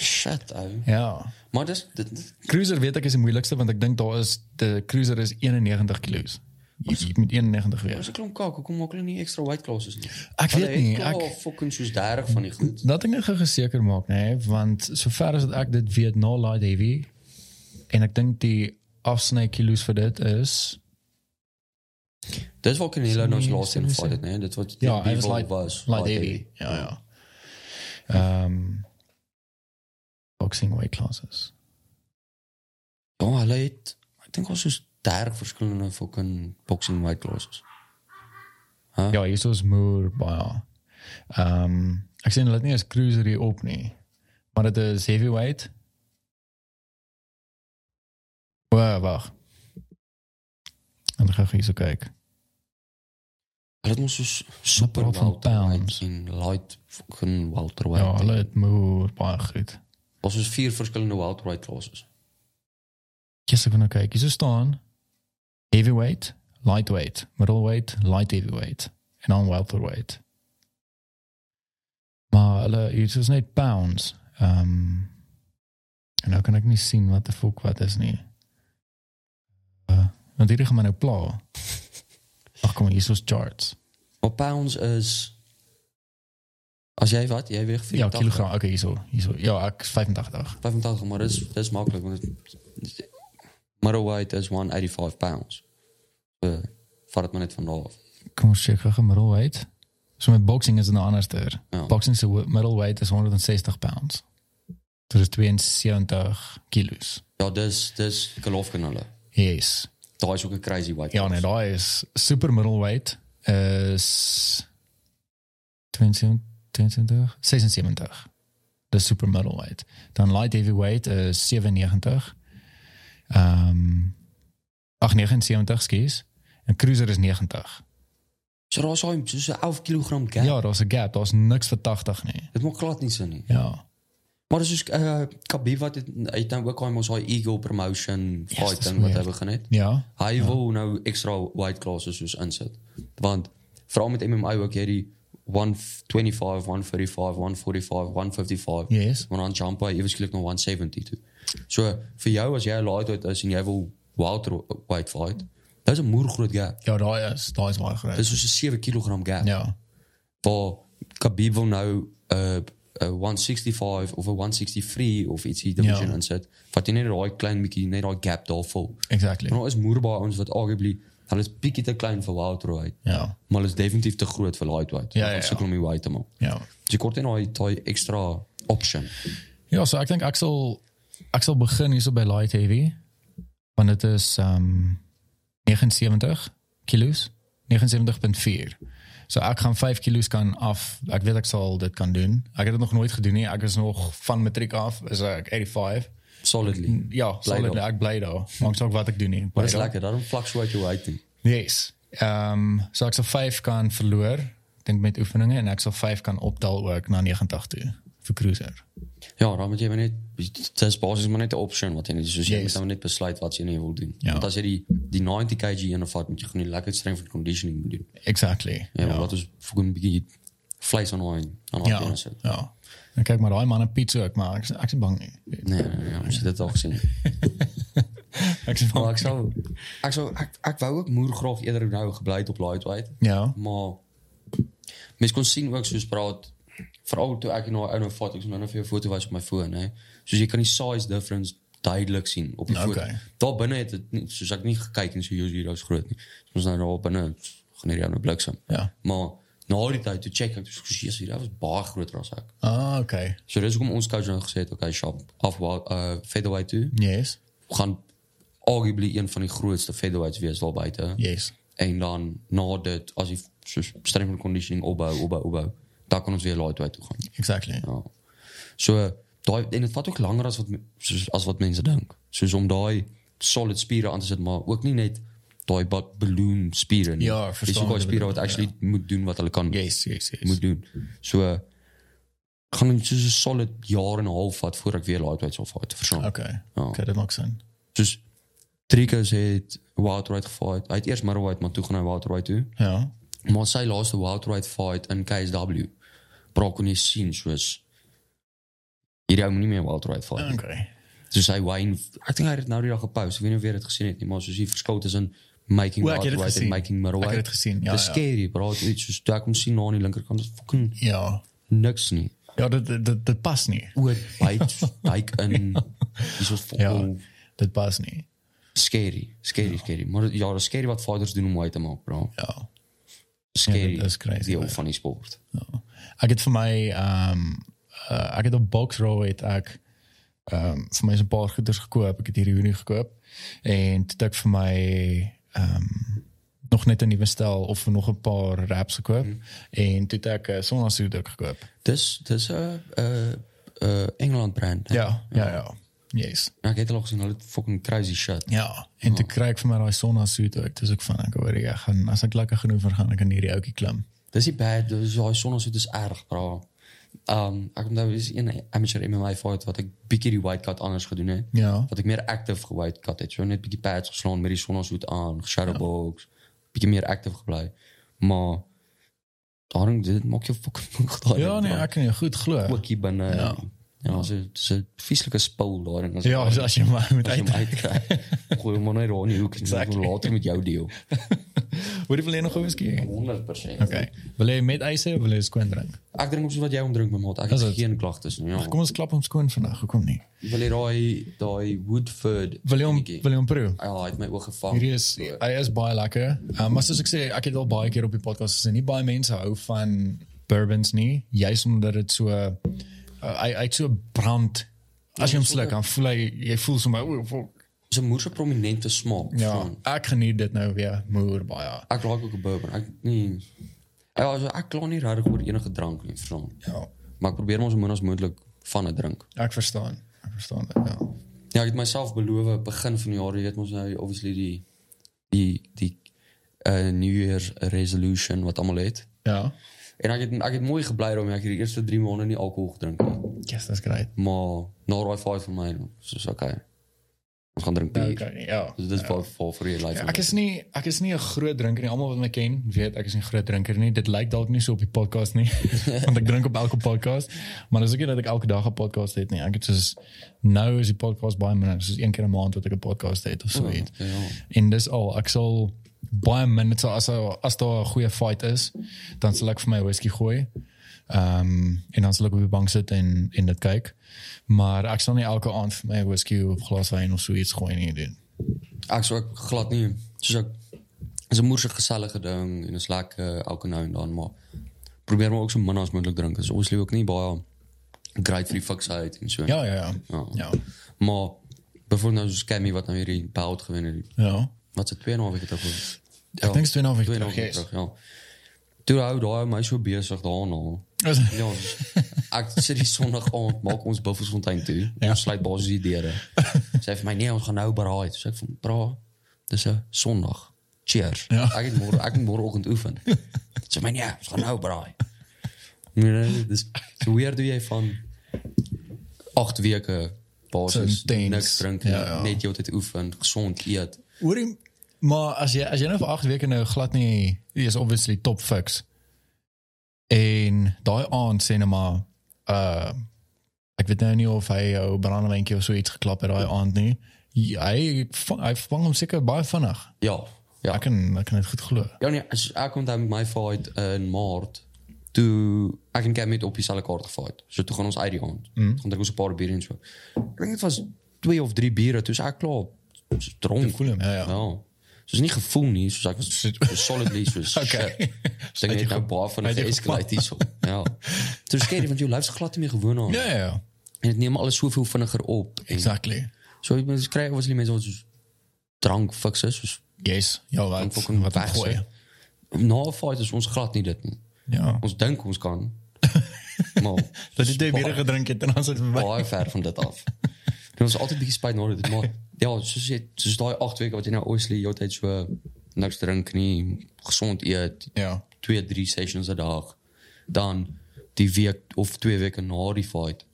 Speaker 2: Shit, ou.
Speaker 1: Ja.
Speaker 2: Maar dis dit, dit
Speaker 1: Cruiser weet ek is die moeilikste want ek dink daar is die cruiser is 91 kg. Jy moet 91
Speaker 2: is
Speaker 1: weeg.
Speaker 2: 'n klomp kak. Hoekom maak hulle nie ekstra white claws is nie?
Speaker 1: Ek
Speaker 2: Hulle
Speaker 1: Ja. weet nie.
Speaker 2: het al
Speaker 1: Ek
Speaker 2: fucking soos 30 van die goed.
Speaker 1: Dat ek net gou geseker maak, nê, nee, want sover as wat ek dit weet na light heavy en ek dink die afsny kilos vir dit is
Speaker 2: Dis waar Canelo nou sy laaste een
Speaker 1: Sien-
Speaker 2: gevat het, né? Dit wat
Speaker 1: ja, hy was
Speaker 2: die Bevel
Speaker 1: light was light heavy. Ja, ja. Ehm boxing weight classes.
Speaker 2: Ja, hulle het ek dink al soos 30 verskillende fucking boxing white claws.
Speaker 1: Ja, hier is moer baie. Ehm ek sien hulle het nie as cruiser hier op nie. Maar dit is heavyweight. Wag, wag. En dan ga ek hier so kyk.
Speaker 2: Hulle het mos soos super
Speaker 1: praat van
Speaker 2: welterweight
Speaker 1: pounds.
Speaker 2: en light fucking welterweight.
Speaker 1: Ja, hulle het moer baie goed.
Speaker 2: was soos vier verskillende welterweight classes.
Speaker 1: Yes, ek wil nou kyk. Hier so staan heavyweight, lightweight, middleweight, light heavyweight en dan welterweight. Maar hulle hier is net pounds. Ehm um, en nou kan ek nie sien wat die fok wat is nie. Uh, want hierdie gaan my nou pla. Ag kom, hier is ons charts.
Speaker 2: Maar pounds is as jy wat, jy weeg 4
Speaker 1: Ja, kilogram. Okay, hierso, hierso. Ja, ek is 85.
Speaker 2: 85, maar dis dis maklik want dit- middleweight is 185 pounds. Uh, vat dit maar net van daar af.
Speaker 1: Kom ons check gou middleweight. So met boxing is dit nou anderster.
Speaker 2: Ja.
Speaker 1: Boxing se wo- middleweight is 160 pounds. Dit is 72 kilos.
Speaker 2: Ja, dis dis Golovkin hulle.
Speaker 1: Yes.
Speaker 2: Daai is ook 'n crazy white.
Speaker 1: Ja,
Speaker 2: class.
Speaker 1: nee, daai is super middleweight is 22 22 76. Dis super middleweight. Dan light heavyweight is 97. Ehm um, 879 skies. En cruiser is 90.
Speaker 2: So daar's daai soos 'n 11 kg gap.
Speaker 1: Ja, daar's 'n gap. Daar's niks vir 80 nie.
Speaker 2: Dit maak glad nie sin nie.
Speaker 1: Ja.
Speaker 2: Maar dis soos uh, Khabib wat het hy dan ook al mos daai Eagle promotion
Speaker 1: Yes,
Speaker 2: fight
Speaker 1: Ja, dis
Speaker 2: ding wat hy
Speaker 1: weird.
Speaker 2: begin het.
Speaker 1: Ja.
Speaker 2: Hy wil nou extra white classes soos insit. Want veral met MMA ook hierdie 125, 135, 145, 155.
Speaker 1: Yes.
Speaker 2: Want dan jump hy ewe skielik na 170 toe. So vir jou as jy 'n lightweight is en jy wil welterweight fight, dis 'n moer groot gap.
Speaker 1: Ja, daai is daai is baie groot.
Speaker 2: Dis soos 'n 7 kg gap.
Speaker 1: Ja.
Speaker 2: Waar Khabib wil nou 'n uh, 165 of 'n 163 of ietsie division
Speaker 1: Ja.
Speaker 2: insit. Wat jy net daai klein bietjie net daai gap daar vul.
Speaker 1: Exactly.
Speaker 2: Maar daar is moerbaai ons wat arguably hulle is bietjie te klein vir welterweight.
Speaker 1: Ja.
Speaker 2: Maar hulle is definitief te groot vir lightweight.
Speaker 1: Ja, ja,
Speaker 2: Ons
Speaker 1: ja.
Speaker 2: sukkel om die weight te maak.
Speaker 1: Ja.
Speaker 2: Dus jy kort net daai daai ekstra option.
Speaker 1: Ja, so ek dink ek sal ek sal begin hierso by light heavy want dit is um 79 kilos, 79.4. So ek gaan 5 kilos kan af. Ek weet ek sal dit kan doen. Ek het dit nog nooit gedoen nie. Ek is nog van matriek af is ek 85.
Speaker 2: Solidly.
Speaker 1: Ja, sal dit
Speaker 2: daar.
Speaker 1: ek bly daar. Maak saak wat ek doen nie.
Speaker 2: Maar
Speaker 1: Bly
Speaker 2: dis
Speaker 1: daar.
Speaker 2: lekker, daarom fluctuate jou weight nie.
Speaker 1: Yes. Ehm so ek sal 5 kan verloor, ek dink met oefeninge en ek sal 5 kan optel ook na 90 toe vir cruiser.
Speaker 2: Ja, dan moet jy maar net dis basies maar net 'n option wat jy net soos jy
Speaker 1: Yes.
Speaker 2: moet nou net besluit wat jy nou wil doen.
Speaker 1: Ja.
Speaker 2: Want as jy die die 90 kg een vat, moet jy gewoon die lekker strength and conditioning moet doen.
Speaker 1: Exactly.
Speaker 2: Ja, ja. wat ons fucking bietjie vlees aan wijn. Aan
Speaker 1: Ja,
Speaker 2: ja.
Speaker 1: ja. En kijk maar, hij man een pizza, ik maak. Ik ben bang niet.
Speaker 2: Nee, nee, nee, als je dit al gezien.
Speaker 1: Ik ben
Speaker 2: Maar
Speaker 1: bang.
Speaker 2: ik zou, ik zou, ik, ik wou ook moergrof eerder nou gebleid op lightweight.
Speaker 1: Ja,
Speaker 2: Maar mens kon zien ook soos praat veral toe ek nou nou foto's nou veel foto was op my foon hè. Soos jy kan die size difference duidelik sien op die
Speaker 1: Ja,
Speaker 2: foto.
Speaker 1: oké.
Speaker 2: Daar binne het dit nie soos ek nie gekyk en so jou hiero's groot nie. So ons nou daar binne gaan hierdie nou bliksem.
Speaker 1: ja.
Speaker 2: Maar na die tyd toe check ek soos Jesus hier, dit was baie groter as ek.
Speaker 1: Ah, oké.
Speaker 2: So dis hoekom ons coach nou gesê het, okay, shop af uh featherweight toe
Speaker 1: Yes,
Speaker 2: gaan arguably een van die grootste featherweights wees daar buite.
Speaker 1: yes.
Speaker 2: En dan na dit, als je soos strength and conditioning opbouw, opbouw, opbouw, daar kan ons weer lightweight toe gaan.
Speaker 1: Exactly.
Speaker 2: Ja. So, eh, daai- en het vat ook langer als wat, me- soos, as wat mensen denken. Soos om die solid spieren aan te zetten, maar ook niet net die ba- balloon spieren. nie.
Speaker 1: Ja, verstaan
Speaker 2: Dis ook
Speaker 1: wat
Speaker 2: die
Speaker 1: jy
Speaker 2: spieren wat
Speaker 1: bedoel, ja.
Speaker 2: actually moet doen wat hulle kan
Speaker 1: Yes, yes, yes.
Speaker 2: moet doen. So, eh, gaan ons soos een solid jaar en een half vat voordat ik weer lightweight zal fighten, verstaan?
Speaker 1: Oké,
Speaker 2: Ja.
Speaker 1: oké, dat maakt zin.
Speaker 2: Dus drie keer heeft Wouterweight gefight. Hij heeft eerst Marrowweight, maar toen ging hij Wouterweight toe.
Speaker 1: Ja,
Speaker 2: Maar sy laaste welterweight fight in KSW, bro kon jy sien soos hierdie ou moet nie meer welterweight fight.
Speaker 1: oké.
Speaker 2: nie. Soos hy wyn, ek dink hy het dit nou die dag gepost. Ek weet nie of jy dit gesien het nie, maar soos die verskil tussen making
Speaker 1: O, ek het dit
Speaker 2: welterweight en
Speaker 1: gesien.
Speaker 2: making
Speaker 1: Ik heb
Speaker 2: middleweight.
Speaker 1: het gezien, ja.
Speaker 2: Dis
Speaker 1: Ja,
Speaker 2: scary, bro. Dit is soos toe ek hom sien na aan die linkerkant, dis fucking
Speaker 1: ja.
Speaker 2: niks nie.
Speaker 1: ja dat, dat, dat, dat past niet.
Speaker 2: Oor byt, duik in. Dis was
Speaker 1: Ja,
Speaker 2: fucking
Speaker 1: dat past niet.
Speaker 2: scary, scary, scary. Maar ja, dis scary wat fighters doen om uit te maak, bro.
Speaker 1: Ja.
Speaker 2: Scary.
Speaker 1: dit is crazy,
Speaker 2: Deel
Speaker 1: man.
Speaker 2: van die sport.
Speaker 1: Ik heb voor mij, ehm eh, ik heb op Boxrow, het ik, ehm, voor mij is een paar goeders gekoop. Ik heb hier in juni gekoop. En toen heb ik voor mij ehm, nog net een nieuwe stijl of nog een paar raps gekoop. En toen heb ik uh, zonnestuur ook gekoop.
Speaker 2: Dis dis 'n uh, uh, Engeland brand. hè?
Speaker 1: Ja, ja, ja. Yes.
Speaker 2: Ja, ek het al gesien hulle het fucking crazy shit.
Speaker 1: Ja, en toen krijg ik van mij daai sonna suit ook. Dis ook van ek hoor ek gaan as ek lekker genoeg vir gaan ek kan hierdie ouetjie klim.
Speaker 2: Dis nie bad, dus, dis daai sonnesoet is erg, bra. Um ek onthou is een amateur MMA fight wat ek bietjie die white cut anders gedoen het.
Speaker 1: Ja.
Speaker 2: Wat ek meer active gewhite cut het. So net bietjie pads geslaan met die sonnesoet aan, shadowbox, bietjie meer active gebly. Maar daarom dit maak jou fucking goed.
Speaker 1: Ja nee, ek kan jou goed glo.
Speaker 2: ook hier binne. Ja. Ja, so so vieslike spul daar en as
Speaker 1: Ja, as, as jy maar moet
Speaker 2: As jy
Speaker 1: uit.
Speaker 2: hom uitkry. Gooi hom maar net daar in die hoek en
Speaker 1: Exactly.
Speaker 2: exactly. later met jou deel.
Speaker 1: Hoor jy wil jy nog oor whisky?
Speaker 2: 100%.
Speaker 1: Okay. Wil jy met ys hê of wil jy skoon drink?
Speaker 2: Ek drink op soos wat jy hom drink, my maat. Ek
Speaker 1: Is
Speaker 2: het
Speaker 1: het?
Speaker 2: geen klagtes nie. Ja.
Speaker 1: Kom ons klap hom skoon vandag, hoekom nie?
Speaker 2: Wil jy daai daai Woodford
Speaker 1: Wil jy hom
Speaker 2: dingetjie?
Speaker 1: wil jy hom proe?
Speaker 2: Ja, hy het my oog gevang.
Speaker 1: Hierdie is hy is baie lekker. Um, maar soos ek sê, ek het al baie keer op die podcast gesê, nie baie mense hou van bourbons nie, juis omdat dit so uh, hy hy het so brand. As jy hom sluk, dan voel jy jy voel sommer o, fuck.
Speaker 2: Dis 'n moeë prominente smaak.
Speaker 1: Ja,
Speaker 2: Van-
Speaker 1: ek geniet dit nou weer moer baie.
Speaker 2: Ek raak ook 'n bourbon. Ek nee. Ja, also, ek kla nie regtig oor enige drank nie, verstaan.
Speaker 1: Ja,
Speaker 2: Maar ek probeer maar so min as moontlik van 'n drink.
Speaker 1: ek verstaan. Ek verstaan dit. Ja.
Speaker 2: Ja, ek het myself beloof begin van die jaar, jy weet mos nou obviously die die die uh, New Year resolution wat almal het.
Speaker 1: Ja.
Speaker 2: En ek het ek het mooi gebly daarmee. Ek het die eerste 3 maande nie alkohol gedrink nie.
Speaker 1: Yes, that's great.
Speaker 2: Maar na daai fight van my, soos okay. Ons gaan drink bier.
Speaker 1: Okay, ja.
Speaker 2: Dus dit is wel vol vir die
Speaker 1: Ja,
Speaker 2: life.
Speaker 1: Ek is nie ek is nie 'n groot drinker nie. Almal wat my ken, weet ek is nie 'n groot drinker nie. Dit lyk dalk nie so op die podcast nie, want ek drink op elke podcast, maar dis ook nie dat ek elke dag 'n podcast het nie. Ek het soos nou is die podcast baie minder, soos een keer 'n maand wat ek 'n podcast het of so iets.
Speaker 2: Ja, ja.
Speaker 1: En dis al. Ek sal baie minder so as daar- as daar 'n goeie fight is, dan sal ek vir my whisky gooi. Ehm um, en dan sal ek op die bank sit en en dit kyk. Maar ek sal nie elke aand vir my whisky of glas wyn of so iets gooi nie doen.
Speaker 2: Ek sou ook glad nie soos ek is 'n moeëse gesellige ding en is lekker elke nou en dan maar probeer maar ook so min as moontlik drink. Dis obviously ook nie baie great vir die fiksheid en so.
Speaker 1: Ja, ja, ja.
Speaker 2: Ja.
Speaker 1: Ja.
Speaker 2: Maar byvoorbeeld nou so Cammy wat nou weer die belt gewen het.
Speaker 1: Ja.
Speaker 2: Wat se 2.5 weke terug. was. Ja,
Speaker 1: Ek dink dit is 2,5 weke
Speaker 2: 2,5
Speaker 1: terug.
Speaker 2: weke
Speaker 1: Yes.
Speaker 2: terug, Ja. Toe hou daai my so besig daarna.
Speaker 1: Is-
Speaker 2: Ja, ek sit die sonnig aand, maak ons Buffelsfontein toe.
Speaker 1: Ja.
Speaker 2: Ons sluit basies die deure. Sy vir my nee, ons gaan nou braai. Toe sê ek van bra, dis 'n Sondag. Cheers.
Speaker 1: Ja.
Speaker 2: Ek het môre ek moet môreoggend oefen. Sy sê my nee, ons gaan nou braai. Nee, dis so weer doen jy van 8 weke basis
Speaker 1: So intense.
Speaker 2: niks drink nie,
Speaker 1: Ja, ja.
Speaker 2: net jy moet dit oefen, gesond eet.
Speaker 1: Hoorie, maar as jy as jy nou vir 8 weke nou glad nie jy is obviously top fix. En daai aand sê nou maar uh ek weet nou nie of hy jou brandewindjie of so iets geklap het daai aand nie. Hy vang, hy vang hom seker baie vinnig.
Speaker 2: Ja. Ja.
Speaker 1: Ek kan ek kan dit goed glo.
Speaker 2: Ja nee, as ek onthou met my fight eh, in Maart. Toe ek en Cam het op dieselfde kaart gefight. So toe gaan ons uit die
Speaker 1: Mhm.
Speaker 2: aand. Mm. Gaan drink ons 'n paar bier en so. Ek dink dit was 2 of dus 3 biere, toe is ek klaar soos dronk.
Speaker 1: Voel hom. Ja ja.
Speaker 2: Ja. Soos nie gevoel nie, soos ek was soos solidly soos
Speaker 1: Okay.
Speaker 2: shit. Dink net nou baie van
Speaker 1: uit
Speaker 2: die
Speaker 1: jou
Speaker 2: escalate hierso. Ja. Toe skerry want jou lyf is glad nie meer gewoond aan.
Speaker 1: Ja ja.
Speaker 2: En dit neem alles soveel vinniger op. En
Speaker 1: Exactly.
Speaker 2: so jy mens kry obviously mense wat soos drank fiks is, soos
Speaker 1: Yes. Ja, wat
Speaker 2: drank fucking
Speaker 1: wat
Speaker 2: weg,
Speaker 1: gooi.
Speaker 2: so. Na 'n fight is ons glad nie dit nie.
Speaker 1: Ja.
Speaker 2: Ons dink ons kan. Maar
Speaker 1: Dat jy twee biere gedrink het en dan sit verby.
Speaker 2: baie ver van dit af. Dit was altyd bietjie spyt nadat dit maar ja, soos jy soos daai 8 weke wat jy nou obviously jou tyd so niks drink nie, gesond eet,
Speaker 1: Ja.
Speaker 2: 2 3 sessions 'n dag. Dan die week of 2 weke na die fight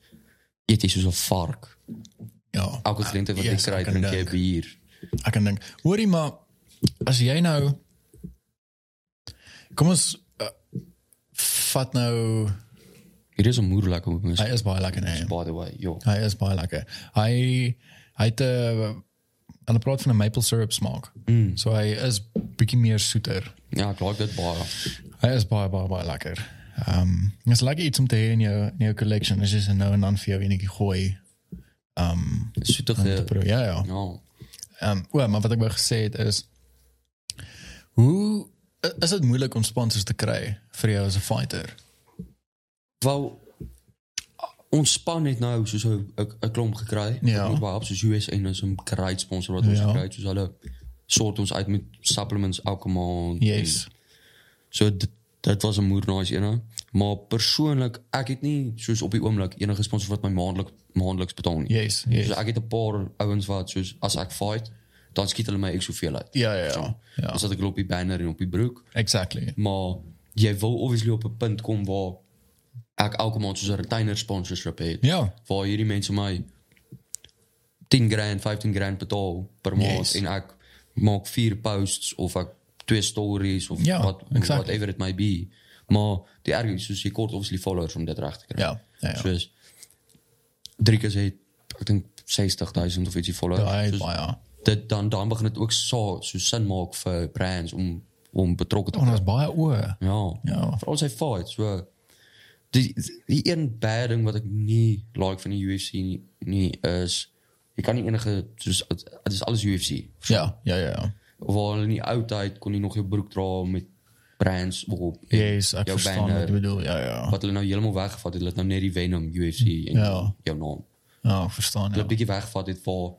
Speaker 2: eet jy soos 'n vark.
Speaker 1: Ja.
Speaker 2: Elke kliënt wat jy
Speaker 1: Yes,
Speaker 2: kry
Speaker 1: ek kan
Speaker 2: drink jy
Speaker 1: dink.
Speaker 2: bier.
Speaker 1: Ek kan dink, hoorie maar as jy nou Kom ons uh, vat nou
Speaker 2: Hier is 'n moeilik om mens
Speaker 1: hy is baie lekker nee.
Speaker 2: by the way. Ja.
Speaker 1: Hy is baie lekker. Hy hy het 'n hulle praat van 'n maple syrup smaak. Mm. So hy is bietjie meer soeter.
Speaker 2: Ja, ek like dit baie.
Speaker 1: Hy is baie baie baie lekker. Ehm um, dit's lekker iets om te hê in jou in jou collection. Dit is een nou en dan vir jou enetjie gooi.
Speaker 2: Soetige
Speaker 1: Pro, ja ja.
Speaker 2: ja.
Speaker 1: Ehm um, maar wat ek wou gesê het is hoe is dit moeilik om sponsors te kry vir jou as 'n fighter?
Speaker 2: Wou ons span het nou soos 'n 'n- 'n klomp gekry.
Speaker 1: Ja.
Speaker 2: Ons was op soos US en is 'n great sponsor wat ons
Speaker 1: Ja.
Speaker 2: ja. gekry het. Soos hulle sort ons uit met supplements elke maand.
Speaker 1: Yes.
Speaker 2: So dit, dit was 'n moer nice ene, maar persoonlik ek het nie soos op die oomblik enige sponsor wat my maandelik maandeliks betaal nie.
Speaker 1: Yes, yes.
Speaker 2: So ek het 'n paar ouens wat soos as ek fight, dan skiet hulle my ek soveel uit.
Speaker 1: Ja ja ja. ja.
Speaker 2: Ons het ek loop die banner en op die broek,
Speaker 1: Exactly.
Speaker 2: maar jy wil obviously op 'n punt kom waar ek elke maand soos 'n retainer sponsorship het
Speaker 1: Ja.
Speaker 2: waar hierdie mense my 10 grand, 15 grand betaal per maand
Speaker 1: Yes.
Speaker 2: yes. en ek maak vier posts of ek twee stories of
Speaker 1: Ja,
Speaker 2: wat
Speaker 1: exactly.
Speaker 2: whatever it may be. Maar die erg is soos jy kort obviously followers om dit reg te kry.
Speaker 1: Ja, ja, ja.
Speaker 2: Soos drie keer sê ek dink 60000 of ietsie followers.
Speaker 1: Ja, hy is
Speaker 2: Soos
Speaker 1: baie.
Speaker 2: dit dan dan begin dit ook so so sin maak vir brands om om betrokke te
Speaker 1: Ons is baie oor.
Speaker 2: Ja.
Speaker 1: Ja.
Speaker 2: Veral sy fights. So die die een baie ding wat ek nie like van die UFC nie, nie is jy kan nie enige soos dit is alles UFC.
Speaker 1: Ja, ja ja ja.
Speaker 2: Waar in die ou tyd kon jy nog jou broek dra met brands op. en
Speaker 1: Yes, ek
Speaker 2: jou eh,
Speaker 1: verstaan banner. wat jy bedoel. Ja ja.
Speaker 2: Wat hulle nou heeltemal weggevat het, hulle het nou net die Venom UFC en
Speaker 1: Ja.
Speaker 2: jou naam.
Speaker 1: Ja, ek verstaan.
Speaker 2: Hulle
Speaker 1: Ja.
Speaker 2: het bietjie weggevat het waar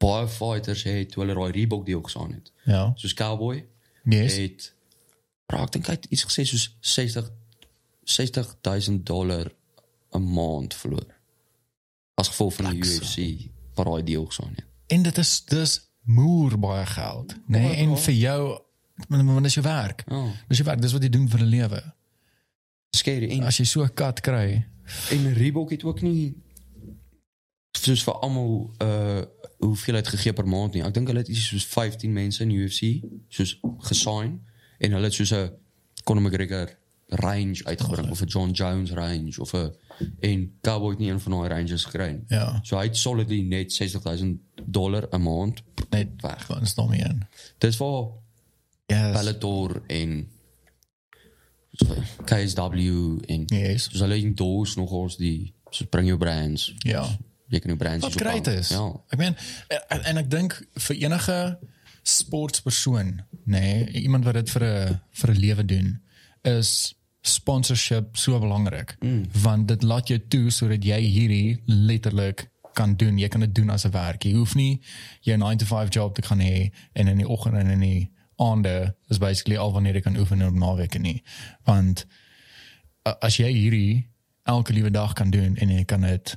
Speaker 2: baie fighters het toe hulle daai Reebok deal gesaan het.
Speaker 1: Ja.
Speaker 2: Soos Cowboy
Speaker 1: Yes.
Speaker 2: het bro, ek dink hy het iets gesê soos 60 60000 dollar 'n maand verloor. As gevolg van die UFC paraai nee. deal gesaan het.
Speaker 1: En dit is dus moer baie geld, né? Nee? En vir jou want want dis jou werk.
Speaker 2: Ja.
Speaker 1: Dis jou werk, dis wat jy doen vir 'n lewe.
Speaker 2: Skare en
Speaker 1: As jy so 'n kat kry,
Speaker 2: en Reebok het ook nie soos vir almal uh hoeveelheid gegee per maand nie. Ek dink hulle het iets soos 15 mense in die UFC soos gesign en hulle het soos 'n Conor McGregor range uitgebring of 'n John Jones range of 'n en Cowboy het nie een van daai ranges gekry nie.
Speaker 1: ja,
Speaker 2: So hy het solidly net 60000 dollar 'n maand.
Speaker 1: net
Speaker 2: Weg.
Speaker 1: Ons staan hier in.
Speaker 2: Dis waar
Speaker 1: Ja. Yes.
Speaker 2: Bellator en KSW en
Speaker 1: Yes.
Speaker 2: soos hulle endorse nog ons die so bring jou brands.
Speaker 1: Ja.
Speaker 2: Jy kan jou brands
Speaker 1: Wat
Speaker 2: soos op
Speaker 1: great
Speaker 2: aan-
Speaker 1: is.
Speaker 2: Ja.
Speaker 1: Ek meen en, en ek dink vir enige sportpersoon, nê, nee, iemand wat dit vir 'n vir 'n lewe doen, is sponsorship so belangrik, mm. want dit laat jou toe sodat jy hierdie letterlik kan doen. Jy kan dit doen as 'n werk. Jy hoef nie jou 9 to 5 job te gaan hê en in die oggend en in die aande is basically al wanneer jy kan oefen op naweke nie. Want a- as jy hierdie elke liewe dag kan doen en jy kan dit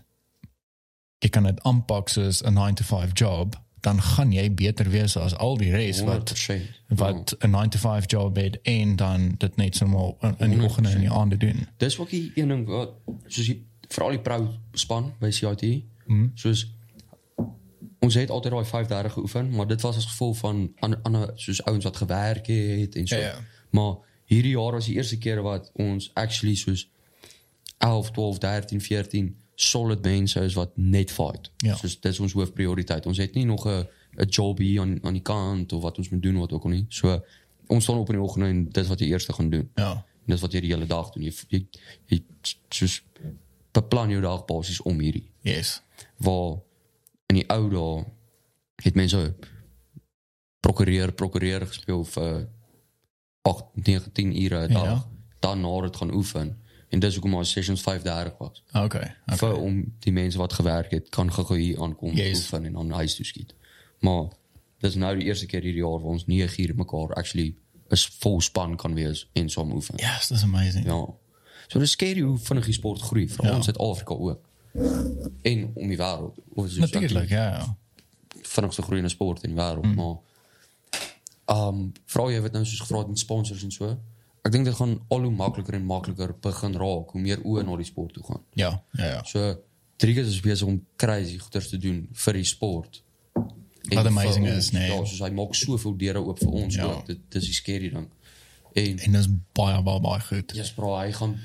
Speaker 1: jy kan dit aanpak soos 'n 9 to 5 job, dan gaan jy beter wees as al die res wat
Speaker 2: 100%.
Speaker 1: wat 'n 9 to 5 job het en dan dit net sommer in- in die oggende en in die aande doen.
Speaker 2: Dis ook die een ding wat soos die veral die pro span by CIT.
Speaker 1: Mhm.
Speaker 2: Mm. Soos ons het altyd daai 5:30 geoefen, maar dit was as gevolg van ander ander soos ouens wat gewerk het en so.
Speaker 1: Ja, ja.
Speaker 2: Maar hierdie jaar was die eerste keer wat ons actually soos 11, 12, 13, 14 solid mense is wat net fight.
Speaker 1: Ja.
Speaker 2: Soos dis ons hoofprioriteit. Ons het nie nog 'n 'n job hier aan aan die kant of wat ons moet doen wat ook al nie. So ons staan op in die oggend en dit is wat jy eers gaan doen.
Speaker 1: Ja.
Speaker 2: En dis wat jy die hele dag doen. Jy jy, jy soos beplan jou dag basies om hierdie
Speaker 1: Yes.
Speaker 2: waar in die ou dae het mense prokureur prokureur gespeel vir 8 9 10 ure 'n dag.
Speaker 1: Ja.
Speaker 2: Dan na dit gaan oefen. En dis hoekom ons sessions 5:30 was.
Speaker 1: Oké. oké.
Speaker 2: Vir om die mense wat gewerk het kan gou-gou hier aankom
Speaker 1: Yes.
Speaker 2: oefen en dan huis toe skiet. Maar dis nou die eerste keer hierdie jaar waar ons 9 uur mekaar actually 'n vol span kan wees en saam oefen.
Speaker 1: Yes, dat is amazing.
Speaker 2: Ja. So dis scary hoe vinnig die sport groei, veral
Speaker 1: Ja.
Speaker 2: in Suid-Afrika ook. En om die wêreld. Ons is
Speaker 1: Natuurlijk, ja. ja.
Speaker 2: vinnigste groeiende sport in die wêreld,
Speaker 1: Hmm.
Speaker 2: maar ehm vra jy wat nou soos gevra het met sponsors en so. Ek dink dit gaan al hoe makliker en makliker begin raak hoe meer oë na die sport toe gaan.
Speaker 1: Ja, ja, ja.
Speaker 2: So Driekus is besig om crazy goeders te doen vir die sport. En
Speaker 1: Wat
Speaker 2: vir
Speaker 1: amazing
Speaker 2: ons,
Speaker 1: is, nee.
Speaker 2: Ja, soos hy maak soveel deure oop vir ons.
Speaker 1: Ja.
Speaker 2: Ja. Dit dis die scary ding. En
Speaker 1: En dat is baie, baie, baie goed.
Speaker 2: ja, bro, hy gaan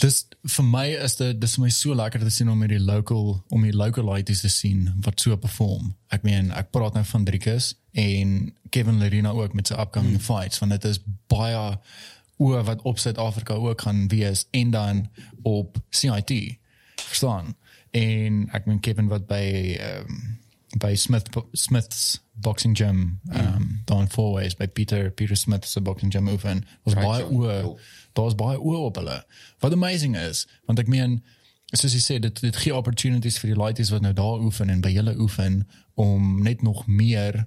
Speaker 1: Dus vir my is dit dis vir my so lekker te sien om hierdie local om hierdie localities te sien wat so perform. Ek meen, ek praat nou van Driekus en Kevin Lerina ook met sy upcoming fights want dit is baie oor wat op Suid-Afrika ook gaan wees en dan op CIT. Verstaan? En ek meen Kevin wat by ehm by Smith Smith's boxing gym ehm daar in Fourways by Peter Peter Smith se boxing gym oefen was
Speaker 2: Right,
Speaker 1: baie
Speaker 2: ja.
Speaker 1: oor
Speaker 2: Ja.
Speaker 1: daar's baie oor op hulle. Wat amazing is, want ek meen soos jy sê dit dit gee opportunities vir die laities wat nou daar oefen en by julle oefen om net nog meer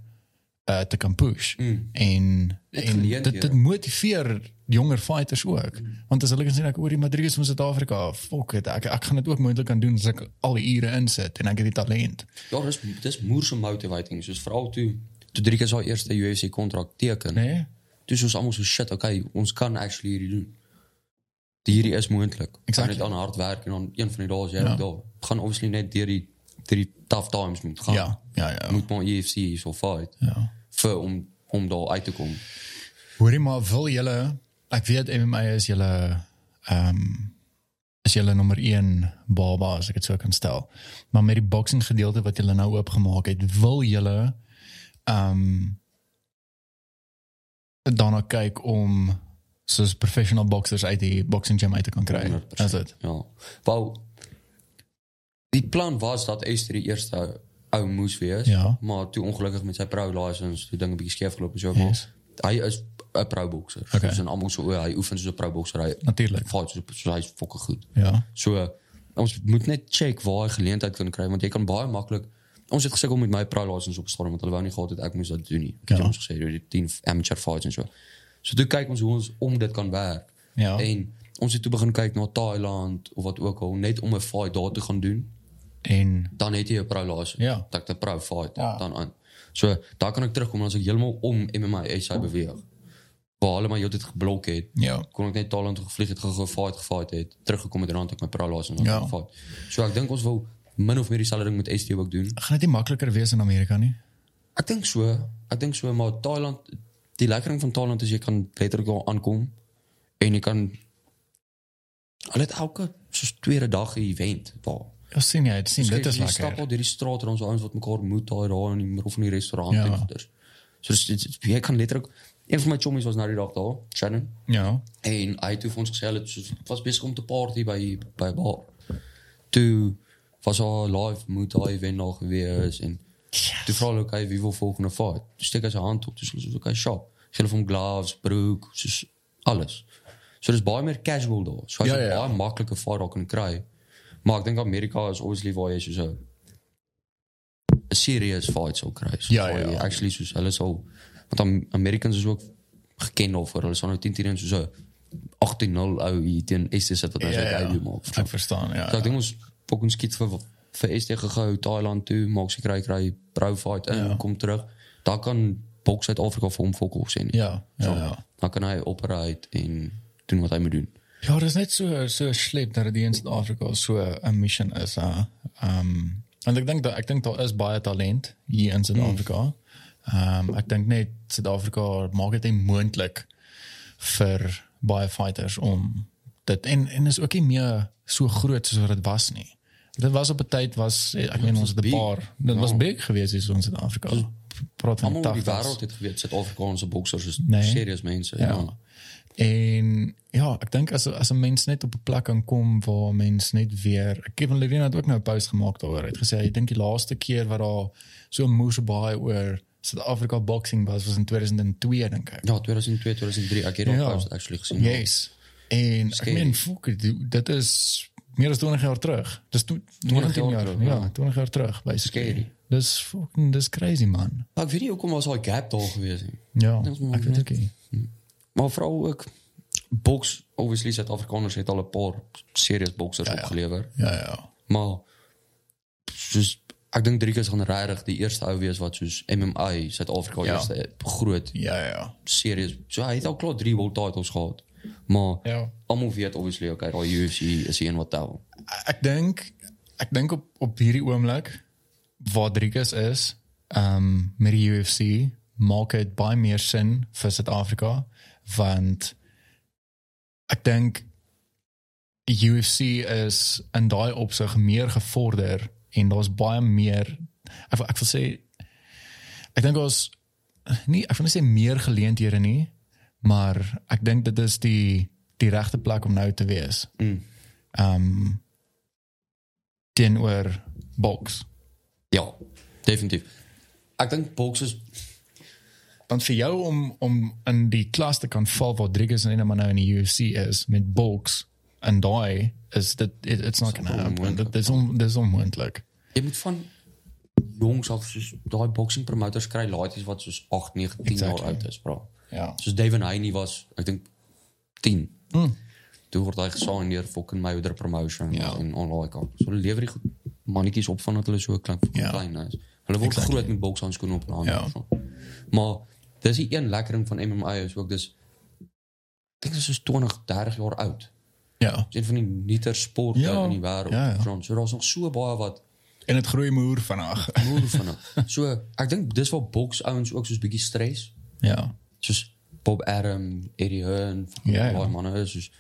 Speaker 1: uh, te kan push. Mm. En, en
Speaker 2: geleenthede.
Speaker 1: dit dit motiveer jonger fighters ook. Mm. Want as hulle kan sien ek oor die Madrides van Suid-Afrika, fuck it, ek ek gaan dit ook moontlik kan doen as ek al die ure insit en ek het die talent.
Speaker 2: Ja, dis dis moerse motivating. Soos veral toe toe Driekus haar eerste UFC kontrak teken.
Speaker 1: Né? Nee?
Speaker 2: Toe is ons almal so shit, okay, ons kan actually hierdie doen. Die Hierdie is moontlik. Ons
Speaker 1: Exactly.
Speaker 2: moet aan hard werk en dan een van die dae is jy ja. daar. Het Gaan obviously net deur die deur die tough times moet gaan.
Speaker 1: Ja, ja, ja.
Speaker 2: Moet maar UFC so fight
Speaker 1: Ja.
Speaker 2: vir om om daar uit te kom.
Speaker 1: Hoorie maar wil julle ek weet MMA is julle ehm is julle nommer 1 baba as ek dit so kan stel. Maar met die boxing gedeelte wat julle nou oopgemaak het, wil julle ehm daarna kyk om soos professional boxers uit die boxing gym uit te kan kry.
Speaker 2: 100%.
Speaker 1: Is dit?
Speaker 2: Ja. Wou die plan was dat Esther die eerste ou moes wees,
Speaker 1: Ja.
Speaker 2: maar toe ongelukkig met sy pro license, toe dinge bietjie skeef geloop en so maar.
Speaker 1: Yes.
Speaker 2: Hy is 'n pro bokser.
Speaker 1: Okay.
Speaker 2: Soos en almal so oor, hy oefen soos 'n pro bokser. Hy
Speaker 1: Natuurlik.
Speaker 2: fight soos, soos hy is fokke goed.
Speaker 1: Ja.
Speaker 2: So ons moet net check waar hy geleentheid kan kry want jy kan baie maklik ons het gesukkel met my pro license op stadium want hulle wou nie gehad het ek moes dit doen nie. Ek het
Speaker 1: Ja.
Speaker 2: ons gesê jy het 10 amateur fights en so. So toe kyk ons hoe ons om dit kan werk.
Speaker 1: Ja.
Speaker 2: En ons het toe begin kyk na Thailand of wat ook al net om 'n fight daar te gaan doen.
Speaker 1: En
Speaker 2: Dan het jy 'n pro license.
Speaker 1: Ja.
Speaker 2: Dat ek 'n pro fight
Speaker 1: Ja.
Speaker 2: dan aan. So daar kan ek terugkom en as ek heeltemal om MMA SA beweeg. Waar hulle my heeltyd geblok het
Speaker 1: ja.
Speaker 2: kon ek net Thailand toe gevlieg het, gefight, gefight het, teruggekom het en dan het ek my pralas en dan
Speaker 1: Ja.
Speaker 2: ja. gefight. So ek dink ons wil min of meer dieselfde ding met ST ook doen.
Speaker 1: Gaan dit nie makliker wees in Amerika nie?
Speaker 2: Ek dink so, ek dink so maar Thailand die lekker ding van Thailand is jy kan letterlik daar aankom en jy kan hulle het elke soos tweede dag 'n event waar
Speaker 1: Ja, sien jy, dit sien dit is
Speaker 2: Jy Stap
Speaker 1: lekker.
Speaker 2: op hierdie straat en ons ouens wat mekaar moet daar daar in die middel van die restaurant
Speaker 1: Ja.
Speaker 2: ja. en goeders. So dis- dis- jy kan letterlik een van my chommies was nou die dag daar, Shannon.
Speaker 1: Ja.
Speaker 2: En hy het toe vir ons gesê hulle het soos- was besig om te party by by 'n bar. Toe was haar live moet hy wen nog gewees en toe vra hulle okay wie wil volgende fight. Toe steek hy sy hand op, toe sê ons okay shop. Gee hulle vir hom gloves, broek, soos alles. So dis baie meer casual daar. So hy's
Speaker 1: Ja,
Speaker 2: ja,
Speaker 1: ja.
Speaker 2: ja. baie maklike fight daar kan kry. Maar ek dink Amerika is obviously waar jy soos 'n 'n serious fight sou kry. So
Speaker 1: Ja, ja.
Speaker 2: actually soos hulle sal want Am- Americans is ook geken daarvoor. Hulle sal nou 10 teen een soos 'n 18-0 ou hier teen ST sit wat nou
Speaker 1: Ja,
Speaker 2: sy
Speaker 1: ja.
Speaker 2: debut maak.
Speaker 1: Ek verstaan, ja.
Speaker 2: So ek dink ons fucking skiet vir vir ST gegou Thailand toe, maak sy kry kry pro fight in, ja. kom terug. Daar kan boks Suid-Afrika vir hom fokol sien.
Speaker 1: Ja, ja,
Speaker 2: So,
Speaker 1: ja.
Speaker 2: Dan kan hy operate en doen wat hy moet doen.
Speaker 1: Ja, dit is net so so slep dat dit in Suid-Afrika so 'n mission is. Ehm uh. um, en ek dink dat ek dink daar is baie talent hier in Suid-Afrika. Ehm um, ek dink net Suid-Afrika maak dit nie moontlik vir baie fighters om dit en en is ook nie meer so groot soos wat dit was nie. Dit was op 'n tyd was ek meen ons het 'n
Speaker 2: big.
Speaker 1: paar dit was big geweest hier so in Suid-Afrika. Praat van
Speaker 2: Allemaal die
Speaker 1: 80s.
Speaker 2: wereld heeft geweest. Zuid-Afrikaanse boxers is
Speaker 1: Nee.
Speaker 2: serieus mensen. Ja.
Speaker 1: Ja. En ja, ek dink as as 'n mens net op 'n plek kan kom waar mens net weer Kevin Levine het ook nou 'n post gemaak daaroor. Hy het gesê hy dink die laaste keer wat daar so moes baie oor Suid-Afrika boxing was was in 2002 dink ek.
Speaker 2: Ja, 2002, 2003. Ik heb
Speaker 1: Ja.
Speaker 2: ja. post actually gezien.
Speaker 1: Yes. En ek
Speaker 2: Scary.
Speaker 1: meen fuck it, dit is meer as 20 jaar terug. Dis toe- 19 jaar,
Speaker 2: jaar
Speaker 1: terug,
Speaker 2: terug,
Speaker 1: ja, 20 jaar terug basically.
Speaker 2: Scary.
Speaker 1: Dis fucking dis crazy man.
Speaker 2: Maar ik weet niet hoe kom was al gap daar geweest. hè.
Speaker 1: Ja.
Speaker 2: Dis maar
Speaker 1: Ek weet ook nie.
Speaker 2: Maar vooral ook box. Obviously Zuid-Afrikaners heeft al een paar serious boxers opgeleverd.
Speaker 1: Ja ja.
Speaker 2: Maar soos ek dink Driekus gaan regtig die eerste ou wees wat soos MMA Suid-Afrika
Speaker 1: Ja.
Speaker 2: ja. eerste groot
Speaker 1: Ja ja.
Speaker 2: series. So hy het al klaar 3 world titles gehad. Maar ja.
Speaker 1: Ja.
Speaker 2: almal weet obviously okay, daai UFC is die een wat tel.
Speaker 1: ek dink ek dink op op hierdie oomblik waar Driekus is, ehm um, met die UFC maak dit baie meer sin vir Suid-Afrika want ek dink die UFC is in daai opsig meer gevorder en daar's baie meer ek wil, ek wil sê ek dink ons nie ek wil nie sê meer geleenthede nie maar ek dink dit is die die regte plek om nou te wees
Speaker 2: Mm.
Speaker 1: um teenoor boks.
Speaker 2: Ja, definitief. Ek dink boxers
Speaker 1: Want vir jou om om in die klas te kan val waar Driekus en Enema nou in die UFC is met boks en daai is dit it, it's not going to happen. Dit is on, dit is onmoontlik.
Speaker 2: jy moet van jongs af soos daai boxing promoters kry laities wat soos 8, 9, 10 exactly.
Speaker 1: Exactly.
Speaker 2: jaar oud is, bra.
Speaker 1: Ja.
Speaker 2: Soos Devin Haney was, ek dink 10. Mm. Toe word hy gesaai deur fucking Mayweather promotion
Speaker 1: Hmm. Ja.
Speaker 2: ja. en online kan. So hulle lewer die goed mannetjies op van dat hulle so klein
Speaker 1: Ja.
Speaker 2: ja. klein is. Hulle word exactly. groot met bokshandskoene op en aan.
Speaker 1: Ja.
Speaker 2: Ja. So. Maar dis die een lekkering van MMA is ook dis ek dink dis is 20, 30 jaar oud.
Speaker 1: Ja.
Speaker 2: Dis een van die nieter sporte
Speaker 1: Ja.
Speaker 2: ja. in die wêreld.
Speaker 1: Ja,
Speaker 2: Ja,
Speaker 1: ja.
Speaker 2: ja. So daar's nog so baie wat
Speaker 1: En dit groei moer vandag.
Speaker 2: moer van dit. So ek dink dis waar boksouens ook soos bietjie stres
Speaker 1: Ja.
Speaker 2: soos Bob Arum, Eddie Hearn,
Speaker 1: Ja,
Speaker 2: ja,
Speaker 1: ja.
Speaker 2: ja. daai manne is soos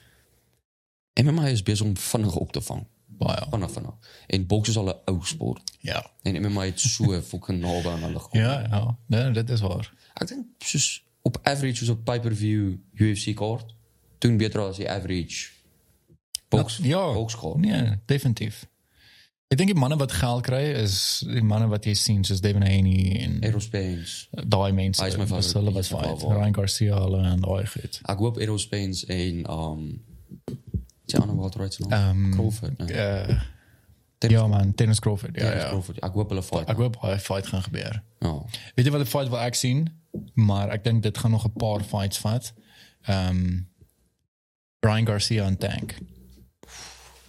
Speaker 2: MMA is besig om vinnig op te vang.
Speaker 1: Baie.
Speaker 2: Vinnig vinnig. En boks is al 'n ou sport.
Speaker 1: Ja.
Speaker 2: En MMA het so fucking naby aan hulle gekom.
Speaker 1: Ja, ja. Nee, dit is waar.
Speaker 2: Ek dink soos op average soos 'n pay-per-view UFC kaart doen beter as die average boks
Speaker 1: Nou, ja.
Speaker 2: bokskaart.
Speaker 1: Nee, definitief. Ek dink die manne wat geld kry is die manne wat jy sien soos Devin Haney en
Speaker 2: Errol Spence.
Speaker 1: daai mense.
Speaker 2: Hy is my
Speaker 1: was
Speaker 2: favourite-
Speaker 1: Hulle
Speaker 2: hy
Speaker 1: was
Speaker 2: is my
Speaker 1: fight.
Speaker 2: favourite.
Speaker 1: Ryan Garcia hulle en daai goed.
Speaker 2: Ek hoop Errol Spence en um die ander wat right nou.
Speaker 1: Ehm,
Speaker 2: Crawford. Nee.
Speaker 1: Uh,
Speaker 2: Dennis-
Speaker 1: ja man, Dennis Crawford. Ja,
Speaker 2: Terence
Speaker 1: ja.
Speaker 2: Crawford. Ek hoop hulle fight.
Speaker 1: Ek hoop hy fight gaan gebeur.
Speaker 2: Ja.
Speaker 1: Weet jy wat 'n fight wat ek sien? Maar ek dink dit gaan nog 'n paar fights vat. Ehm um, Brian Garcia en Tank.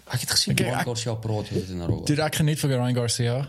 Speaker 2: Ek het gesien
Speaker 1: Ek-
Speaker 2: okay,
Speaker 1: ek-
Speaker 2: Mark Garcia praat oor dit en daaroor.
Speaker 1: Dit ek geniet vir Brian Garcia.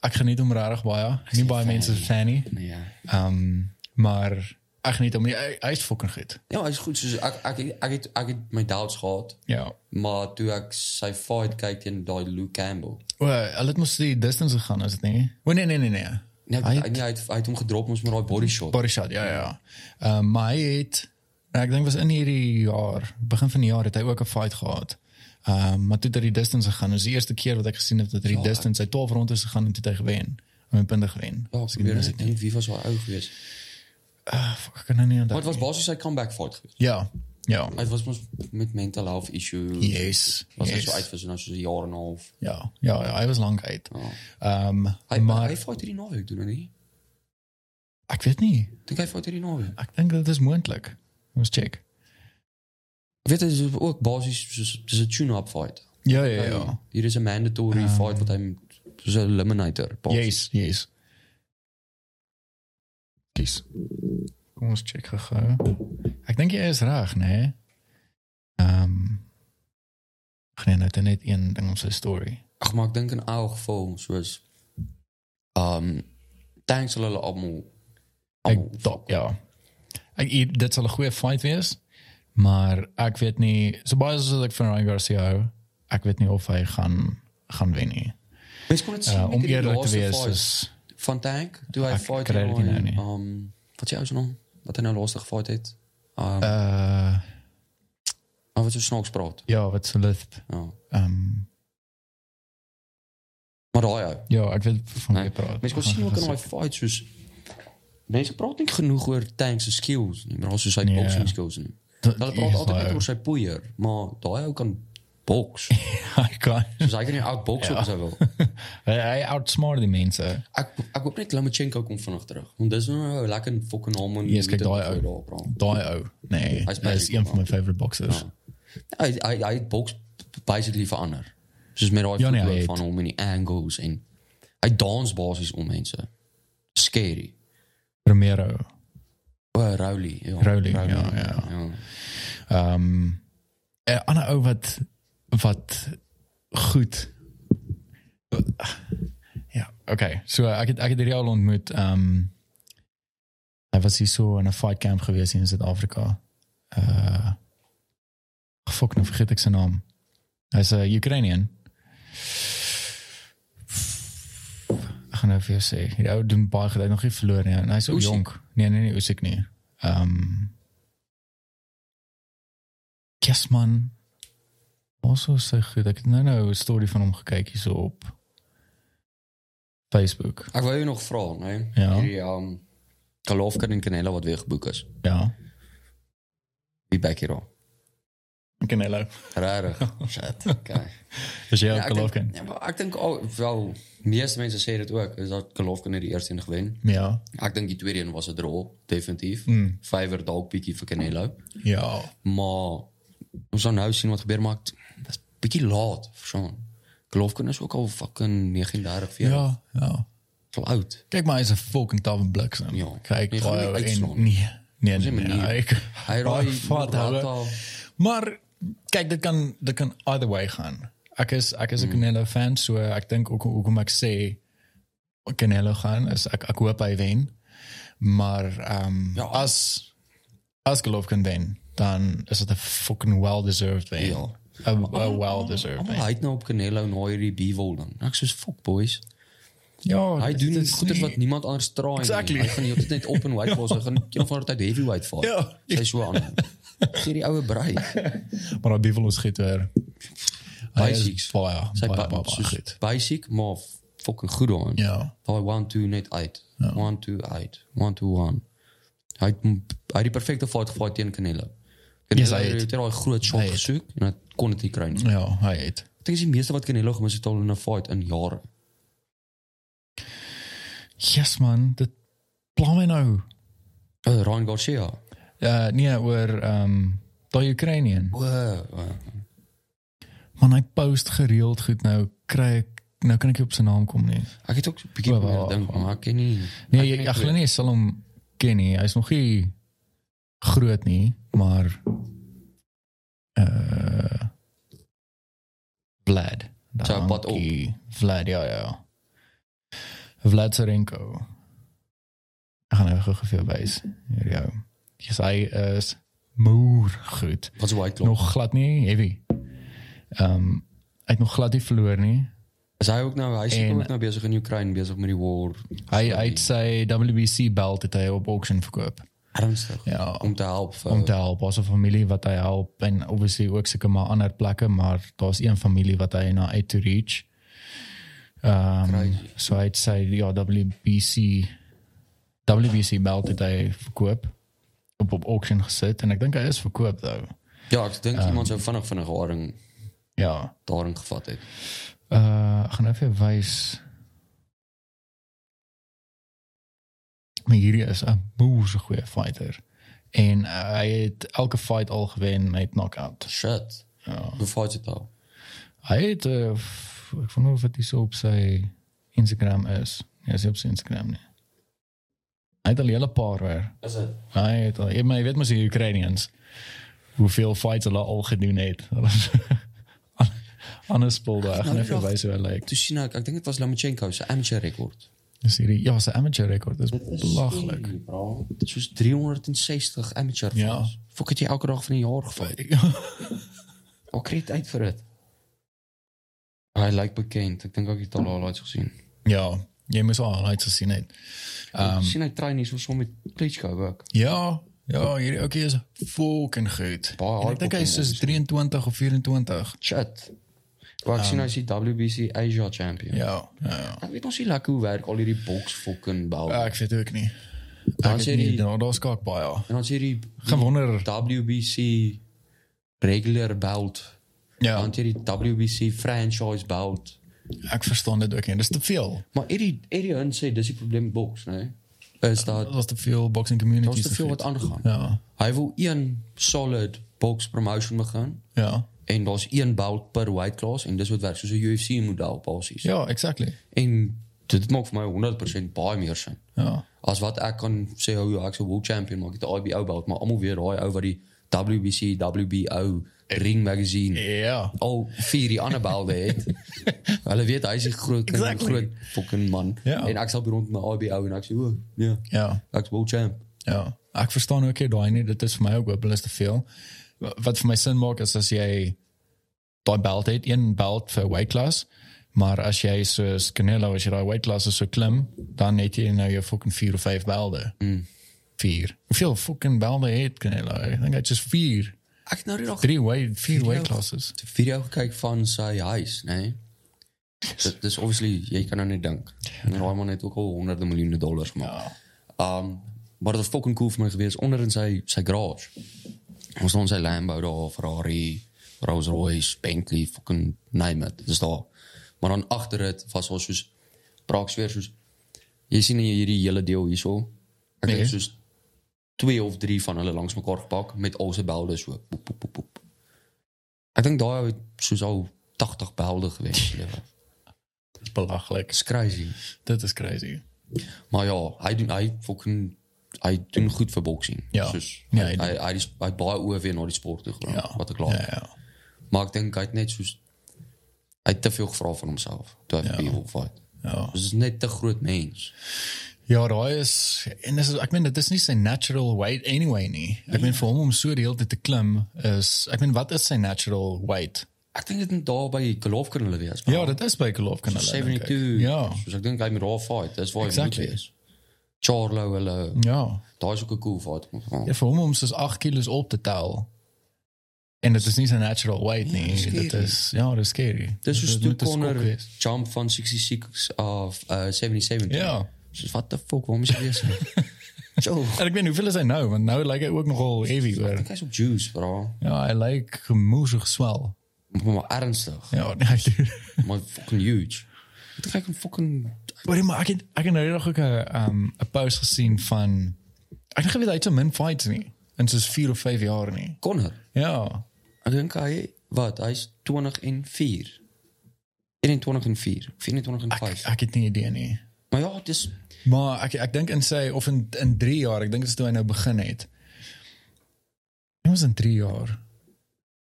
Speaker 1: Ek geniet hom regtig baie. Nie baie mense is fan nie.
Speaker 2: Nee. Ja.
Speaker 1: Ehm um, maar ek geniet hom. Hy, hy is fucking goed.
Speaker 2: Ja, hy's goed. Soos ek ek ek het ek het my doubts gehad,
Speaker 1: Ja.
Speaker 2: maar toe ek sy fight kyk teen daai Luke Campbell.
Speaker 1: O, hulle het mos die distance gegaan as dit nie. O nee nee nee nee.
Speaker 2: Nee,
Speaker 1: Hy
Speaker 2: hy het, nee, hy het, hy het hom gedrop ons met daai body shot.
Speaker 1: Body shot, ja ja. Ehm maar hy het nou, ek dink was in hierdie jaar, begin van die jaar het hy ook 'n fight gehad. Ehm maar toe het hy die distance gegaan. Dit is die eerste keer wat ek gesien het dat
Speaker 2: Ja.
Speaker 1: hy die distance, hy 12 rondes gegaan en toe het hy gewen. Hy het punte gewen.
Speaker 2: Ja,
Speaker 1: As
Speaker 2: ek
Speaker 1: ek
Speaker 2: weet
Speaker 1: mis
Speaker 2: net
Speaker 1: het nie. Ja.
Speaker 2: nie wie was daai ou gewees.
Speaker 1: Ah, fuck, ek kan nou nie
Speaker 2: Maar dit
Speaker 1: onthou.
Speaker 2: was basies sy comeback fight gewees.
Speaker 1: Ja. Ja.
Speaker 2: Hy was mos met mental health issues.
Speaker 1: Yes.
Speaker 2: Was hy so
Speaker 1: yes.
Speaker 2: uit vir so nou so 'n jaar en 'n half.
Speaker 1: Ja. Ja, ja, hy was lank uit.
Speaker 2: Ja.
Speaker 1: Ehm
Speaker 2: Hy maar,
Speaker 1: maar
Speaker 2: hy fight hierdie naweek doen hy nie.
Speaker 1: ek weet nie.
Speaker 2: Dink hy fight hierdie naweek.
Speaker 1: Ek dink dit is moontlik. Ons check.
Speaker 2: Ek weet dit is ook basies soos dis 'n tune-up fight.
Speaker 1: Ja ja ja.
Speaker 2: Hier is 'n mandatory um, fight wat hy moet- soos 'n eliminator. basies.
Speaker 1: Yes, yes. Kies. Kom ons check gou. Ek dink jy is reg, né? Nee? Ehm um, Gaan net net een ding op sy story.
Speaker 2: Ag maar ek dink in elk geval soos um thanks hulle hulle almal
Speaker 1: Ek
Speaker 2: almal
Speaker 1: dop, ja. Ek hier- dit sal 'n goeie fight wees, maar ek weet nie, so baie soos wat ek van Ryan Garcia hou, ek weet nie of hy gaan gaan wen nie.
Speaker 2: Mens kon dit sien
Speaker 1: Uh,
Speaker 2: met
Speaker 1: om
Speaker 2: die
Speaker 1: eerlik te
Speaker 2: laaste
Speaker 1: wees
Speaker 2: fight
Speaker 1: is
Speaker 2: van Tank toe hy
Speaker 1: Ek
Speaker 2: fight
Speaker 1: kry dit nie nou nie.
Speaker 2: um wat jy nou wat hy nou laaste gefight het Ehm
Speaker 1: Eh,
Speaker 2: maar wat zo snaaks praat.
Speaker 1: ja, wat ze lisp.
Speaker 2: Ja.
Speaker 1: Ehm,
Speaker 2: Maar daai ou.
Speaker 1: ja, ik wil van
Speaker 2: Nee.
Speaker 1: je praten.
Speaker 2: Mense kon
Speaker 1: Gewoon
Speaker 2: sien ook in
Speaker 1: gezegd.
Speaker 2: daai fights soos mense praat nie genoeg oor Tank se skills nie, maar also sy
Speaker 1: Nee.
Speaker 2: boxing skills nie.
Speaker 1: Dat
Speaker 2: Hulle
Speaker 1: is
Speaker 2: praat altyd
Speaker 1: waar.
Speaker 2: net oor sy poeier, maar daai ou kan boks.
Speaker 1: Ja, ik kan.
Speaker 2: Soos hy kan jou
Speaker 1: Ja.
Speaker 2: outbox op as hy wil.
Speaker 1: Hij, hij outsmart die mensen.
Speaker 2: Ek ek hoop net Lomachenko kom vinnig terug. Want dis nou 'n lekker fucking hom en
Speaker 1: Yes, kyk, daai ou.
Speaker 2: daar praat.
Speaker 1: Die ook. Nee,
Speaker 2: is Ja.
Speaker 1: dat is
Speaker 2: magical,
Speaker 1: een van mijn favorite boxers.
Speaker 2: Hy hy hy boks basically verander. Soos met daai
Speaker 1: Ja, nee,
Speaker 2: voetbal
Speaker 1: hy het-
Speaker 2: van hom en die angles en hy dans basies om mense. Scary.
Speaker 1: Romero.
Speaker 2: O, oh, Rowley. Ja.
Speaker 1: Rowley, ja, ja. Ehm eh, Anna ook wat, wat goed. Ah, Ja, oké. So, ek het, ek het hierdie al ontmoet. ehm hy was hier so in 'n fight camp gewees hier in Suid-Afrika. Uh, fuck, nou vergeet ek sy naam. Hy's 'n Ukrainian. Ek gaan nou vir jou sê. Hierdie ou doen baie gedaan, nog nie verloor nie. En hy's ook
Speaker 2: Usyk.
Speaker 1: jonk. Nee, nee, nee, Usyk nie. Ehm um, Kesman. Also sy goed. Ek het nou nou 'n storie van hom gekyk hierso op Facebook.
Speaker 2: Ek wou jou nog vra, né?
Speaker 1: Ja.
Speaker 2: Hierdie um Golovkin en Canelo wat weer geboek is.
Speaker 1: Ja.
Speaker 2: Wie back hier al.
Speaker 1: Canelo.
Speaker 2: Rarig. Shit. Okay.
Speaker 1: Is jy
Speaker 2: Ja,
Speaker 1: ook
Speaker 2: ek
Speaker 1: Golovkin?
Speaker 2: dink- Ja, maar ek dink al wel meeste mense sê dit ook is dat Golovkin het die eerste een gewen.
Speaker 1: Ja.
Speaker 2: Ek dink die tweede een was 'n draw, definitief.
Speaker 1: Mm.
Speaker 2: Vyver dalk bietjie vir Canelo.
Speaker 1: Ja.
Speaker 2: Maar ons gaan nou sien wat gebeur maar ek- dit is bietjie laat, verstaan. Golovkin is ook al fucking 39 vir ja.
Speaker 1: Ja, ja.
Speaker 2: oud.
Speaker 1: Kyk maar, hy's 'n fucking tawe bliksem.
Speaker 2: Ja.
Speaker 1: Kyk,
Speaker 2: Jy gaan
Speaker 1: daai
Speaker 2: hom
Speaker 1: ou
Speaker 2: nie
Speaker 1: en
Speaker 2: uitslaan.
Speaker 1: nee. Nee, nee,
Speaker 2: is
Speaker 1: nee,
Speaker 2: nie manier.
Speaker 1: ek, daai
Speaker 2: Hy raai
Speaker 1: vat
Speaker 2: Morata.
Speaker 1: hou. Maar kyk, dit kan dit kan either way gaan. Ek is ek is 'n
Speaker 2: Hmm.
Speaker 1: Canelo fan, so eh, ek dink ook hoekom ek sê Canelo gaan is ek ek hoop hy wen. Maar ehm
Speaker 2: Ja.
Speaker 1: as as Golovkin wen, dan is dit 'n fucking well deserved wen.
Speaker 2: Ja.
Speaker 1: 'n ja. well deserved wen.
Speaker 2: Almal hy't nou op Canelo na hierdie B-wol dan. Ek soos fuck boys.
Speaker 1: Ja,
Speaker 2: Hy
Speaker 1: dit
Speaker 2: doen
Speaker 1: is
Speaker 2: goed
Speaker 1: nie-
Speaker 2: wat niemand anders traai
Speaker 1: Exactly.
Speaker 2: nie. Hy gaan nie altyd net op en white was, hy gaan een van die tyd heavyweight val.
Speaker 1: Ja.
Speaker 2: Sy so aan. Sy die oue brei.
Speaker 1: Maar dat Bivol is goed weer. Hij is
Speaker 2: Basics.
Speaker 1: fire.
Speaker 2: Sy
Speaker 1: Zijn baie, baie, baie
Speaker 2: soos
Speaker 1: goed.
Speaker 2: basic maar fucking goed aan.
Speaker 1: Ja.
Speaker 2: Daai 1 2 net uit. 1 2 uit. 1 2 1. Hy het m- hy het die perfekte fight gefight teen Canelo.
Speaker 1: Yes,
Speaker 2: Canelo
Speaker 1: hy het.
Speaker 2: het daai groot
Speaker 1: Hy
Speaker 2: shot
Speaker 1: het.
Speaker 2: gesoek en hy kon dit nie kry nie.
Speaker 1: Ja, hij heet.
Speaker 2: Ek dink dis die meeste wat Canelo gemis het al in 'n fight in jare.
Speaker 1: Yes man, dit pla my nou.
Speaker 2: Uh, Ryan Garcia.
Speaker 1: Uh, nee, oor ehm daai Ukrainian.
Speaker 2: Wow. wow.
Speaker 1: Man, hy post gereeld goed nou. Kry ek nou kan ek nie op sy naam kom nie.
Speaker 2: Ek het ook so 'n bietjie
Speaker 1: Wow,
Speaker 2: probeer
Speaker 1: wow,
Speaker 2: dink,
Speaker 1: wow.
Speaker 2: maar ek ken nie.
Speaker 1: Nee,
Speaker 2: ek
Speaker 1: jy,
Speaker 2: ken
Speaker 1: ek
Speaker 2: nie.
Speaker 1: glo nie jy sal hom ken nie. Hy's nog nie groot nie, maar uh Vlad.
Speaker 2: Sy pad op.
Speaker 1: Dankie. Vlad, ja ja. ja. Vlad Serenko. Ek gaan nou gou vir jou wys. Hier jou. Yes, hy is moer goed.
Speaker 2: Wat is White Claw?
Speaker 1: Nog glad nie heavy. Ehm um, hy het nog glad nie verloor nie.
Speaker 2: Is hy ook nou, hy
Speaker 1: En-
Speaker 2: seker ook nou besig in Oekraïne, besig met die war.
Speaker 1: Hy hy het sy WBC belt het hy op auction verkoop.
Speaker 2: Ernstig.
Speaker 1: Ja.
Speaker 2: Om te help. Vir,
Speaker 1: om te help, ons familie wat hy help en obviously ook seker maar ander plekke, maar daar's een familie wat hy na uit to reach. Ehm um,
Speaker 2: Crazy.
Speaker 1: so hy het sy ja WBC WBC belt het hy verkoop op op auction gesit en ek dink hy is verkoop nou. though.
Speaker 2: ja, ek
Speaker 1: Ehm.
Speaker 2: dink iemand sou vinnig vinnig haring
Speaker 1: Ja.
Speaker 2: daarin gevat het.
Speaker 1: Uh, ek gaan even wys. Maar hierdie is 'n boerse goeie fighter. En uh, hy het elke fight al gewen met knockout.
Speaker 2: Shit.
Speaker 1: Ja.
Speaker 2: Hoe fight dit al?
Speaker 1: Hy het uh, f- ek wonder of dit so op sy Instagram is. Ja, is nie op sy Instagram nie. Hy het al 'n hele paar weer.
Speaker 2: Is dit?
Speaker 1: Hy het al, jy, maar jy weet mos die Ukrainians hoeveel fights hulle al gedoen het. Hulle is- Anders spul daar. Ek gaan
Speaker 2: Nou,
Speaker 1: even
Speaker 2: dag.
Speaker 1: wys hoe hy lyk.
Speaker 2: Toe sien ek, ek dink dit was Lomachenko se amateur rekord.
Speaker 1: Dis hierdie ja, sy amateur rekord is belaglik.
Speaker 2: Dit is soos 360 amateur.
Speaker 1: Ja.
Speaker 2: fights. Fok het jy elke dag van die jaar gevat. Al kry dit uit vir dit. Hy lyk bekend. Ek dink ek het al highlights gesien.
Speaker 1: ja, jy moes al highlights gesien het.
Speaker 2: Um, sien hy train hier so saam met Klitschko ook.
Speaker 1: Ja, Ja, hierdie ouetjie is fucking goed.
Speaker 2: Baie
Speaker 1: En ek dink hy is
Speaker 2: hardworking
Speaker 1: soos 23 of 24.
Speaker 2: Chat. Waar ek sien hy is die WBC Asia Champion.
Speaker 1: Ehm, Ja, ja. ja.
Speaker 2: Ek weet ons nie lekker hoe werk al hierdie boks fucking bel.
Speaker 1: Ja, ek weet ook nie.
Speaker 2: Dan
Speaker 1: Ek
Speaker 2: sê
Speaker 1: het nie,
Speaker 2: Oh. die-
Speaker 1: nou, daar's ook baie.
Speaker 2: En dan sê die
Speaker 1: Gewonder.
Speaker 2: WBC regular belt.
Speaker 1: Ja,
Speaker 2: Dan sê die WBC franchise belt.
Speaker 1: ek verstaan dit ook nie. Dis te veel.
Speaker 2: Maar hierdie hierdie hun sê dis die probleem met boks, né? Nee? Is dat
Speaker 1: Dat was te veel boxing
Speaker 2: daar's
Speaker 1: communities.
Speaker 2: te veel
Speaker 1: gevoed.
Speaker 2: wat aangaan.
Speaker 1: Ja.
Speaker 2: Hy wil een solid box promotion begin
Speaker 1: Ja.
Speaker 2: en daar's een belt per weight class en dis wat werk soos 'n UFC model basies.
Speaker 1: Ja, exactly.
Speaker 2: En dit maak vir my 100% baie meer sin.
Speaker 1: Ja.
Speaker 2: As wat ek kan sê hoe ja, ek se world champion maak, ek het 'n IBO belt, maar almal weet daai ou wat die WBC, WBO, Ring Magazine
Speaker 1: Ja.
Speaker 2: al Oh, vier die ander belde het. Hulle weet hy's 'n groot kind,
Speaker 1: Exactly.
Speaker 2: exactly. groot fucking man.
Speaker 1: Ja.
Speaker 2: En ek sal by rond my IBO en ek sê, "O, ja,
Speaker 1: Ja.
Speaker 2: ek's world champ."
Speaker 1: Ja, ek verstaan ook hier daai nie, dit is vir my ook hopeloos te veel. Wa- Wat vir my sin maak is as jy daai belt het, een belt vir weight class, maar as jy soos Canelo as jy daai weight class so klim, dan het jy nou jou fucking 4 of 5 belde. Mm. 4. Hoeveel fucking belde het Canelo? Ek dink hy het just 4.
Speaker 2: Ek het nou net nog
Speaker 1: 3 weight, 4
Speaker 2: Video.
Speaker 1: weight classes.
Speaker 2: die video gekyk van sy huis, né? Nee? Dit dis obviously jy kan nou net dink. En daai man het ook al honderde miljoene dollars gemaak.
Speaker 1: Ja.
Speaker 2: Um, maar dat was fucking cool voor mij geweest. Onder in zijn, zijn garage. Er stond zijn Lambo daar, Ferrari, Rolls Royce, Bentley, fucking name it. Dus daar. Maar dan achter het was al zo'n braaks weer soos, Je ziet hier die hele deel hier zo. Ik
Speaker 1: Nee.
Speaker 2: heb soos twee of drie van hulle langs mekaar gepakt. Met al zijn belden zo. Poep, poep, poep, poep. Ik denk daar het soos al 80 belden geweest.
Speaker 1: Dis belaglik.
Speaker 2: Dat is crazy.
Speaker 1: Dit is crazy.
Speaker 2: Maar ja, hy doen hy fucking hy doen goed vir boksing.
Speaker 1: Ja.
Speaker 2: Soos
Speaker 1: Ja,
Speaker 2: hy
Speaker 1: hy doen.
Speaker 2: hy hy, is- hy het baie oor weer na die sport toe gebring
Speaker 1: Ja.
Speaker 2: wat ek
Speaker 1: Ja,
Speaker 2: laat.
Speaker 1: ja.
Speaker 2: Maar ek dink hy het net soos hy het te veel gevra van homself toe hy ja. wil fight.
Speaker 1: Ja.
Speaker 2: Dis net te groot mens.
Speaker 1: Ja, daai is en dis ek meen dit is nie sy natural weight anyway nie. Ek meen vir hom om so die hele tyd te klim is ek meen wat is sy natural weight?
Speaker 2: Ek dink dit moet daar by Golovkin hulle wees.
Speaker 1: Ja, dit is by Golov kan hulle. dink ek.
Speaker 2: 72.
Speaker 1: Ja.
Speaker 2: Soos ek dink hy moet daar fight. Dis waar hy
Speaker 1: Exactly.
Speaker 2: moet wees. Charlo hulle
Speaker 1: Ja.
Speaker 2: daar is ook 'n cool fight.
Speaker 1: Ja, vir hom om soos 8 kg op te tel. En dit is nie sy natural weight nie.
Speaker 2: dis scary.
Speaker 1: dit is ja, dit is scary.
Speaker 2: Dis soos
Speaker 1: Dit
Speaker 2: toe
Speaker 1: moet 'n skok
Speaker 2: Conor
Speaker 1: wees.
Speaker 2: jump van 66 of uh, 77.
Speaker 1: Ja.
Speaker 2: Soos what the fuck, waarom is hy besig? so,
Speaker 1: En ek weet hoeveel is hy nou? Want nou lyk hy ook nogal heavy hoor.
Speaker 2: hy's op juice, bro.
Speaker 1: Ja, hy lyk gemoesig swel.
Speaker 2: Maar ernstig,
Speaker 1: Ja, nee, dude.
Speaker 2: maar fucking huge. Ek kyk hom fucking
Speaker 1: Wait, maar ek het, ek het nou nog ook 'n um, 'n post gesien van ek dink hy weet hy het so min fights nie in soos 4 of 5 jaar nie.
Speaker 2: Connor.
Speaker 1: Ja.
Speaker 2: Ek dink hy wat, hy's 20 en 4. 21 en 4, 24 en 5.
Speaker 1: Ek het nie idee nie.
Speaker 2: Maar ja, dis
Speaker 1: Maar ek ek dink in sy of in in 3 jaar, ek dink dit is toe hy nou begin het. Dit was in 3 jaar.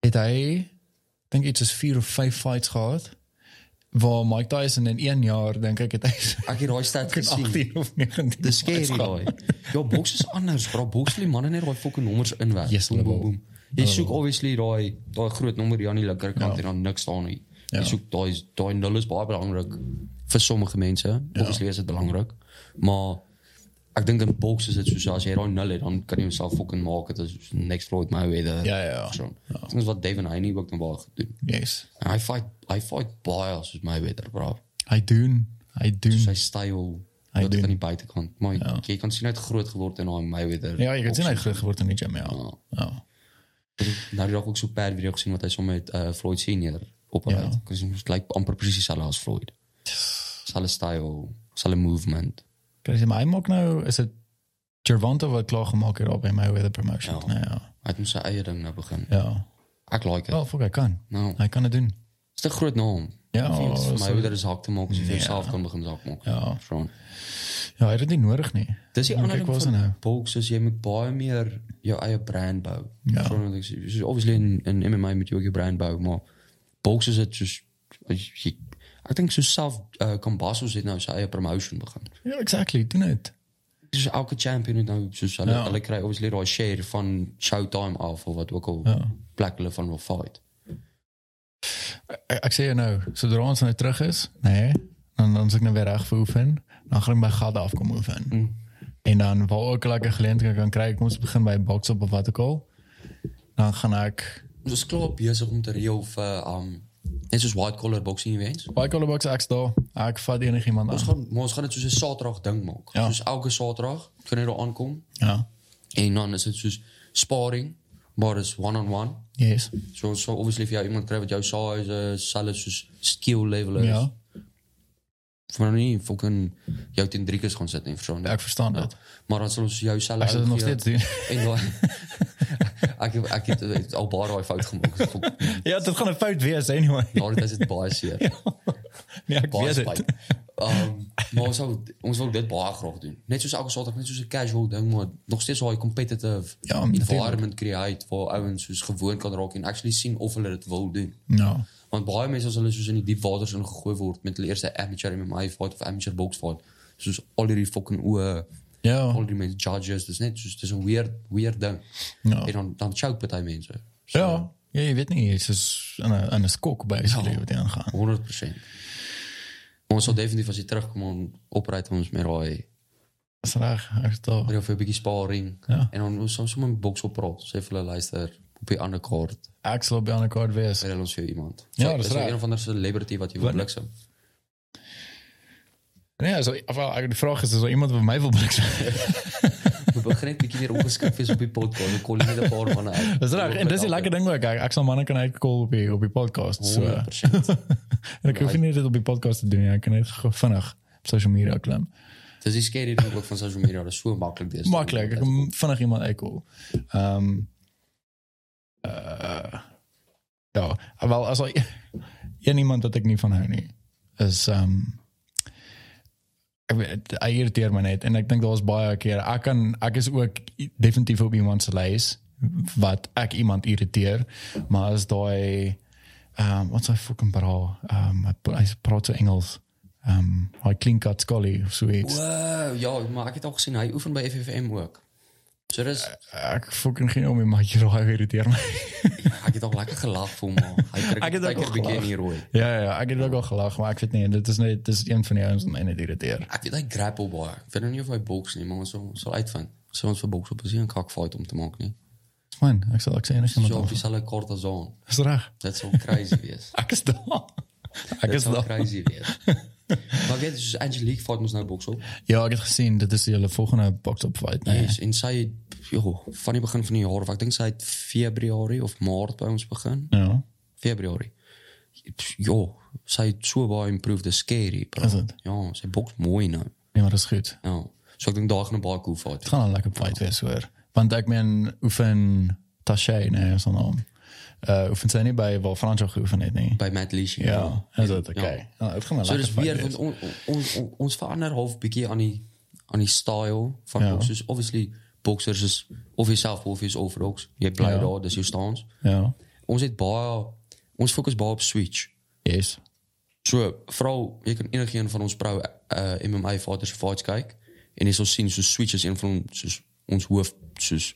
Speaker 1: Het hy dink iets is 4 of 5 fights gehad waar Mike Tyson in 1 jaar dink ek het hy so
Speaker 2: ek het daai stat gesien.
Speaker 1: 18 of 19.
Speaker 2: Dis
Speaker 1: fights
Speaker 2: scary
Speaker 1: gehad.
Speaker 2: daai. Ja, boks is anders, bro. Boks lê manne net daai fucking nommers inwerk.
Speaker 1: Yes, hulle wil.
Speaker 2: Jy soek obviously daai daai groot nommer hier aan die linkerkant en dan niks staan nie. Jy
Speaker 1: Ja.
Speaker 2: soek daai daai nul is baie belangrik vir sommige mense.
Speaker 1: Ja.
Speaker 2: Obviously is dit belangrik, maar ek dink in boks is dit soos as jy daai nul het, dan kan jy jouself fucking maak. Dit is soos next Floyd Mayweather.
Speaker 1: Ja, ja, ja.
Speaker 2: So, dit is wat Devin Haney ook nog baie goed doen.
Speaker 1: Yes.
Speaker 2: En Hy fight hy fight baie soos Mayweather, bro.
Speaker 1: Hy doen. Hy doen.
Speaker 2: Sy styl
Speaker 1: Hmm. Hy
Speaker 2: wat
Speaker 1: doen.
Speaker 2: aan die buitekant. Maar jy kan sien hy het groot geword in daai Mayweather.
Speaker 1: Ja, jy kan sien hy het groot geword in die gym, ja.
Speaker 2: Ja.
Speaker 1: Ja.
Speaker 2: Nou het ook zo'n paar video gezien wat hij zo met eh, Floyd senior oprijdt.
Speaker 1: Ja.
Speaker 2: Dus het lijkt amper precies hetzelfde als Floyd. Hetzelfde style, hetzelfde movement.
Speaker 1: Kan jy sê, maar hy maak nou is dit Gervonta wat klaar gemaak het op by Mayweather Promotion. Ja.
Speaker 2: Ja.
Speaker 1: Nou, ja.
Speaker 2: Hij moet zijn eieren nou beginnen.
Speaker 1: Ja.
Speaker 2: Ik like het.
Speaker 1: Wel, fuck, hy kan.
Speaker 2: Nou, het
Speaker 1: Hy kan dit doen.
Speaker 2: is een groot naam.
Speaker 1: Ja,
Speaker 2: Voor
Speaker 1: so,
Speaker 2: mij weer een zak te maken. Als je voor jezelf kan beginnen zak maken.
Speaker 1: Ja.
Speaker 2: Gewoon.
Speaker 1: ja, hy het dit nie nodig nie.
Speaker 2: Dis die
Speaker 1: Dink
Speaker 2: ander
Speaker 1: ek
Speaker 2: ding
Speaker 1: was
Speaker 2: van
Speaker 1: nou.
Speaker 2: boks is jy moet baie meer jou eie brand bou.
Speaker 1: Ja.
Speaker 2: So want ek sê, soos obviously in, in MMA moet jy ook jou brand bou, maar boks is dit soos as jy ek dink so self uh, Cambasos het nou sy eie promotion begin.
Speaker 1: Ja, exactly. Doen dit.
Speaker 2: Dis elke champion het nou soos hulle
Speaker 1: Ja.
Speaker 2: hulle kry obviously daai share van Showtime af of wat ook al
Speaker 1: Ja.
Speaker 2: plek hulle van wil fight.
Speaker 1: Ek, ek sê jou nou, sodra ons nou terug is, nee, dan dan sê ek nou weer reg vir oefen, dan gaan ek by Gadda af kom oefen. Mm. En dan wil ook lekker geleend kan kan krijgen. Ik moest beginnen bij boksen of wat ook al. Dan ga ik
Speaker 2: Ons is klaar besig om te reël vir um net soos white collar boxing events.
Speaker 1: white collar boxen, ek staan. Ek Ah, vat enig iemand
Speaker 2: Ons
Speaker 1: aan.
Speaker 2: gaan maar ons gaan dit soos 'n Saterdag ding maak.
Speaker 1: Ja.
Speaker 2: Soos elke Saterdag kan jy daar aankom
Speaker 1: Ja,
Speaker 2: en dan is dit soos sparring, maar is one-on-one.
Speaker 1: yes.
Speaker 2: So ons sal obviously vir jou iemand kry wat jou size is, selfs soos skill level is.
Speaker 1: Ja,
Speaker 2: Vir nou nie fucking jou teen drie keer gaan sit en verstaan.
Speaker 1: ek verstaan dat.
Speaker 2: Maar dan sal ons jou self
Speaker 1: Ek sal dit nog steeds doen.
Speaker 2: En dan ek heb- ek het- het al baie daai fout gemaak. Fuck,
Speaker 1: Ja, dit gaan een fout wees anyway.
Speaker 2: Nou dit is dit baie seer.
Speaker 1: Nee, ek
Speaker 2: baie
Speaker 1: Ja, weet
Speaker 2: spyt.
Speaker 1: het.
Speaker 2: Ehm maar ons wil ons wil dit baie graag doen. Net soos elke Saterdag, net soos 'n casual ding, maar nog steeds daai competitive
Speaker 1: Ja,
Speaker 2: environment create waar ouens soos gewoond kan raak en actually sien of hulle dit wil doen.
Speaker 1: Nou,
Speaker 2: Want baie mense as hulle soos in die diep waters ingegooi word met hulle eerste amateur MMA fight of amateur box fight, soos al hierdie fucking oë
Speaker 1: ja.
Speaker 2: al die mense judges, dis net soos dis 'n weird weird ding.
Speaker 1: Ja.
Speaker 2: En dan dan choke party mense. So,
Speaker 1: Ja, ja, je weet niet. Het is aan een, aan een skok basically wat die aangaan.
Speaker 2: 100%. Maar ons sal definitief as jy terugkom en opry ons met daai
Speaker 1: Dat is raar. Ek verstaan.
Speaker 2: Of een beetje sparring.
Speaker 1: Ja.
Speaker 2: En dan soms moet een box oprapen. Ze even luister op je andere kaart.
Speaker 1: Ek sal op die ander kaart wees.
Speaker 2: Vertel ons weer iemand.
Speaker 1: Ja,
Speaker 2: Zo,
Speaker 1: dat is
Speaker 2: wel
Speaker 1: raar.
Speaker 2: een of andere celebrity wat je wil bliksem.
Speaker 1: Ja, so, of, wel, eigenlijk de vraag is, is er iemand wat mij wil bliksen?
Speaker 2: We beginnen een beetje meer ongeschikt is op je podcast. We konden niet een paar van uit.
Speaker 1: Dat is raar. En dat is een lekker ding waar ik eigenlijk zal mannen kan uitkomen op je, op je podcast. So, eh,
Speaker 2: 100%.
Speaker 1: en ik hoef niet dit op je podcast te doen. Ja. Ik kan het gewoon vannacht op social media klemmen.
Speaker 2: Het is die scary ding ook van social media. Dat is zo makkelijk. Dit is.
Speaker 1: Makkelijk. Ik kan vannacht iemand uitkomen. Ehm eh, ja, wel, als al één iemand dat ik niet van hou nie, is... ehm ek weet hy irriteer my net en ek dink daar's baie keer ek kan ek is ook i- definitief op iemand se lys wat ek iemand irriteer maar as daai um wat's hy fucking bra um hy pra- hy praat so Engels um hy klink kat scully of so iets
Speaker 2: Wow, Eh, ja, maar ik heb het al gezien. Hij oefent bij FFM ook. Dus dat is,
Speaker 1: ek fucking geen om maar jy raai irriteer my
Speaker 2: ik heb al lekker gelachen voor me. Hij
Speaker 1: heb
Speaker 2: krijgt
Speaker 1: ook
Speaker 2: een
Speaker 1: gelachen.
Speaker 2: beetje hier rooi.
Speaker 1: ja ja ja, ek het ook al gelag maar ek weet nie dit is net dit is een van die ouens wat my net irriteer
Speaker 2: Ek weet hy grapple baie. Ek weet nou nie of hy boks nie, maar ons sal sal uitvind. Ons sal ons vir boks op 'n seën kakfight om te maak nie.
Speaker 1: man ek sal ek sê enig
Speaker 2: So op
Speaker 1: iemand
Speaker 2: dieselfde Cortazon.
Speaker 1: is reg
Speaker 2: Dit sal crazy wees.
Speaker 1: ek is daar ek
Speaker 2: Dit
Speaker 1: is
Speaker 2: sal
Speaker 1: daar
Speaker 2: crazy wees. maar weet jy, soos Angelique fight ons nou boks op.
Speaker 1: ja ek het gesien dit is julle volgende box op fight nee
Speaker 2: Yes, en sy het jo, van die begin van die jaar, of ek dink sy het Februarie of Maart by ons begin.
Speaker 1: ja
Speaker 2: Februarie. Jo, sy het so baie improved, dis scary. bro.
Speaker 1: Is dit?
Speaker 2: Ja, sy boks mooi nou.
Speaker 1: Nee, maar dat is goed.
Speaker 2: Ja. So ek dink daar gaan 'n baie cool fight.
Speaker 1: Het gaat een lekker fight wees hoor. Want ik ben oefen Taché, nee, is zijn naam. Eh oefen zij niet bij waar Franco geoefend heeft, nee.
Speaker 2: By Matt Leash.
Speaker 1: Ja, is dat oké.
Speaker 2: Ja.
Speaker 1: Nou, het gaat een
Speaker 2: So
Speaker 1: lekker
Speaker 2: dis
Speaker 1: fight
Speaker 2: weer
Speaker 1: wees.
Speaker 2: want on, on, on, ons verander half bietjie aan die aan die style van
Speaker 1: Ja.
Speaker 2: ja. boxers. Obviously boxers is of jouself of jy's overdogs. Jy bly
Speaker 1: Ja.
Speaker 2: daar, dis jou stance.
Speaker 1: Ja,
Speaker 2: Ons het baie ons fokus baie op switch.
Speaker 1: yes.
Speaker 2: So vrou, jy kan enigiemand van ons vrou uh, MMA fighters se fights kyk en jy sal sien so switch is een van ons soos ons hoof soos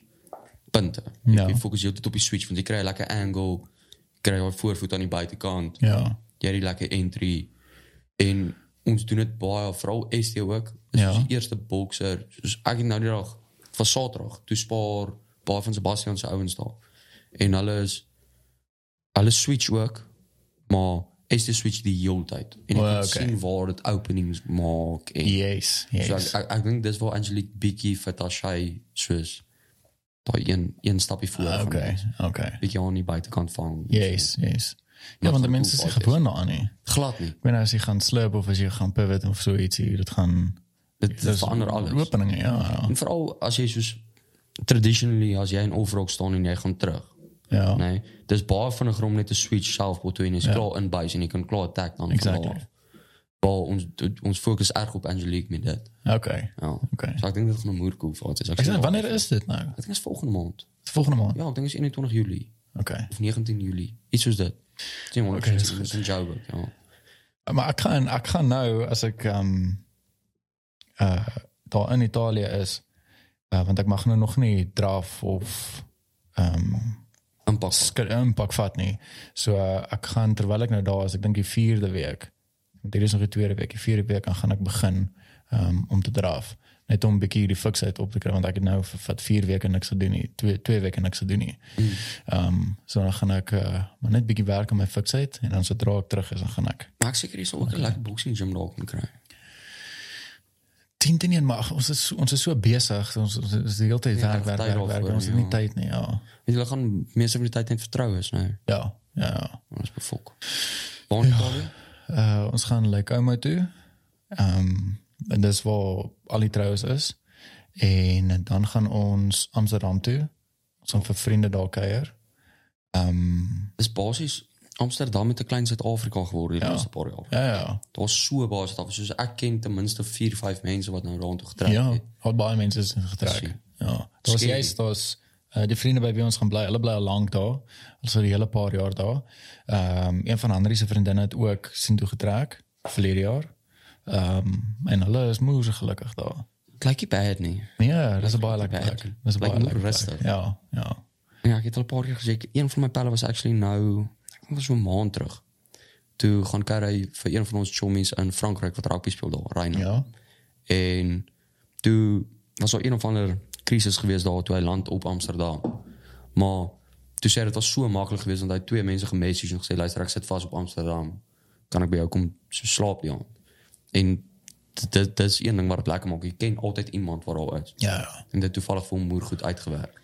Speaker 2: punte.
Speaker 1: Ja.
Speaker 2: Ja. Jy fokus jy altyd op die switch want jy kry 'n lekker angle, kry jou voorvoet aan die buitekant
Speaker 1: Ja,
Speaker 2: jy het die lekker entry en ons doen dit baie veral ST ook. Dis
Speaker 1: Ja.
Speaker 2: ja. die eerste bokser. Soos ek het nou die dag van Saterdag toe spaar baie van Sebastian se ouens daar. En hulle is hulle switch ook, maar ST switch die hele tyd. En
Speaker 1: O,
Speaker 2: ek kan
Speaker 1: oké.
Speaker 2: sien waar dit openings maak en
Speaker 1: yes,
Speaker 2: so ek
Speaker 1: yes.
Speaker 2: ek, ek dink dis waar Angelique Bietjie vir Tashay soos daai een een stappie voor
Speaker 1: Ah, Oké,
Speaker 2: gaan.
Speaker 1: oké.
Speaker 2: Bietjie aan die buitekant vang.
Speaker 1: Yes, yes. Ja,
Speaker 2: Maar
Speaker 1: want de
Speaker 2: van
Speaker 1: mensen
Speaker 2: cool
Speaker 1: zijn
Speaker 2: fight
Speaker 1: gewoon aan, nee.
Speaker 2: Glad nie.
Speaker 1: Ik weet niet als je gaan slurpen of als je gaan pivoten of zoiets. hier, Dat gaan...
Speaker 2: Dit, dit verander alles.
Speaker 1: Openingen, ja, ja.
Speaker 2: En vooral als je dus traditionally, als jij een overall staat en jij gaat terug.
Speaker 1: Ja,
Speaker 2: Nee, het is baar van de grond net de switch zelf wat doen is klaar een buis en je kan klaar attack dan.
Speaker 1: Exactly.
Speaker 2: vanaf. Maar ons, ons focus erg op Angelique met dat.
Speaker 1: oké.
Speaker 2: Ja.
Speaker 1: Oké.
Speaker 2: Dus ik denk dat het een moerkoe valt. is.
Speaker 1: Ik
Speaker 2: Ik
Speaker 1: zeg,
Speaker 2: denk
Speaker 1: Wanneer is dit nou?
Speaker 2: het is volgende maand.
Speaker 1: Volgende maand?
Speaker 2: Ja, ik denk het is 21 juli.
Speaker 1: Oké.
Speaker 2: Of 19 juli. Iets zoals dat. Het is
Speaker 1: Oké, dat is
Speaker 2: is een Jouwburg, ja.
Speaker 1: Maar ik ga, ik ga nou, als ik ehm, eh, daar in Italië is, eh, want ik mag nu nog niet draf of ehm
Speaker 2: Een pak.
Speaker 1: sk- inpak vat niet. Zo, eh, ik ga terwijl ik nou daar is, ik denk die vierde week, want dit is nog die tweede week, die vierde week, dan ga ik beginnen ehm, om te draf. Net om een beetje die fixheid op te krijgen. Want ik heb nou v- vat vier weken niks gedoen. nie, Twee, twee weken niks gedoen. nie. Ehm, so dan ga ik eh, maar net een beetje werken aan mijn fixheid. En dan zodra ik terug is, dan ga ik.
Speaker 2: Maar ek seker hier sou ook 'n lekker boxing gym daar kan kry.
Speaker 1: Tien ten een, maar ag, ons is, so- ons is zo bezig. Ons ons is de hele tijd werk,
Speaker 3: echt
Speaker 1: werk, werk,
Speaker 2: tijd daarvoor,
Speaker 1: werk. en Ons heeft niet
Speaker 2: ja.
Speaker 1: tijd, nee, ja.
Speaker 2: Want julle gaan meeste van die tyd net vertrou is, nee.
Speaker 1: Ja, ja, ja.
Speaker 2: Ons is befok. Waar in Italië?
Speaker 1: Uh, ons gaan Lycoma toe. Ehm en dis waar al die troues is. En dan gaan ons Amsterdam toe. Ons gaan vir vriende daar kuier. Ehm
Speaker 2: Dis basies Amsterdam met 'n klein Suid-Afrika geword die laaste paar jaar.
Speaker 1: ja ja.
Speaker 2: Daar's so baie Suid-Afrika, soos ek ken ten minste 4, 5 mense wat nou daartoe getrek
Speaker 1: Ja,
Speaker 2: het.
Speaker 1: al baie mense is getrek.
Speaker 2: Sien.
Speaker 1: Ja. Daar's
Speaker 2: Scary.
Speaker 1: juist daar's uh, die vriende by wie ons gaan bly. Hulle bly al lank daar. Hulle is al 'n hele paar jaar daar. Ehm een van Andri se vriendinne het ook sien toe getrek verlede jaar. Ehm en hulle is moeë gelukkig daar.
Speaker 2: Dit lyk nie bad nie.
Speaker 1: Ja, dis 'n baie lekker
Speaker 2: Lekker
Speaker 1: plek.
Speaker 2: plek.
Speaker 1: Dis 'n
Speaker 2: Plek
Speaker 1: baie
Speaker 2: moet
Speaker 1: lekker plek.
Speaker 2: rustig.
Speaker 1: Ja, ja.
Speaker 2: Ja, ek het al 'n paar keer gesê ek- een van my pelle was actually nou, ek dink was so 'n maand terug. Toe gaan kyk hy vir een van ons chommies in Frankryk wat rugby speel daar, Reina.
Speaker 1: Ja.
Speaker 2: En toe was daar een of ander krisis geweest daar toe hy land op Amsterdam. Maar toe sê hy dit was so maklik geweest want hy het twee mense gemessage en gesê luister ek sit vas op Amsterdam. Kan ek by jou kom so slaap die aand? En dit- dit dit is een ding wat dit lekker maak. Jy ken altyd iemand wat daar is.
Speaker 1: Ja. Ja,
Speaker 2: En dit toevallig vir hom moer goed uitgewerk.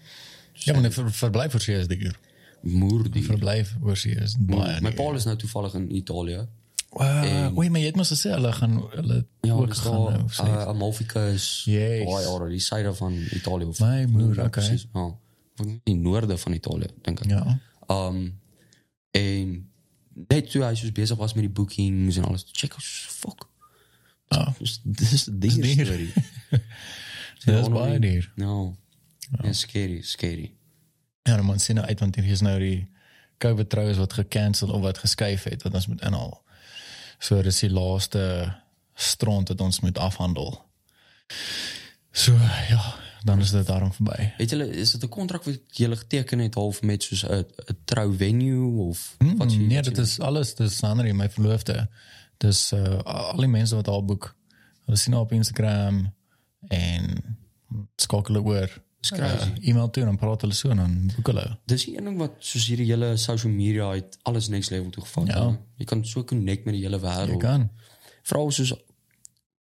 Speaker 1: ja maar 'n ver, verblyf voor sy is duur.
Speaker 2: Moer die.
Speaker 1: Verblyf oor sy is baie.
Speaker 2: My pa is nou toevallig in Italië.
Speaker 1: Wow, oei, maar jy het mos gesê hulle gaan hulle
Speaker 2: Ja,
Speaker 1: ook
Speaker 2: dis
Speaker 1: gaan nou,
Speaker 2: daar
Speaker 1: of so.
Speaker 2: uh, Amalfica is
Speaker 1: Jezus.
Speaker 2: baie jare Oh, die syde van Italië of
Speaker 1: My moeder,
Speaker 2: Ja,
Speaker 1: oké.
Speaker 2: precies, ja. Van die noorde van Italië dink ek.
Speaker 1: Ja.
Speaker 2: Um en net toe hy soos besig was met die bookings en alles. Check us fuck.
Speaker 1: Ja.
Speaker 2: Dis dis die
Speaker 1: duur.
Speaker 2: storie.
Speaker 1: Dis baie duur.
Speaker 2: Nou. Ja, scary, scary.
Speaker 1: Ja, dan moet sien nou uit want hier is nou die COVID troues wat gekansel of wat geskuif het wat ons moet inhaal. So dis die laaste stront wat ons moet afhandel. So ja, dan is dit daarom verby.
Speaker 2: Weet julle, is dit 'n kontrak wat julle geteken het half met soos 'n 'n trou venue of mm, wat
Speaker 1: Nee, dit is alles. Dis Sanri, my verloofde. Dis uh, al die mense wat haar boek. Hulle sien haar op Instagram en skakel hulle oor.
Speaker 2: crazy.
Speaker 1: Uh, e-mail toe en dan praat hulle so en dan boek hulle.
Speaker 2: Dis die een ding wat soos hierdie hele social media het alles next level toe gevat.
Speaker 1: Ja.
Speaker 2: hè? Jy kan so connect met die hele
Speaker 1: Jy
Speaker 2: wêreld.
Speaker 1: kan.
Speaker 2: Vrouwen soos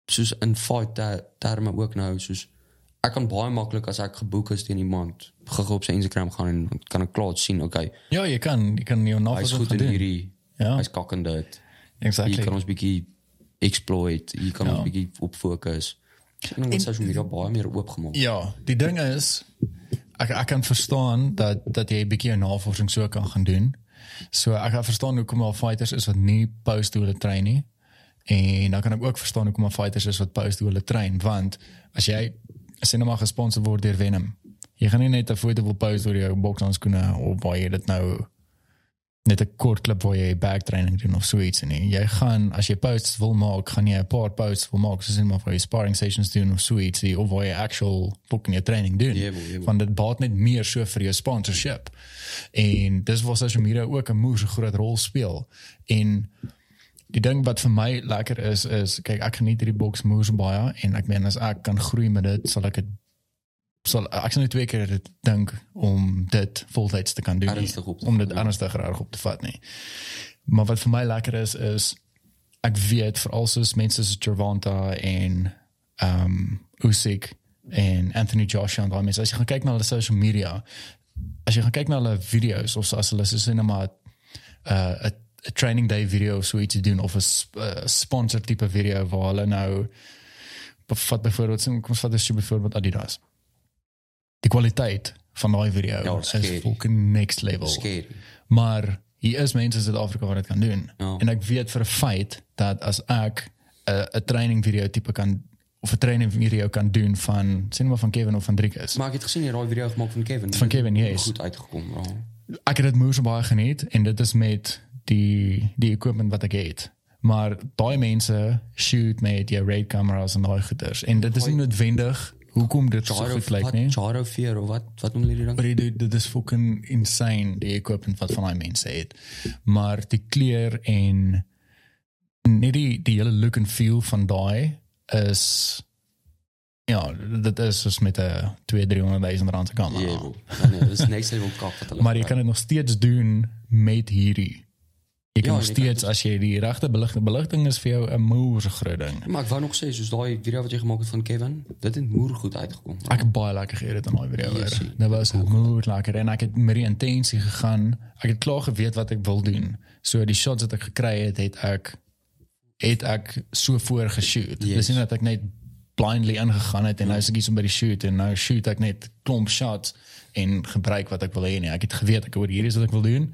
Speaker 2: soos in fight ter, terme ook nou soos ek kan baie maklik as ek geboek is teen iemand gou-gou op sy Instagram gaan en dan kan ek klaar sien, okay,
Speaker 1: Ja, jy kan. Jy kan jou
Speaker 2: hy's
Speaker 1: navorsing
Speaker 2: goed
Speaker 1: gaan
Speaker 2: in
Speaker 1: doen.
Speaker 2: hierdie,
Speaker 1: Ja.
Speaker 2: hy's kak in dit. Hier
Speaker 1: Exactly.
Speaker 2: kan ons bietjie exploit, hier
Speaker 1: Ja.
Speaker 2: kan ons bietjie op fokus. En dan social media baie meer oopgemaak.
Speaker 1: Ja, die ding is ek ek kan verstaan dat dat jy 'n bietjie jou navorsing so kan gaan doen. So ek kan verstaan hoekom daar fighters is wat nie post hoe hulle train nie. En dan kan ek ook verstaan hoekom daar fighters is wat post hoe hulle train want as jy as jy nou maar gesponsor word deur Venom, jy gaan nie net 'n foto wil post oor jou bokshandskoene of waar jy dit nou net 'n kort klip waar jy backtraining doen of so iets en jy gaan as jy posts wil maak, gaan jy 'n paar posts wil maak soos net maar vir jou sparring sessions doen of so iets die- of waar jy actual fucking jou training doen.
Speaker 2: Jebel, jebel.
Speaker 1: Want dit baat net meer so vir jou sponsorship. En dis waar social media ook 'n moeë groot rol speel. En die ding wat vir my lekker is is kyk ek geniet hierdie boks moeë baie en ek meen as ek kan groei met dit, sal ek dit sal ek sal net twee keer dit dink om dit voltyds te kan doen nie.
Speaker 2: Ernstig op te ja.
Speaker 1: om dit ernstig raar op te vat nie. Maar wat vir my lekker is is ek weet veral soos mense soos Gervonta en ehm um, Usyk en Anthony Joshua en daai mense as jy gaan kyk na hulle social media as jy gaan kyk na hulle video's of so, as hulle soos net maar 'n 'n 'n training day video of so iets doen of 'n sp- 'n sponsor tipe video waar hulle nou vat byvoorbeeld kom ons vat as jy byvoorbeeld Adidas die kwaliteit van daai video
Speaker 2: Ja,
Speaker 1: is
Speaker 2: scary.
Speaker 1: fucking next level
Speaker 2: Scary.
Speaker 1: maar hier is mense in Suid-Afrika wat dit kan doen.
Speaker 2: Ja.
Speaker 1: En ek weet vir 'n feit dat as ek 'n 'n training video tipe kan of 'n training video kan doen van sien maar van Kevin of van Driek is.
Speaker 2: Maar ek het gesien jy het daai video gemaak van Kevin.
Speaker 1: Van Kevin, yes.
Speaker 2: Goed uitgekom, ja. bro.
Speaker 1: Ek het dit moes baie geniet en dit is met die die equipment wat ek het. Maar daai mense shoot met jou raid kameras en daai goeders en dit is nie noodwendig hoekom dit so goed lyk
Speaker 2: wat
Speaker 1: nie.
Speaker 2: Charo 4 of wat wat noem hulle dit dan?
Speaker 1: Maar dit dit is fucking insane die equipment wat van daai mense het. Maar die kleur en net die die hele look and feel van daai is Ja, dat is dus met de 200, 300.000 rand te komen.
Speaker 2: Ja, bro. Ja, nee, dat is next level kap wat hulle
Speaker 1: Maar je
Speaker 2: gebruik.
Speaker 1: kan het nog steeds doen met hierdie. Je kan
Speaker 2: Ja,
Speaker 1: nog
Speaker 2: je kan
Speaker 1: steeds, als je die rechte belichting, belichting is voor jou een moerse groot ding.
Speaker 2: Maar ik wou nog steeds, dus die video wat je gemaakt hebt van Kevin, dat is moer goed uitgekomen.
Speaker 1: Ek het baie lekker geëet in daai video.
Speaker 2: Yes,
Speaker 1: hoor.
Speaker 2: sien.
Speaker 1: Dit was moeilik lekker en ek het met die intensie gegaan. Ek het klaar geweet wat ek wil doen. So die shots wat ek gekry het, het ek het ek so voor geshoot.
Speaker 2: Yes.
Speaker 1: Dis nie dat ek net blindly ingegaan het en nou is ek iets om by die shoot en nou shoot ek net klomp shots en gebruik wat ek wil hê nie. Ek het geweet ek hoor hier is wat ek wil doen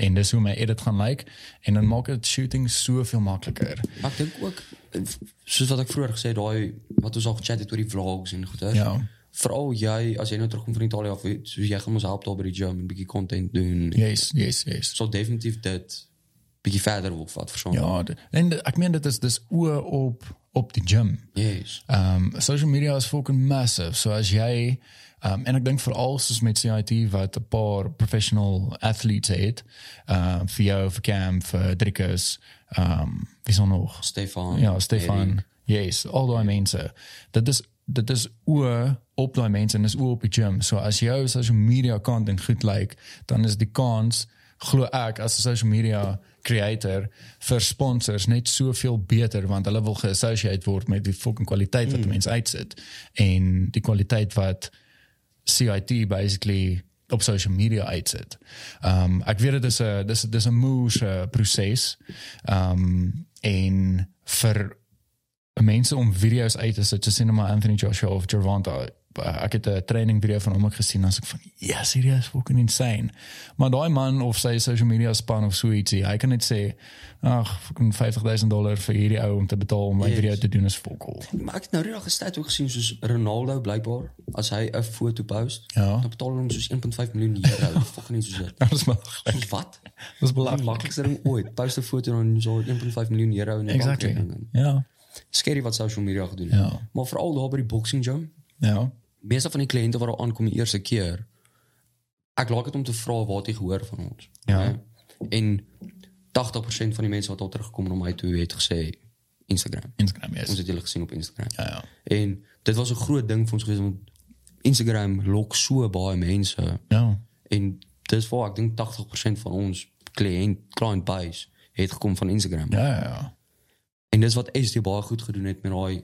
Speaker 1: en dis hoe my edit gaan lyk en dan maak dit shooting soveel makliker.
Speaker 2: Maar ik denk ook, eh, zoals wat ik vroeger gezegd heb, wat we al gechat hebben door die vlogs en goed. hè.
Speaker 1: Ja.
Speaker 2: Vooral jij, als jij nou terugkomt van Italië af, weet, dus jij gaat ons helpen daar bij de gym, een beetje content doen. Ik
Speaker 1: Yes, yes, yes.
Speaker 2: zal definitief dat een beetje verder op wat voor zo'n.
Speaker 1: Ja, d- en d- ek meen dit is dis oë op op die gym.
Speaker 2: Yes.
Speaker 1: Ehm social media is fucking massive. So as jy ehm en ek dink veral soos met CIT wat 'n paar professional athletes het, ehm vir jou vir Cam vir Driekus, ehm wie son nog?
Speaker 2: Stefan.
Speaker 1: Ja, Stefan. Yes, al daai mense. Dit is dit is oor op daai mense en dis oor op die gym. So as jou social media content goed lyk, dan is die kans glo ek as 'n social media creator vir sponsors net soveel beter want hulle wil geassocieerd word met die fucking kwaliteit wat mm. mense uitsit en die kwaliteit wat CIT basically op social media uitsit. Um ek weet dit is 'n dis dis 'n moeë proses. Um en vir mense om video's uit te sit, soos sien nou maar Anthony Joshua of Gervonta. eh, Ek het 'n training video van hom ook gesien en as ek van ja, yes, hierdie is fucking insane. Maar daai man of sy social media span of so ietsie, hy kan net sê ag, fucking 50000 dollar vir hierdie ou om te betaal om my
Speaker 2: Yes.
Speaker 1: video te doen is fokol.
Speaker 2: Maar ik heb nou redelijk tijd ook gezien, dus Ronaldo blijkbaar, als hij een foto post,
Speaker 1: Ja.
Speaker 2: dan betalen we hem dus 1,5 miljoen euro. Fucking niet zo zet.
Speaker 1: Dat is belaglik.
Speaker 2: Wat?
Speaker 1: Dat is
Speaker 2: Het
Speaker 1: belaglik.
Speaker 2: makkelijkste ding ooit. Post een foto dan zo 1,5 miljoen euro in de
Speaker 1: Exactly.
Speaker 2: bankrekening.
Speaker 1: Ja.
Speaker 2: Scary wat social media gaat doen.
Speaker 1: Ja.
Speaker 2: Maar vooral daar bij die boxing gym.
Speaker 1: Ja.
Speaker 2: Meestal van die cliënten waar al aankomen die eerste keer. Ik laat het om te vragen wat die gehoor van ons.
Speaker 1: Ja.
Speaker 2: Hè? En 80% van die mensen wat al terugkomen naar mij toe heeft gezegd Instagram.
Speaker 1: Instagram yes.
Speaker 2: Ons het jullie gezien op Instagram.
Speaker 1: Ja, ja.
Speaker 2: En dit was een groot ding voor ons geweest. Want Instagram lok zo bij mensen.
Speaker 1: Ja.
Speaker 2: En dis waar ek dink 80% van ons kliënt client base het gekom van Instagram.
Speaker 1: Ja, ja, ja.
Speaker 2: En dis wat SD baie goed gedoen het met daai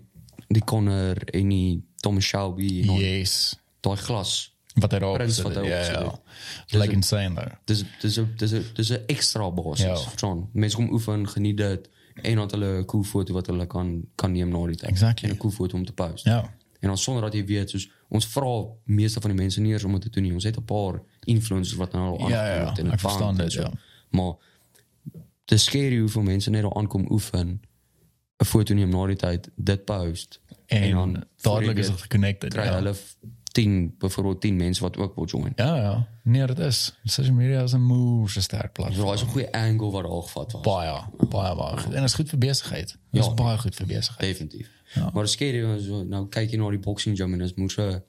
Speaker 2: die Connor en die Tom Shelby en yeah.
Speaker 1: Yes.
Speaker 2: daai glas.
Speaker 1: Wat daar ook
Speaker 2: Prins
Speaker 1: zit.
Speaker 2: wat
Speaker 1: Ja,
Speaker 2: daar ook
Speaker 1: ja.
Speaker 2: zit.
Speaker 1: Like insane daar.
Speaker 2: Dis dis 'n dis 'n dis 'n ekstra basis,
Speaker 1: Ja.
Speaker 2: verstaan? Mense kom oefen, geniet dit en dan het hulle 'n cool foto wat hulle kan kan neem na die tyd.
Speaker 1: Exactly.
Speaker 2: En 'n cool foto om te post.
Speaker 1: Ja.
Speaker 2: En dan sonder dat jy weet, soos ons vra meeste van die mense nie eens om dit te doen nie. Ons het 'n paar influencers wat nou al
Speaker 1: Ja, ja,
Speaker 2: aangekomen het
Speaker 1: ek
Speaker 2: het
Speaker 1: verstaan
Speaker 2: band en
Speaker 1: dit,
Speaker 2: so.
Speaker 1: ja.
Speaker 2: Maar te scary hoeveel mense net al aankom oefen, 'n foto neem na die tyd, dit post
Speaker 1: En,
Speaker 2: voor jy
Speaker 1: dadelijk is
Speaker 2: weet,
Speaker 1: het connected.
Speaker 2: kry
Speaker 1: Ja.
Speaker 2: hulle 10 byvoorbeeld 10 mense wat ook wil join.
Speaker 1: ja, ja. Nee, dat is. Social media is een moerse sterk platform.
Speaker 2: So daar's 'n goeie angle wat daar gevat was.
Speaker 1: Baie, baie, baie. goed. En dat is goed voor bezigheid. Dat
Speaker 2: Ja.
Speaker 1: is baie goed voor bezigheid.
Speaker 2: Definitief.
Speaker 1: Ja.
Speaker 2: Maar dis scary want so, nou kyk jy na die boxing gym en dis moet so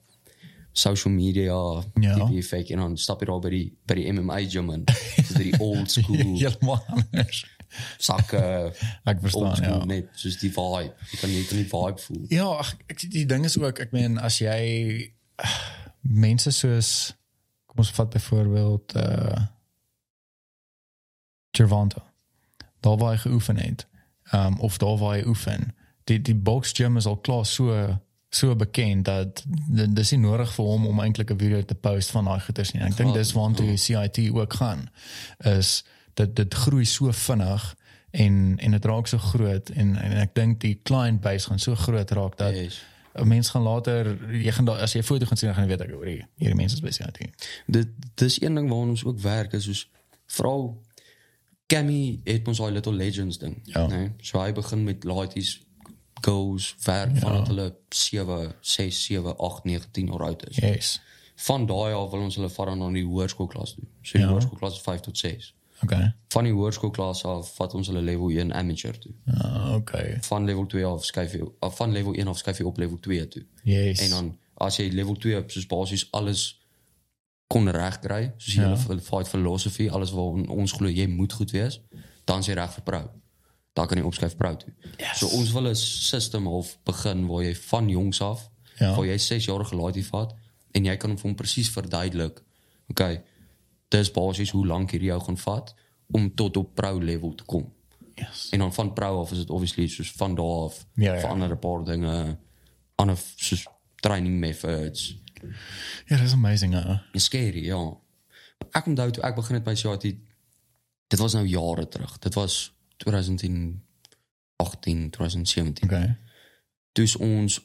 Speaker 2: social media
Speaker 1: Ja.
Speaker 2: tipe effek en dan stap jy daar by die by die MMA gym en dis die old school
Speaker 1: Helemaal anders.
Speaker 2: sakke.
Speaker 1: Ek verstaan,
Speaker 2: old school,
Speaker 1: ja.
Speaker 2: Net soos die vibe. Jy kan nie kan die vibe voel.
Speaker 1: Ja, ag, ek, die ding is ook, ek meen as jy ah, mense soos kom ons vat byvoorbeeld uh Gervonta. Daar waar hy geoefen het, um, of daar waar hy oefen. Die die box gym is al klaar so so bekend dat d- dis nie nodig vir hom om eintlik 'n video te post van daai goeters nie. En Ek
Speaker 2: Ja.
Speaker 1: dink dis waartoe CIT ook gaan is dat dit groei so vinnig en en dit raak so groot en en ek dink die client base gaan so groot raak dat
Speaker 2: Yes.
Speaker 1: 'n mens gaan later jy gaan daar as jy 'n foto gaan sien dan gaan jy weet ek hoor hier hierdie mense is besig aan dit.
Speaker 2: Dit dis een ding waaraan ons ook werk is soos vrou Cammy het ons daai Little Legends ding,
Speaker 1: Ja.
Speaker 2: né? So hy begin met laities goals werk
Speaker 1: Ja.
Speaker 2: vanaf hulle 7, 6, 7, 8, 9, 10 jaar oud is.
Speaker 1: Yes.
Speaker 2: Van daai af wil ons hulle vat dan aan die hoërskoolklas toe. So
Speaker 1: Ja.
Speaker 2: die hoërskoolklas is 5 tot 6.
Speaker 1: Okay.
Speaker 2: Van die hoërskoolklas af vat ons hulle level 1 amateur toe.
Speaker 1: Uh, okay.
Speaker 2: Van level 2 af skuif jy af van level 1 af skuif jy op level 2 toe.
Speaker 1: Yes.
Speaker 2: En dan as jy level 2 op soos basies alles kon reg kry, soos
Speaker 1: Ja.
Speaker 2: jy hulle fight philosophy, alles wat ons glo jy moet goed wees, dan is jy reg vir pro. Dan kan jy opskuif pro toe.
Speaker 1: Yes.
Speaker 2: So ons wil 'n system half begin waar jy van jongs af
Speaker 1: Ja.
Speaker 2: waar jy 6 jarige laaitie vat en jy kan hom vir hom presies verduidelik. Okay. Dis basies hoe lank hierdie jou gaan vat om tot op pro level te kom.
Speaker 1: Yes.
Speaker 2: En dan van pro af is dit obviously soos van daar af
Speaker 1: Ja, ja.
Speaker 2: verander 'n paar dinge ander soos training methods.
Speaker 1: Ja, dat is amazing, hè.
Speaker 2: Dis scary, ja. Ek onthou toe ek begin het by CIT dit was nou jare terug. Dit was 2018, 2017.
Speaker 1: Oké.
Speaker 2: Toe is ons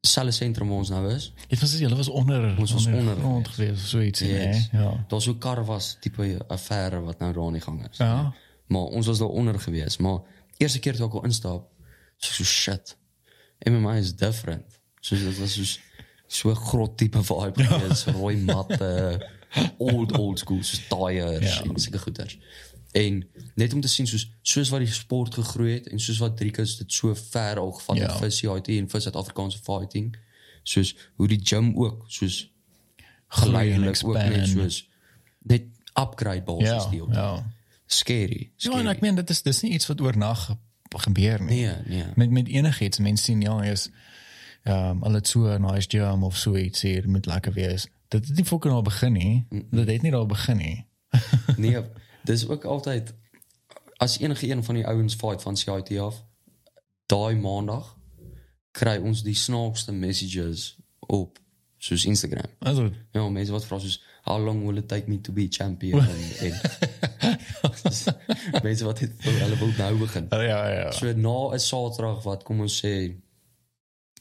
Speaker 2: selfe sentrum waar ons nou is.
Speaker 1: Dit was, ja, dat was onder,
Speaker 2: Ons was onder
Speaker 1: grond
Speaker 2: geweest.
Speaker 1: geweest of zoiets.
Speaker 2: Yes.
Speaker 1: Nee, ja.
Speaker 2: Daar's ook kar was tipe affære wat nou daar aan die gang is.
Speaker 1: Ja.
Speaker 2: Maar ons was daaronder gewees, maar eerste keer toe ek al instap, so so shit. MMA is different. So dit was so so 'n grot tipe
Speaker 1: Ja.
Speaker 2: vibe gewees, rooi matte, old old school so tires
Speaker 1: Ja.
Speaker 2: en sulke goeders. En net om te sien soos soos wat die sport gegroei het en soos wat Driekus dit so ver al gevat het
Speaker 1: Ja.
Speaker 2: vir CIT en vir Suid-Afrikaanse fighting, soos hoe die gym ook soos geleidelik ook net
Speaker 1: expand.
Speaker 2: soos net upgrade basis
Speaker 1: Ja,
Speaker 2: deel.
Speaker 1: ja.
Speaker 2: Scary.
Speaker 1: Ja,
Speaker 2: scary.
Speaker 1: en ik meen, dat is, dat is niet iets wat oornag gebeur nie.
Speaker 2: Nee, nee.
Speaker 1: Met, met enig iets. Mensen zien, ja, is um, al het so nice gym of zoiets hier, moet lekker wees. Dat het niet fucking al begin nie. Dat het niet al begin nie.
Speaker 2: Nee, dis ook altyd as enige een van die ouens fight van CIT af, daai maandag kry ons die snaakste messages op soos Instagram.
Speaker 1: Also,
Speaker 2: Ja, mense wat vra soos how long will it take me to be champion en en- mense wat dit hulle wil nou begin.
Speaker 1: ja, ja, ja.
Speaker 2: So na 'n Saterdag wat kom ons sê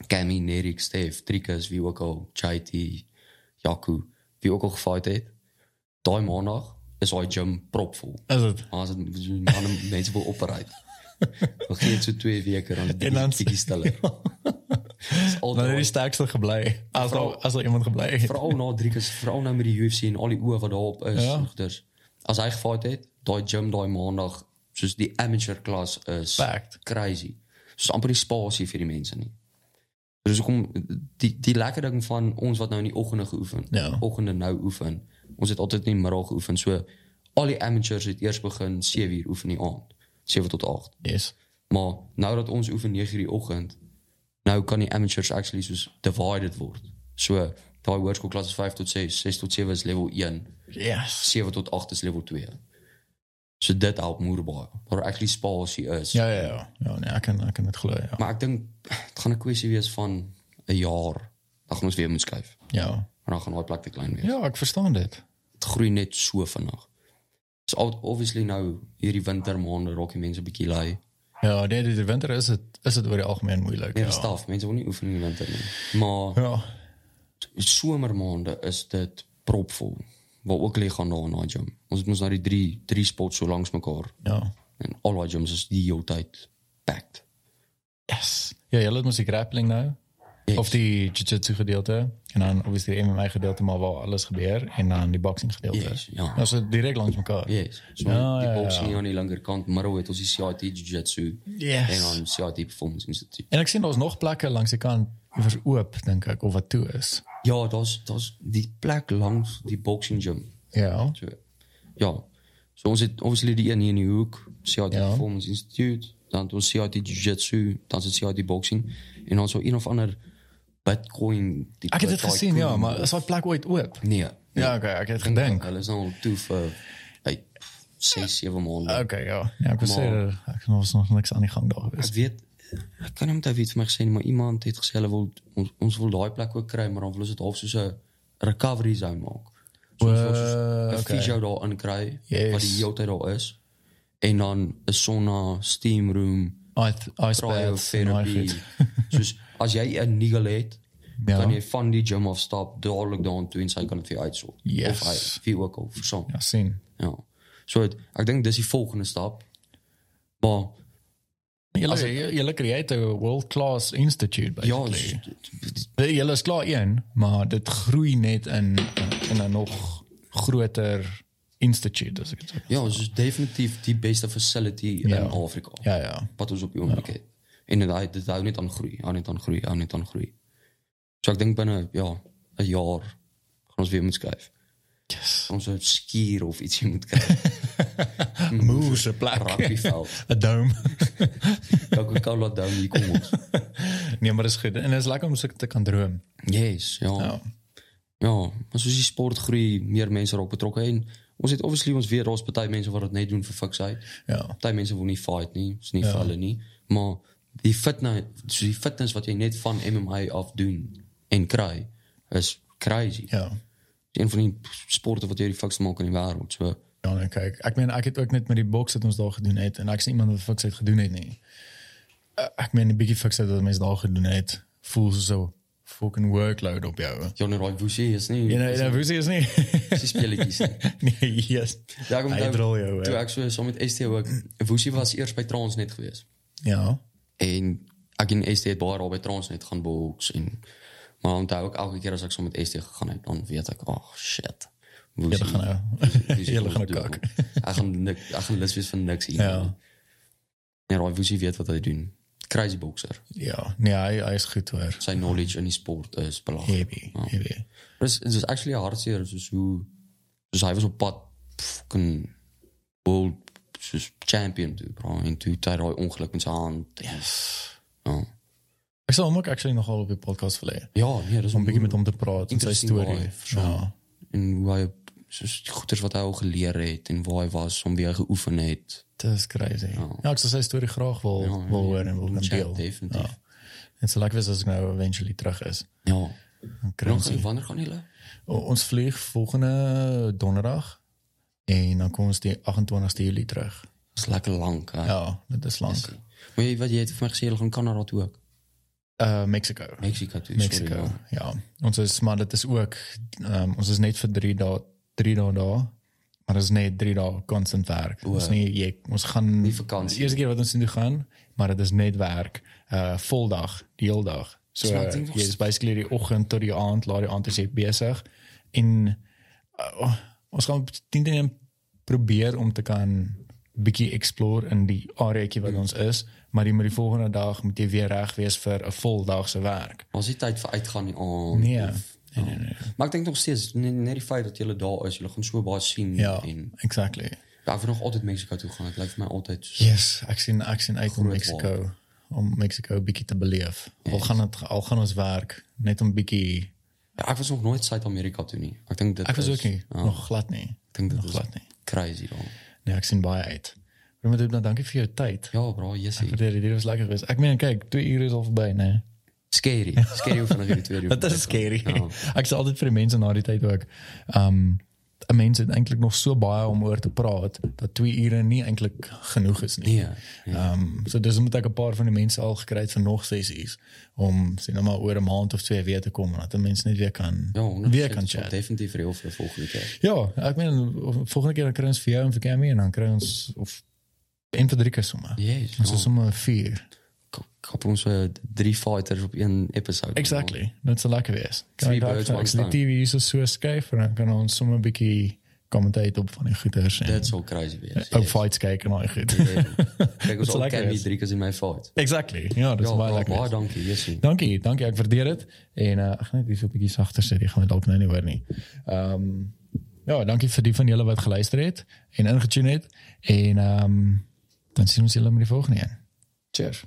Speaker 2: Cammy, Nerik, Stef, Trikus, wie ook al, JT, Jaco, wie ook al gefight het. Daai maandag is daai gym propvol.
Speaker 1: Is het?
Speaker 2: Ons het man mense wil operate. Nog geen so 2 weke dan
Speaker 1: En dan- Ja.
Speaker 2: die bietjie stiller.
Speaker 1: Dan is die
Speaker 2: Dis altyd
Speaker 1: sterkste geblij. Als
Speaker 2: Vooral-
Speaker 1: er, als er iemand geblij is.
Speaker 2: veral na Trikus, veral nou met die UFC en al die oë wat daarop is.
Speaker 1: Ja.
Speaker 2: Ja. Dus as hy gefight het, daai gym daai maandag, soos die amateur klas is
Speaker 1: Fact.
Speaker 2: crazy. Soos amper nie spasie vir die mense nie. Dus hoekom die die lekker ding van ons wat nou in die oggende geoefen,
Speaker 1: Ja.
Speaker 2: oggende nou oefen. Ons het altyd in die middag geoefen. So al die amateurs het eers begin 7uur oefen in die aand, 7 tot 8.
Speaker 1: Yes.
Speaker 2: Maar nou dat ons oefen 9 uur die oggend, nou kan die amateurs actually soos divided word. So daai hoërskool klas is 5 tot 6, 6 tot 7 is level 1,
Speaker 1: Yes.
Speaker 2: 7 tot 8 is level 2. So dit help moer baie. Daar actually spasie is.
Speaker 1: Ja, ja, ja. Ja, nee, ik kan, ik kan het geloven, ja.
Speaker 2: Maar ek dink dit gaan 'n kwessie wees van 'n jaar. Dan gaan ons weer moet skuif.
Speaker 1: Ja,
Speaker 2: En dan gaan daai plek te klein wees.
Speaker 1: ja ik verstaan dit.
Speaker 2: Dit groei net so vinnig. So al- obviously nou hierdie wintermaande raak die mense bietjie lui.
Speaker 1: Ja, nee, die winter is het, is het over het algemeen moeilijk.
Speaker 2: Meer
Speaker 1: ja.
Speaker 2: staf, mense wil nie oefen in die winter nie. Maar
Speaker 1: Ja.
Speaker 2: somermaande is dit propvol. Waar ook lê gaan daar na die gym. Ons het mos nou die drie drie spots so langs mekaar
Speaker 1: Ja.
Speaker 2: en al daai gyms is die hele tyd packed.
Speaker 1: Yes. Ja, jij laat me die grappling nou.
Speaker 2: Yes.
Speaker 1: Of die jiu-jitsu gedeelte. En dan obviously die MMA gedeelte, maar waar alles gebeurt. En dan die boxing gedeelte.
Speaker 2: Yes, ja.
Speaker 1: Dat is direct langs elkaar.
Speaker 2: Yes. So
Speaker 1: Ja,
Speaker 2: die
Speaker 1: ja,
Speaker 2: boxing
Speaker 1: ja.
Speaker 2: hier aan die linkerkant, middel het ons die CIT Jiu-Jitsu
Speaker 1: Yes.
Speaker 2: en dan CIT Performance Institute.
Speaker 1: En ik zie daar's nog plekken langs die kant vers oop, denk ik, of wat toe is.
Speaker 2: Ja, daar's daar's die plek langs die boxing gym.
Speaker 1: Ja.
Speaker 2: So ja. So ons het obviously die een hier in die hoek, CIT
Speaker 1: Ja.
Speaker 2: Performance Institute, dan het ons CIT Jiu-Jitsu, dan is het CIT Boxing en dan so een of ander Bitcoin die
Speaker 1: Ik heb het gezien, ja, maar is dat plek ooit oop?
Speaker 2: nee.
Speaker 1: Ja, oké, ik heb het gedenkt.
Speaker 2: Hulle is nou al toe vir like 6 7 maande.
Speaker 1: Oké, ja. Ja, ik was
Speaker 2: Maar-
Speaker 1: zeker, ik was nog niks aan die gang daar geweest.
Speaker 2: Ek weet ek kan nie omtrent iets vir my gesê nie, maar iemand het gesê hulle wil ons ons wil daai plek ook kry, maar dan wil ons dit half soos 'n recovery zone maak. So ons wil soos 'n
Speaker 1: Oeh, oké.
Speaker 2: fisio daar inkry
Speaker 1: Yes.
Speaker 2: wat die hele tyd daar is. En dan 'n sauna, steam room,
Speaker 1: Ice, ice baths en daai
Speaker 2: cryotherapy.
Speaker 1: goed.
Speaker 2: soos as jy 'n nigel het,
Speaker 1: Ja.
Speaker 2: kan jy van die gym af stap, dadelik daartoe en sy kan dit vir jou uitsort.
Speaker 1: Yes.
Speaker 2: Of hy vir ook al versom.
Speaker 1: Ja, sien.
Speaker 2: Ja. So het, ek dink dis die volgende stap. Maar
Speaker 1: Julle
Speaker 2: As ek-
Speaker 1: julle create 'n world class institute
Speaker 2: ja,
Speaker 1: basically.
Speaker 2: s-
Speaker 1: Julle is klaar een, maar dit groei net in in 'n nog groter instituut as ek dit sê.
Speaker 2: ja, ons is definitief die beste facility eh,
Speaker 1: Ja.
Speaker 2: in Afrika
Speaker 1: Ja ja.
Speaker 2: wat ons op die oomblik het. En dit hy- dit hou net aan groei, hou net aan groei, hou net aan groei. So ek dink binne ja, 'n jaar gaan ons weer moet skuif.
Speaker 1: Yes.
Speaker 2: Ons sou skier of ietsie moet kry. Hmm.
Speaker 1: Moer se plek.
Speaker 2: Rugbyveld.
Speaker 1: 'n Dome.
Speaker 2: Coca-Cola Dome hier kom ons.
Speaker 1: Nee, maar dat is goed. En het is lekker om zo te kunnen dromen.
Speaker 2: Yes, ja.
Speaker 1: Ja.
Speaker 2: Ja, maar soos die sport groei, meer mense raak betrokke en ons het obviously ons weet daar's party mense wat dit net doen vir fiksheid.
Speaker 1: Ja.
Speaker 2: Party mense wil nie fight nie, is nie vir hulle nie, maar die fitness, so die fitness wat jy net van MMA af doen en kry is crazy.
Speaker 1: Ja.
Speaker 2: Een van die sporte wat jy die fikste maak in die wêreld. So
Speaker 1: Ja, nee, kijk. Ik meen, ik heb ook net met die box dat ons daar gedoen heeft. En ik zie iemand dat fuck heeft gedoen heeft, nee. Eh, Ik meen, die biggie fuck dat mensen daar gedoen heeft. Voel ze zo fucking workload op jou. hè.
Speaker 2: Johnny Roy Woesie is nie.
Speaker 1: Je nou, dat is niet.
Speaker 2: is nie speletjies nie.
Speaker 1: Nee, yes.
Speaker 2: Ja, ek
Speaker 1: Hy drol jou,
Speaker 2: Toe
Speaker 1: hè.
Speaker 2: ek so saam met ST ook. Woesie was eers by Trans net gewees.
Speaker 1: Ja.
Speaker 2: En ek en ST het baie daar by Trans net gaan boks en maar onthou ook elke keer as ek saam met ST gegaan het, dan weet ek, ag oh, shit. Woesie.
Speaker 1: Jullie gaan nou.
Speaker 2: Woesie
Speaker 1: Jullie gaan
Speaker 2: kom
Speaker 1: nou
Speaker 2: doen.
Speaker 1: kak.
Speaker 2: Ek gaan nik, ek gaan lus wees van niks hier.
Speaker 1: Ja.
Speaker 2: En Roy Woesie weet wat hy doen. Crazy boxer.
Speaker 1: Ja. Nee, hij, hij is goed hoor.
Speaker 2: Sy knowledge in die sport is belaglik.
Speaker 1: Heavy, heavy.
Speaker 2: Dis dis is actually hartseer soos hoe soos hy was op pad fucking world soos champion toe, bro. En toe het hy daai ongeluk met sy hand. Yes. Ja.
Speaker 1: Ik zal hem ook actually nogal op je podcast verleden.
Speaker 2: Ja, nee, dis
Speaker 1: Om een beetje met hem te praten. met Zijn
Speaker 2: Interesting
Speaker 1: story.
Speaker 2: guy, sure.
Speaker 1: Ja.
Speaker 2: en hoe hy soos die goeters wat hy al geleer het en waar hy was, om wie hy geoefen het.
Speaker 1: Dat is crazy. Ja, ik zou zijn story graag wel,
Speaker 2: Ja,
Speaker 1: wel
Speaker 2: ja,
Speaker 1: horen en wel gaan
Speaker 2: chat,
Speaker 1: deel.
Speaker 2: definitief.
Speaker 1: Ja. En zo lekker is als ik nou eventually terug is.
Speaker 2: Ja.
Speaker 1: Dan krijg
Speaker 2: Nog
Speaker 1: je-
Speaker 2: wanneer gaan hulle?
Speaker 1: O- Ons vlieg volgende donderdag. En dan komen ze die 28 juli terug.
Speaker 2: Dis lekker lank. hè.
Speaker 1: Ja, dat is lang.
Speaker 2: Maar jy wat jy het vir my gesê hulle gaan Kanada toe ook.
Speaker 1: Eh, Mexico.
Speaker 2: Mexico toe.
Speaker 1: Mexico,
Speaker 2: Sorry,
Speaker 1: ja.
Speaker 2: ja.
Speaker 1: Ons is, maar dat is ook, ehm, ons is net voor drie dagen drie dae daar. Maar dat is net drie dagen constant werk. Ons, nie, jy, ons gaan...
Speaker 2: Nie vakansie.
Speaker 1: De eerste keer wat ons nu gaan, maar het is net werk. eh vol dag, die hele dag. So,
Speaker 2: Snaak,
Speaker 1: je
Speaker 2: ding, was-
Speaker 1: is basically die ochtend tot die avond, laat die avond is jy bezig. En eh, ons gaan op 10 teen probeer om te kan bietjie explore in die areaatjie
Speaker 2: Hmm.
Speaker 1: wat ons is, maar die moet die volgende dag moet jy weer reg wees vir 'n voldag se werk.
Speaker 2: Ons het tyd vir uitgaan nie aan.
Speaker 1: Nee, ja.
Speaker 2: of- oh, ja. Maar ek dink nog steeds net, net die feit dat julle daar is, julle gaan so baie sien
Speaker 1: Ja,
Speaker 2: en
Speaker 1: exactly.
Speaker 2: Ja, ek wil nog altyd Mexico toe gaan. Dit lyk vir my altyd soos-
Speaker 1: Yes, ek sien ek sien uit om
Speaker 2: Groot
Speaker 1: Mexico om Mexico 'n bietjie te beleef. Al gaan dit al gaan ons werk net om bietjie
Speaker 2: ja, ek was nog nooit Suid-Amerika toe nie. Ek dink dit
Speaker 1: Ek was
Speaker 2: is-
Speaker 1: ook nie nog glad nie.
Speaker 2: Ek dink dit
Speaker 1: nog
Speaker 2: is
Speaker 1: glad nie.
Speaker 2: crazy dan.
Speaker 1: Nee, ek sien baie uit. Maar moet dan dankie vir jou tyd.
Speaker 2: Ja, bro, Jessie.
Speaker 1: Vir dit, dit was lekker geweest. Ek meen kyk, 2 ure is al verby, né?
Speaker 2: Scary. Scary hoe vinnig hierdie twee uur.
Speaker 1: Ja. Dat is scary.
Speaker 2: Ja.
Speaker 1: Ek sê altyd vir die mense na die tyd ook. Um mense het eintlik nog so baie om oor te praat dat 2 ure nie eintlik genoeg is nie.
Speaker 2: Nee.
Speaker 1: Ehm so dis moet ek 'n paar van die mense al gekry het vir nog sessies om sien nou maar oor 'n maand of twee weer te kom en dat 'n mens net weer kan
Speaker 2: Ja, 100%.
Speaker 1: weer kan
Speaker 2: Dit sal
Speaker 1: chat.
Speaker 2: Definitief reël vir die volgende keer.
Speaker 1: Ja, ek meen volgende keer dan kry ons vir jou en vir Cammy en dan kry ons of een van drie keer sommer.
Speaker 2: Yes.
Speaker 1: Ons
Speaker 2: Ons
Speaker 1: is sommer vier.
Speaker 2: kap ons eh, drie fighters op een episode.
Speaker 1: Exactly. Dit sal lekker wees. Kan
Speaker 2: Ja. Three
Speaker 1: ek daar
Speaker 2: birds,
Speaker 1: kan ek
Speaker 2: one
Speaker 1: die TV hier so so skuif en dan kan ons sommer 'n bietjie kommentate op van die goeters en
Speaker 2: Dit sou crazy wees.
Speaker 1: ook fights kyk en al die goed.
Speaker 2: Ja. er Kyk ons
Speaker 1: sal
Speaker 2: al
Speaker 1: lekker
Speaker 2: kan die
Speaker 1: wees.
Speaker 2: drie keer in my fight.
Speaker 1: Exactly. Ja, dis
Speaker 2: Ja,
Speaker 1: baie
Speaker 2: bro,
Speaker 1: lekker.
Speaker 2: baie dankie, Jessie.
Speaker 1: Dankie, dankie. Ek waardeer dit. En uh, ek gaan net hier so 'n bietjie sagter sit. Jy gaan dit dalk nou nie hoor nie. Ehm ja, dankie vir die van julle wat geluister het en ingetune het en ehm dan sien ons julle met die volgende een. Cheers.